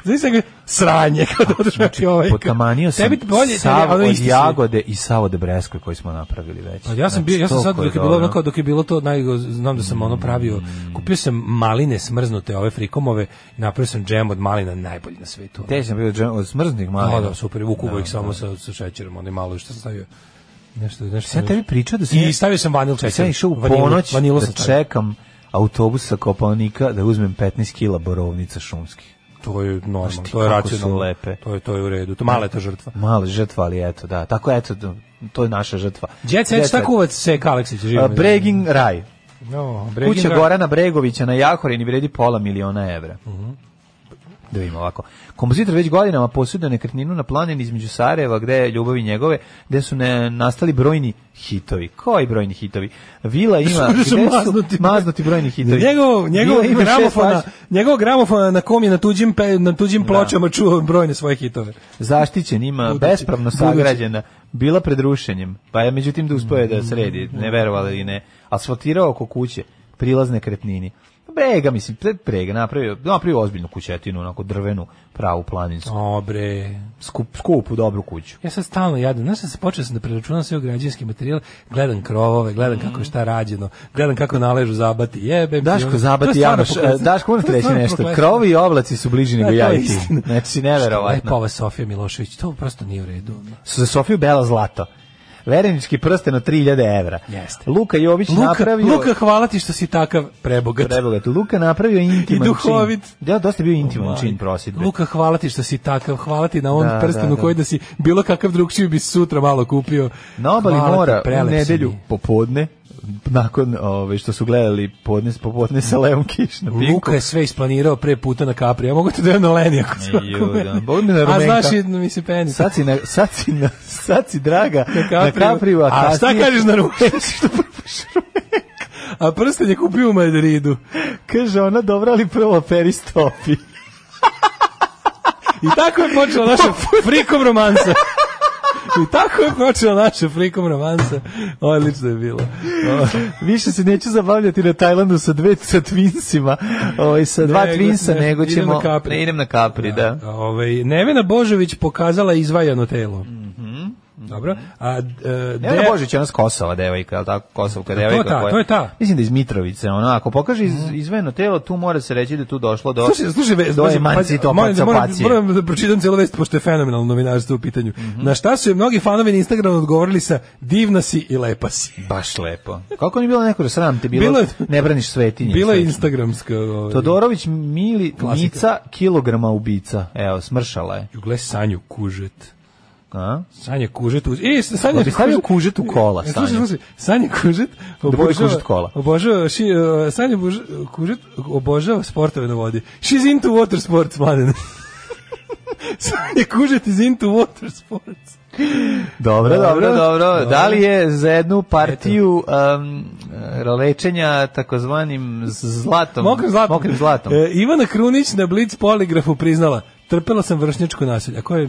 S6: Znači sam ga, sranje. *laughs* Kao da odeš
S5: *laughs*
S6: znači, ovaj.
S5: Potamanio sam
S6: Tebi bolje, tebi,
S5: sav
S6: ono
S5: od
S6: isti si.
S5: jagode i sav od breskve koji smo napravili već.
S6: Pa ja sam bio, ja sam
S5: Znači,
S6: sad
S5: toliko
S6: dok je bilo
S5: dobro. Mm.
S6: ono kao dok je bilo to naj znam da sam ono pravio. Kupio sam maline smrznute, ove frikomove, i napravio sam džem od malina najbolji na svetu.
S5: Te sam bio džem- od smrznih malina.
S6: Da, da, super, vukuo ih samo sa sa šećerom, onaj malo što sam stavio. Nešto, nešto.
S5: Sam ja tebi pričao da sam...
S6: I stavio sam vanil šećer.
S5: Sam ja išao u
S6: Vanilu-
S5: ponoć
S6: vanilu sam
S5: da
S6: stavio.
S5: čekam autobus sa Kopaonika da uzmem 15 kila borovnica šumskih.
S6: To je normalno,
S5: Znaš ti
S6: to je
S5: kako su
S6: racionalno.
S5: lepe.
S6: To je to je u redu. To mala je ta žrtva.
S5: Mala žrtva, ali eto, da. Tako eto, to je naša žrtva.
S6: Jet set, šta kuvac se Kaleksić živi?
S5: A, Bregin Raj.
S6: No, Bregin
S5: Kuća
S6: Ra-
S5: Gorana Bregovića na Jahorini vredi pola miliona evra.
S6: Mhm.
S5: Da vidimo ovako. Kompozitor već godinama posjeduje nekretninu na planini između Sarajeva, gde je ljubavi njegove, gde su ne, nastali brojni hitovi. Koji brojni hitovi? Vila ima...
S6: Što *laughs* su
S5: gde
S6: maznuti?
S5: maznuti brojni hitovi.
S6: Njegov, njegov
S5: Vila ima šest
S6: gramofona,
S5: flaš-
S6: njegov gramofona na kom je na tuđim pe, na tuđim pločama čuo brojne svoje hitove.
S5: Zaštićen, ima
S6: Budući-
S5: bespravno
S6: budući.
S5: sagrađena, bila pred rušenjem, pa je međutim da uspio je da sredi, ne verovali ili ne, asfaltirao oko kuće, prilaz nekretnini. Brega, mislim, pre- brega, napravio, napravio ozbiljnu kućetinu, onako drvenu, pravu planinsku.
S6: O, bre.
S5: Skup, skupu, dobru kuću.
S6: Ja sad stalno jadam, znaš sad se počeo sam da preračunam sve u građevinski materijal, gledam krovove, gledam kako je šta rađeno, gledam kako naležu zabati, jebem. ti, ono. To
S5: Mhm. Daško
S6: je
S5: zabati
S6: stvarno
S5: Janoš,
S6: prokletstvo.
S5: Daško moram
S6: To
S5: ti
S6: je
S5: reći
S6: stvarno
S5: nešto.
S6: prokletstvo.
S5: Krovi i oblaci su bliži nego
S6: Da, to
S5: ja
S6: je
S5: i ti.
S6: istina.
S5: *laughs* Znači,
S6: Lepa
S5: neverovatno.
S6: ova Sofija Milošević, to prosto nije u redu. ono.
S5: Su za Sofiju Bela zlato. Verenički prsten od 3000 evra.
S6: Jeste.
S5: Luka Jović
S6: Luka,
S5: napravio...
S6: Luka, hvala ti što si takav prebogat.
S5: Prebogat. Luka napravio intiman
S6: I duhovit.
S5: čin. Da, dosta je bio intiman čin prosjedbe.
S6: Luka, hvala ti što si takav, hvala ti na ovom
S5: Da,
S6: prstenu
S5: da, da.
S6: koji da si bilo kakav drugčiji bi sutra malo kupio.
S5: Na obali
S6: Hvala ti,
S5: mora u
S6: prelep si
S5: nedelju
S6: mi.
S5: popodne, nakon ove, što su gledali podnes, popodne sa Leom Kiš na pinku.
S6: Luka je sve isplanirao pre puta na Capri. Ja mogu te da na Leni ako se
S5: Ju,
S6: ako
S5: da.
S6: mene.
S5: Bog mi na
S6: A
S5: rumenka.
S6: znaš, jedno mi se peni.
S5: Sad si, na, sad, si na, sad si draga na
S6: Capriju.
S5: Capriju, a,
S6: A šta
S5: kasnije-
S6: kažeš na rumenku? A prsten je kupio u Madridu.
S5: *laughs* Kaže ona, dobra, ali prvo peri
S6: *laughs*
S5: stopi.
S6: I tako je počela
S5: *laughs*
S6: naša frikom romansa. I tako je počela naša frikom romansa. Odlično je bilo.
S5: Više se neću zabavljati na Tajlandu sa dve sa twinsima, ovaj, sa dva
S6: Nego-
S5: twinsa,
S6: ne-
S5: nego
S6: idem
S5: ćemo...
S6: na Capri.
S5: Ne, idem na Capri, da.
S6: Ovaj Nevena Božović pokazala izvajano telo. Dobro. A, e,
S5: Mhm. Nevena
S6: Dejan-
S5: Božić je ona s Kosova devojka, je li tako? Kosovka
S6: je
S5: devojka.
S6: ta,
S5: koja-
S6: to je ta. Mm.
S5: Mislim da iz Mitrovice, ona, ako pokaže iz, izvojeno telo, tu mora se reći da je tu došlo do...
S6: Slušaj, slušaj, vest,
S5: do
S6: pazi, pazi, moram da- moram-
S5: emancipacije.
S6: Moram da pročitam celu vest, pošto je fenomenalno novinarstvo u pitanju.
S5: Mhm.
S6: Na šta su joj mnogi fanovi na Instagramu odgovorili sa divna si i lepa si.
S5: Baš lepo. Kako nije bilo neko da sram te bilo,
S6: Bilo je-
S5: ne braniš svetinje.
S6: Bila je
S5: svetinje.
S6: instagramska... Ovaj,
S5: Todorović mili
S6: Klasika.
S5: Nica kilograma ubica. Evo, smršala je.
S6: Ju, Gle, Sanju kužet.
S5: A?
S6: Sanja Kužet uz... E, Sanja
S5: Da bi stavio kužet u kola,
S6: E, Slušaj,
S5: Sanja.
S6: slušaj, Sanja Kužet
S5: bude
S6: obožava...
S5: kužet kola.
S6: Obožava, ši, uh, Sanja Buž, Kužet obožava sportove na vodi. She's into water sports, mladen. *laughs* Sanja Kužet is into water sports.
S5: Dobro, dobro,
S6: Dobro,
S5: dobro.
S6: dobro.
S5: Da li je za jednu partiju um, lečenja takozvanim z- zlatom?
S6: Mokrim zlatom.
S5: Mokrim zlatom.
S6: E, Ivana Krunić na Blitz poligrafu priznala. Trpela sam vršnjačko nasilje. A ko je,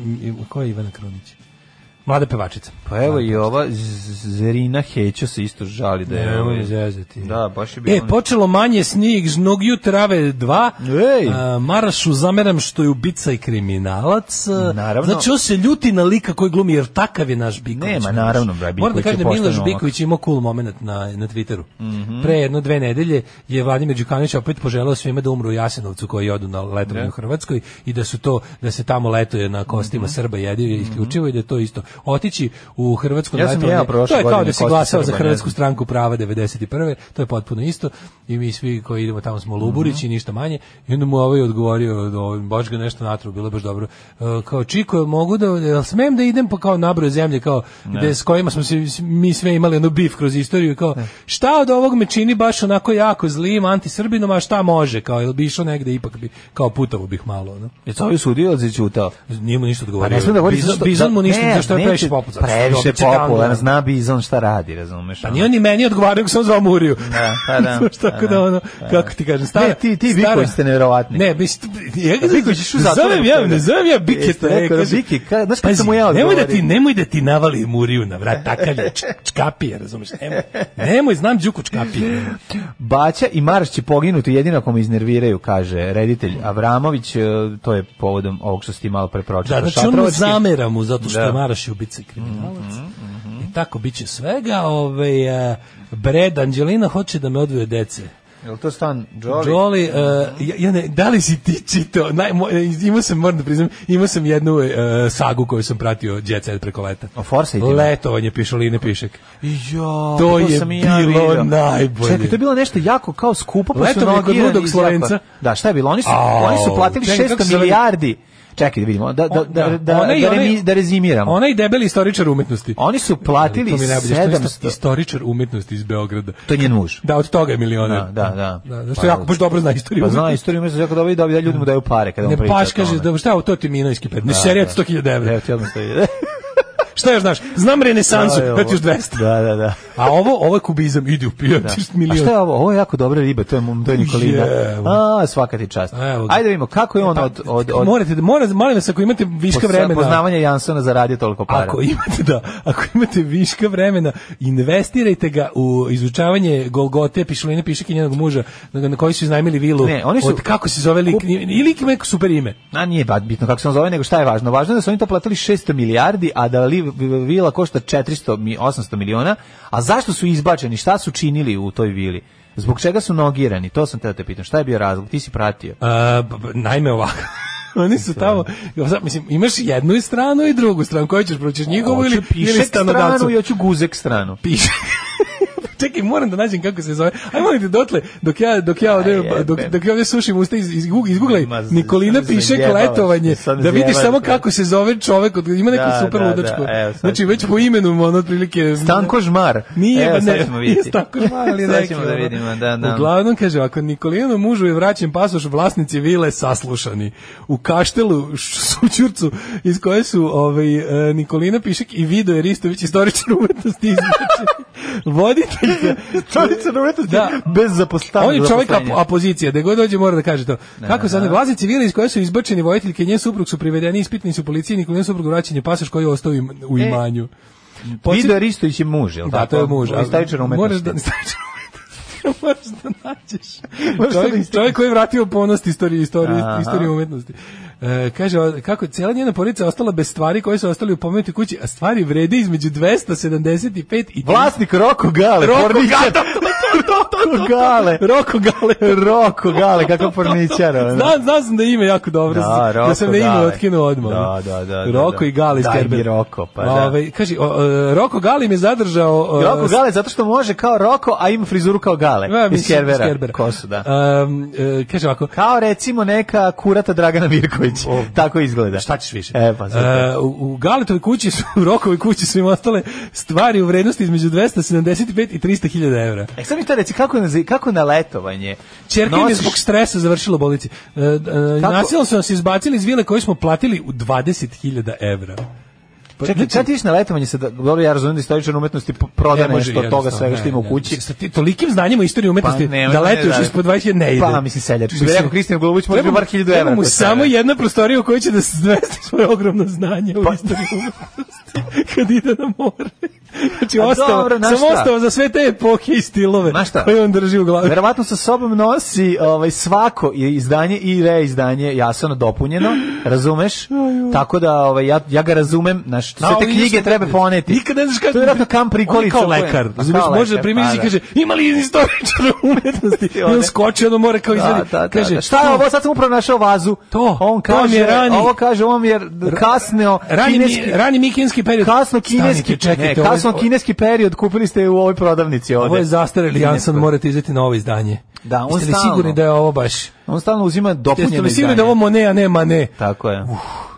S6: ko je Ivana Krunić? Mlada pevačica.
S5: pa evo i ova Z- Zerina Hećo se isto žali da je...
S6: Nemoj
S5: ovaj-
S6: me zezati.
S5: Da, baš je bilo...
S6: E, počelo manje snig, žnogiju trave dva.
S5: Ej!
S6: A, Marašu zameram što je ubica i kriminalac.
S5: Naravno.
S6: Znači, on se ljuti na lika koji glumi, jer takav je naš Biković.
S5: Nema, naravno, bre,
S6: Moram da
S5: Biković je
S6: kažem da
S5: pošten Mhm.
S6: Miloš
S5: momak.
S6: Biković imao cool moment na, na Twitteru. Pre jedno dve nedelje je Vladimir Đukanović opet poželao svima da umru u Jasenovcu koji odu na letovanje u Hrvatskoj i da su to, da se tamo letuje na kostima
S5: Mhm.
S6: Srba jedio i isključivo i da je to isto. Otići u Hrvatsku na
S5: Ja sam
S6: letovanje,
S5: jeo prošle
S6: to je kao
S5: godine
S6: da si
S5: kosti
S6: glasao za
S5: Srba, ne
S6: Hrvatsku
S5: znam.
S6: stranku prava 91. To je potpuno isto. I mi svi koji idemo tamo smo Luburić
S5: Mhm.
S6: i ništa manje. I onda mu ovaj odgovorio, da ovaj, baš ga nešto natru, bilo je baš dobro. E, kao Čiko, mogu da, jel smem da idem pa kao nabroje zemlje kao gde, s kojima smo se, s- mi sve imali ono bif kroz istoriju. i Kao, šta od ovog me čini baš onako jako zlim, antisrbinom, a šta može? Kao, jel bi išao negde ipak bi, kao putovo bih malo. Ono.
S5: Je to ovaj sudio ili začutao?
S6: Nije mu ništa odgovorio.
S5: Pa ne smije da govori
S6: Bizon,
S5: zašto-
S6: Bizon mu ništa,
S5: ne,
S6: zašto je
S5: neće-
S6: previše popularan.
S5: Previše
S6: Opet će dan-
S5: popularan, zna Bizon šta radi, razumeš? ono.
S6: Pa nije on ni meni odgovarao, nego sam zvao Muriju.
S5: Da, pa da,
S6: *laughs* Znaš, tako
S5: pa da,
S6: da ono, kako ti kažem, stara...
S5: Ne, ti- ti
S6: stara-
S5: Biković ste nevjerovatni. Pa
S6: Ne, mislim, ja ga
S5: Biković je u zatvoru,
S6: zovem ja,
S5: kolega.
S6: ne zovem ja Bike,
S5: Jeste
S6: to je,
S5: rekao da
S6: kažem,
S5: Biki, ka- znaš kad
S6: pazi,
S5: sam mu ja
S6: Nemoj da ti,
S5: odgovorio?
S6: nemoj da ti navali Muriju na vrat, takav je, č- čkapije, razumiješ, nemoj, nemoj, znam Đuku čkapije.
S5: Baća i Marš će poginuti jedino ako me iznerviraju, kaže reditelj Avramović, e, to je povodom ovog što si ti malo prepročao.
S6: Da, znači on mu
S5: Šatrovački.
S6: zamera mu zato što
S5: Da.
S6: je Maraš i ubica i kriminalac. I tako bit će svega, ovaj, eh, Bred, Anđelina hoće da me odvoje od dece.
S5: Jel to stan Jolly?
S6: Jolly, eh, ja, ja ne, da li si ti čitao? Naj, mo, eh, imao sam, moram da priznam, imao sam jednu eh, sagu koju sam pratio Jet Set preko leta.
S5: O Forsythima?
S6: Letovanje pišoline pišek.
S5: Jo,
S6: To je
S5: sam i ja
S6: bilo
S5: vidio.
S6: najbolje.
S5: Čekaj, to je bilo nešto jako kao skupo, pa su
S6: Letovanje kod
S5: nogirani
S6: ludog
S5: iz Japana.
S6: Slovenca.
S5: Da, šta je bilo? Oni su,
S6: Au,
S5: oni su platili
S6: čekaj, kako
S5: 600
S6: se zove?
S5: milijardi. Čekaj da vidimo, da, da,
S6: On-
S5: da, da, da,
S6: onaj-
S5: remi-
S6: onaj-
S5: da rezimiramo.
S6: Onaj debeli istoričar umetnosti.
S5: Oni su platili
S6: To mi je najbolje, što je isto
S5: 700...
S6: Istoričar umetnosti iz Beograda.
S5: To je njen muž.
S6: Da, od toga je milioner.
S5: Da, da, da.
S6: Da, zato što jako baš dobro zna istoriju.
S5: Pa zna istoriju, mislim jako dobro i da da ljudima daju pare kada on
S6: Ne
S5: priča.
S6: paš
S5: o tome.
S6: *laughs*
S5: *laughs*
S6: kaže, da, šta je ovo, to ti je minojski pet. Ne, serija od 100.000 evra.
S5: Evo ti odmah stoji.
S6: Šta još znaš? Znam renesansu,
S5: To je ovo.
S6: eto još 200.
S5: Da, da, da.
S6: A ovo, ovo je kubizam, idi u pijan,
S5: Da.
S6: ti što
S5: A
S6: milion.
S5: šta je ovo? Ovo je jako dobra riba, to je, to je Nikolina.
S6: Jevo.
S5: A, svaka ti čast.
S6: Evo ga.
S5: Ajde da vidimo, kako je on
S6: Pa,
S5: od... od, od
S6: Morate, da- mora, molim vas, ako imate viška
S5: pos-
S6: vremena...
S5: Poznavanja Jansona zaradio toliko para.
S6: Ako imate da, ako imate viška vremena, investirajte ga u izučavanje Golgote, pišuline, pišek i njenog muža, na, na koji su iznajmili vilu.
S5: Ne, oni su-
S6: od kako se zove lik,
S5: Kup-
S6: ili lik ima neko super ime.
S5: A nije ba- bitno kako se on zove, nego šta je važno. Važno je da su oni to platili 600 milijardi, a da li vila košta 400, mi- 800 miliona. A zašto su izbačeni? Šta su činili u toj vili? Zbog čega su nogirani? To sam teo te pitam. Šta je bio razlog? Ti si pratio.
S6: A, E, b- b- naime ovako. *laughs* Oni su tamo, mislim, imaš jednu stranu i drugu stranu, koju ćeš proćiš njihovu ili,
S5: Hoću
S6: Pa ili
S5: pišek stranu
S6: stanodavcu?
S5: i hoću guzek stranu.
S6: piše. *laughs* Čekaj, moram da nađem kako se zove. Aj molim te dotle, dok ja, dok ja ovde,
S5: jebem.
S6: dok, dok ja ovde sušim usta, iz, iz, izguglaj
S5: Ma, z-
S6: Nikolina
S5: sad se
S6: piše
S5: zajebavaš,
S6: letovanje,
S5: sad me
S6: da vidiš
S5: zajebavaš,
S6: samo
S5: bre.
S6: kako se zove čovek, od- ima neku
S5: Da,
S6: super
S5: da,
S6: ludačku.
S5: da, evo, sad
S6: znači,
S5: ću-
S6: već po imenu, mu ono, otprilike...
S5: Stanko Žmar.
S6: Nije,
S5: Evo,
S6: ba
S5: sad
S6: ne,
S5: ćemo
S6: nije *laughs*
S5: vidjeti.
S6: Stanko Žmar,
S5: *laughs*
S6: ali
S5: Sad
S6: neki,
S5: ćemo da
S6: ono.
S5: vidimo, da, da.
S6: Uglavnom, kaže, ako Nikolinu mužu je vraćen pasoš, vlasnici vile saslušani. U kaštelu, š- *laughs* Sućurcu, iz koje su ovaj, e, Nikolina Pišek i Vido Jeristović, istoričar umetnosti,
S5: *laughs*
S6: izbačeni. Voditelj za-
S5: Čovječe na umetnosti
S6: Da.
S5: bez zapostavljena.
S6: on je čovjek ap- apozicija, da god dođe mora da kaže to. Kako se ne vlasnici vile iz koje su izbačeni vojiteljke, njen suprug su privedeni, ispitni su policiji, Nikolina suprug vraćen je pasoš koji je ostao im, u
S5: E,
S6: imanju. Podsjet-
S5: Video Ristović je muž, je li
S6: Da,
S5: tako?
S6: to je muž. ali
S5: Istoričar
S6: Moraš
S5: umetnosti.
S6: da *laughs* istoričar umetnosti. moraš da nađeš.
S5: Moraš da
S6: čovjek,
S5: istakneš.
S6: čovjek koji je vratio ponost istoriji, istoriji,
S5: Aha.
S6: istoriji umetnosti. E, kaže, o- kako je cijela njena porodica ostala bez stvari koje su ostali u pomenuti kući, a stvari vrede između 275 i...
S5: Vlasnik Roko Gale,
S6: Roko *laughs*
S5: porničar. Roko Gale.
S6: Roko Gale.
S5: Roko Gale, kakav porničar. ono.
S6: Znam, znao sam da je ime jako dobro.
S5: Da,
S6: Da,
S5: Roko
S6: da sam na ime
S5: Gale.
S6: otkinuo odmah. ono.
S5: Da, da, da, da,
S6: Roko
S5: da.
S6: i Gale iz
S5: Daj mi
S6: Kerbera.
S5: Roko, pa da.
S6: Ovaj, kaže, o, o, Roko Gale mi je zadržao... o,
S5: Roko Gale zato što može kao Roko, a ima frizuru kao Gale.
S6: Ja, mislim,
S5: iz Kerbera.
S6: Kerbera.
S5: Kosu, da.
S6: Um, e, kaže ovako,
S5: Kao recimo neka kurata Dragana Mirković. Tako izgleda.
S6: šta ćeš više?
S5: E, pa zato.
S6: E, u, u Galetovoj kući su, *laughs* u Rokovoj kući su im ostale stvari u vrednosti između 275 i 300 hiljada evra.
S5: E sad mi šta reći, kako na, kako na letovanje?
S6: Čerka im je
S5: Nosiš-
S6: zbog stresa završila u bolnici. E, e, nasilno su nas izbacili iz vile koju smo platili u 20.000 evra. Pa,
S5: Čekaj,
S6: znači,
S5: sad ti ideš na letovanje sa, dobro, ja razumijem da istoričar umetnosti p-
S6: ne
S5: proda
S6: može,
S5: nešto od toga
S6: jednostavno,
S5: svega što
S6: ne,
S5: ima u
S6: ne.
S5: kući.
S6: Sa ti, tolikim znanjem o istoriji umetnosti
S5: Pa, ne,
S6: da
S5: ne,
S6: letuješ
S5: da.
S6: ispod 20.000 ne ide.
S5: Pa, mislim, seljač. Što bi
S6: Mislim,
S5: rekao Kristijan Golubović, može
S6: treba-
S5: bar 1000 evra.
S6: Treba mu
S5: po sebi.
S6: samo jedna prostorija u kojoj će da se zvesti svoje ogromno znanje
S5: Pa-
S6: u istoriji umetnosti *laughs* kad ide na more. Znači,
S5: A
S6: ostao,
S5: dobro, znaš
S6: samo
S5: šta?
S6: ostao za sve te epohe i stilove
S5: Znaš šta?
S6: koje on drži u glavi.
S5: Verovatno sa sobom nosi ovaj svako i izdanje i reizdanje jasno dopunjeno, razumeš? Tako da ovaj ja, ja ga razumem, naš sve
S6: Da,
S5: te
S6: ali
S5: knjige
S6: ništa-
S5: treba poneti.
S6: Nikad ne znaš kako.
S5: To je vjerojatno kamp
S6: On je
S5: prikolica.
S6: kao
S5: koja-
S6: lekar.
S5: Pa,
S6: Razumiješ,
S5: kao
S6: može da
S5: lekar,
S6: primjer
S5: pa
S6: i
S5: da.
S6: kaže, ima li
S5: *laughs*
S6: istoričara umetnosti? I on
S5: Ode.
S6: skoči, ono more kao izvedi.
S5: Da, da, da,
S6: kaže,
S5: da. šta je ovo, sad sam upravo našao vazu.
S6: To,
S5: on
S6: to mi
S5: kaže,
S6: je rani-
S5: ovo kaže, on je kasneo
S6: Rani,
S5: kineski,
S6: mi, rani mikinski period.
S5: kasno kineski,
S6: Stanite, čekajte,
S5: ne,
S6: ovo je-
S5: kasno kineski period kupili ste u ovoj prodavnici ovde.
S6: Ovo je zastareli Jansan,
S5: Kinesko.
S6: morate izdati novo izdanje.
S5: Da, on
S6: Jeste li
S5: stalno-
S6: sigurni da je ovo baš?
S5: On stalno uzima dopunjeno
S6: Jeste li sigurni
S5: izdanje.
S6: da je ovo Monet, a ne Mane?
S5: Tako je.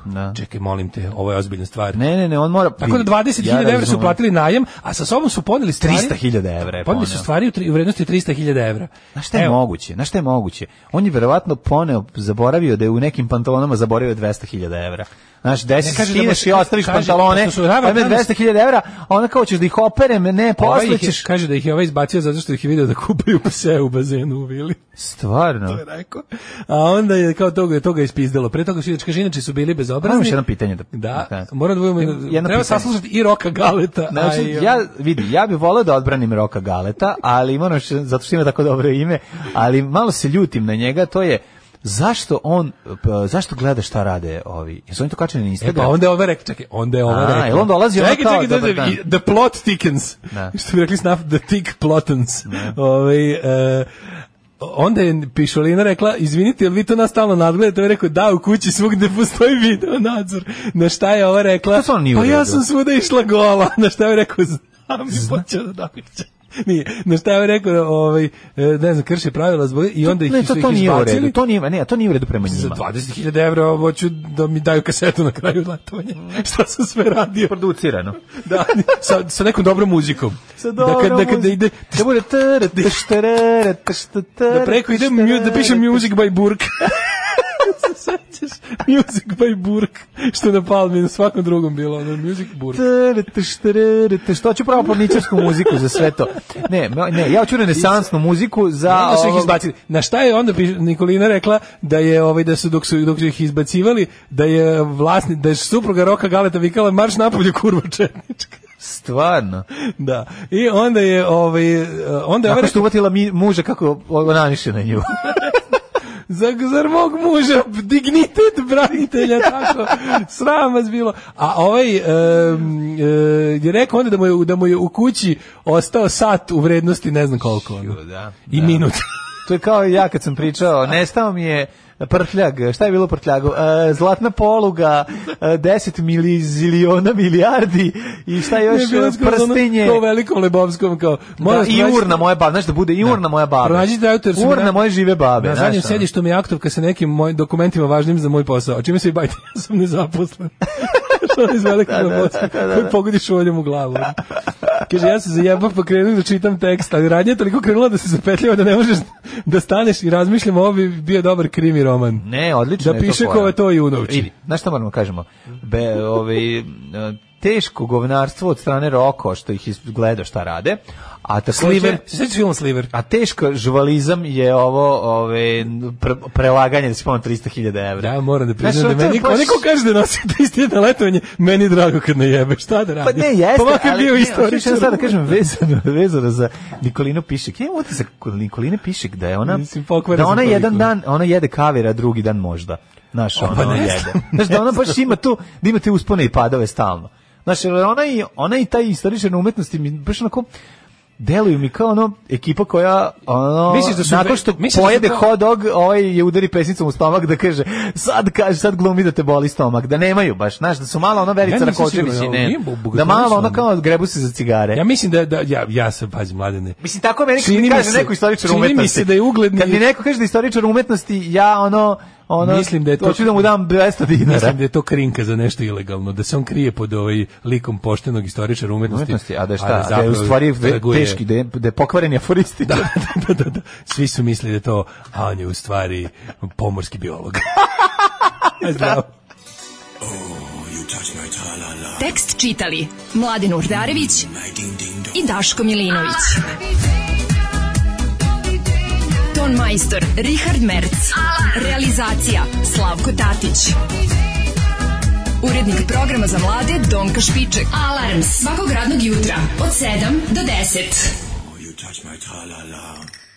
S5: da.
S6: Čekaj, molim te, ovo je ozbiljna stvar.
S5: Ne, ne, ne, on mora...
S6: Tako da 20.000 evra su platili najam, a sa sobom su poneli stvari...
S5: 300.000 evra je
S6: Poneli su
S5: poneo.
S6: stvari u, tri, u vrednosti 300.000 evra.
S5: pa ono. Na šta je
S6: Evo,
S5: moguće? Na šta je moguće? On je verovatno poneo, zaboravio da je u nekim pantalonama zaboravio 200.000 evra. Znaš,
S6: Ne,
S5: desi,
S6: kaže da mu
S5: skineš
S6: se-
S5: i ostaviš
S6: kaže,
S5: pantalone,
S6: pošto su ravno
S5: pa ima
S6: danas-
S5: 200.000 evra, a ona kao ćeš da ih operem, ne,
S6: Ovaj
S5: posle
S6: ih je,
S5: ćeš...
S6: kaže da ih je ovaj izbacio zato što ih je video da kupaju pse u bazenu u vili. *laughs*
S5: Stvarno.
S6: je rekao. A onda je kao toga, toga je ispizdalo. Pre toga su inače kaže, inače su bili bezobrazni.
S5: Moram još jedno pitanje da-
S6: Da,
S5: da.
S6: moram da budemo,
S5: Jedno
S6: treba
S5: pitanje.
S6: saslušati i Roka Galeta. ono.
S5: Znači,
S6: a i, um,
S5: ja vidi, ja bih voleo da odbranim Roka Galeta, ali moram što- zato što ima tako dobro ime, ali malo se ljutim na njega, to je zašto on p- zašto gleda šta rade ovi? Jesu oni to kačeni na
S6: E
S5: Instagram?
S6: pa onda je ova rekla, čekaj, onda je ova
S5: A,
S6: rekla.
S5: jel on dolazi ono
S6: čekaj,
S5: kao,
S6: čekaj,
S5: dobar
S6: da-
S5: dan.
S6: i- the plot thickens.
S5: Da.
S6: *laughs* Što bi rekli snaf, the thick plotens. Ovaj, e, onda je Pišolina rekla, izvinite, jel vi to nas stalno nadgledate? Ovo je rekao, da, u kući svugde *laughs* postoji video nadzor. Na šta je ova rekla?
S5: To stvarno nije u
S6: Pa ja
S5: redu."
S6: sam svuda išla gola. *laughs* Na šta je rekao, znam, i počeo da napiče. Nije. Na šta je rekao, ovaj, e, ne znam, krše pravila zbog... I onda ih
S5: ne,
S6: su
S5: to,
S6: ih
S5: to nije u
S6: izbacili.
S5: redu, to nije, ne, to nije u redu prema
S6: Za
S5: njima.
S6: 20.000 evra hoću da mi daju kasetu na kraju letovanja. *laughs* Šta sam sve radio?
S5: Producirano.
S6: Da, sa, sa nekom dobrom muzikom.
S5: Sa dobrom
S6: da, kad, da, kad, da
S5: muzikom.
S6: ide...
S5: Da bude tr, tš, tr, tš, tr, *laughs*
S6: Da preko ide mu, da piše music by Burk. Se sećaš? Music by Burk, što je na Palmi na svakom drugom bilo, ono Music Burk.
S5: Što ću pravo planičarsku muziku za sve to? Ne, ne, ja hoću renesansnu muziku za...
S6: Onda su ih izbacili. Na šta je onda piš- Nikolina rekla da je ovaj da su dok su dok su ih izbacivali da je vlasnik da je supruga Roka Galeta vikala marš napolje kurva četnička.
S5: Stvarno.
S6: *laughs* Da. I onda je ovaj onda je
S5: Tako
S6: ovaj *laughs*
S5: što uvatila mi, muža kako onaniše na nju.
S6: za, zar mog muža dignitet
S5: *laughs*
S6: branitelja tako sram vas bilo a ovaj em, e, je rekao onda da mu je, da mu je u kući ostao sat u vrednosti ne znam koliko ono.
S5: *laughs*
S6: i minut
S5: To je kao ja kad sam pričao, nestao mi je prtljag, šta je bilo u prtljagu? E, Zlatna poluga, e, 10 miliziliona milijardi i šta još
S6: Ne, *laughs* bilo je skroz ono
S5: prstenje.
S6: kao u velikom lebovskom kao
S5: Da,
S6: moraš
S5: I
S6: pronaći-
S5: urna moje babe, znaš da bude i urna moja babe.
S6: Pronađite auto jer su mi
S5: Urna
S6: na-
S5: moje žive babe.
S6: Na
S5: znaš
S6: zadnjem
S5: ono.
S6: sedištu mi je aktovka sa nekim mojim dokumentima važnim za moj posao. A čime se vi bavite? *laughs* Ja
S5: *laughs*
S6: sam nezaposlen. Što je iz velikog da, koji pogodiš oljom u glavu. Kaže, ja se zajebam pa krenuo da čitam tekst, ali radnje je toliko krenula da se zapetljava da ne možeš da staneš i razmišljam, ovo bi bio dobar krimi roman.
S5: Ne, odlično
S6: Da
S5: je to
S6: piše
S5: fora.
S6: ko je to Junovči.
S5: Idi, znaš šta moramo kažemo? Be, ovaj, e, teško govnarstvo od strane Roko što ih iz- gleda šta rade, a takođe-
S6: Sliver. Sveći film Sliver.
S5: A teško žvalizam je ovo ove, pre, prelaganje da si pomoći 300.000 evra.
S6: Da, moram da priznam
S5: Znaš,
S6: da
S5: to je
S6: meni,
S5: baš-
S6: onaj ko kaže da nosi 31 letovanje, meni je drago kad ne jebe, šta da
S5: Pa
S6: radi?
S5: ne, jeste,
S6: pa makar
S5: ali
S6: bio
S5: ne,
S6: istoričar.
S5: hoću sad da kažem vezano, vezano za Nikolinu Pišek. Ja imam utisak kod Nikoline Pišek da je ona,
S6: Mislim, pokvara
S5: da
S6: sam
S5: ona
S6: toliko.
S5: jedan dan, ona jede kavir, a drugi dan možda. Znaš, ona,
S6: pa
S5: ona
S6: ne
S5: jede.
S6: znam,
S5: Znaš, da ona
S6: ne
S5: baš
S6: znam.
S5: ima tu, da ima te uspone i padove stalno. Znaš, jer ona i, ona i taj istoričar na umetnosti mi baš onako, deluju mi kao ono ekipa koja ono
S6: Misliš da su
S5: nakon
S6: dve-
S5: što
S6: misliš da su
S5: pojede
S6: to-
S5: hot dog ovaj je udari pesnicom u stomak da kaže sad kaže sad glumi da te boli stomak da nemaju baš znaš da su malo ono
S6: Ja
S5: Verica
S6: nisam
S5: Rakočević
S6: siguran,
S5: i
S6: ali
S5: ne
S6: nije bogatoni
S5: da malo
S6: su
S5: ono
S6: oni.
S5: kao grebu se za cigare
S6: Ja mislim da, da ja, ja se pazi mladene.
S5: Mislim, tako meni kad
S6: Čini
S5: mi
S6: mi
S5: kaže
S6: se-
S5: neko istoričar
S6: čini mi
S5: umetnosti.
S6: se da je ugledni-
S5: Kad mi neko kaže da je istoričar umetnosti, ja ono... ono
S6: Mislim da je to-
S5: Hoću da mu dam 200 dinara.
S6: Mislim da je to krinka za nešto ilegalno, da se on krije pod ovaj likom poštenog istoričara umetnosti.
S5: umetnosti, a da je šta? Da je
S6: zapravo
S5: u stvari ve-
S6: trguje- *laughs*
S5: teški, da je, da je pokvaren aforisti.
S6: Da, da, da, da. Svi su mislili da je to, a on je u stvari pomorski biolog. *laughs* Zdravo.
S4: Tekst čitali Mladin Urdarević i Daško Milinović. Ton majstor Richard Merc. Realizacija Slavko Tatić. Urednik programa za mlade Donka Špiček. Alarms svakog radnog jutra od 7 do 10.
S12: You touch my tra-la-la.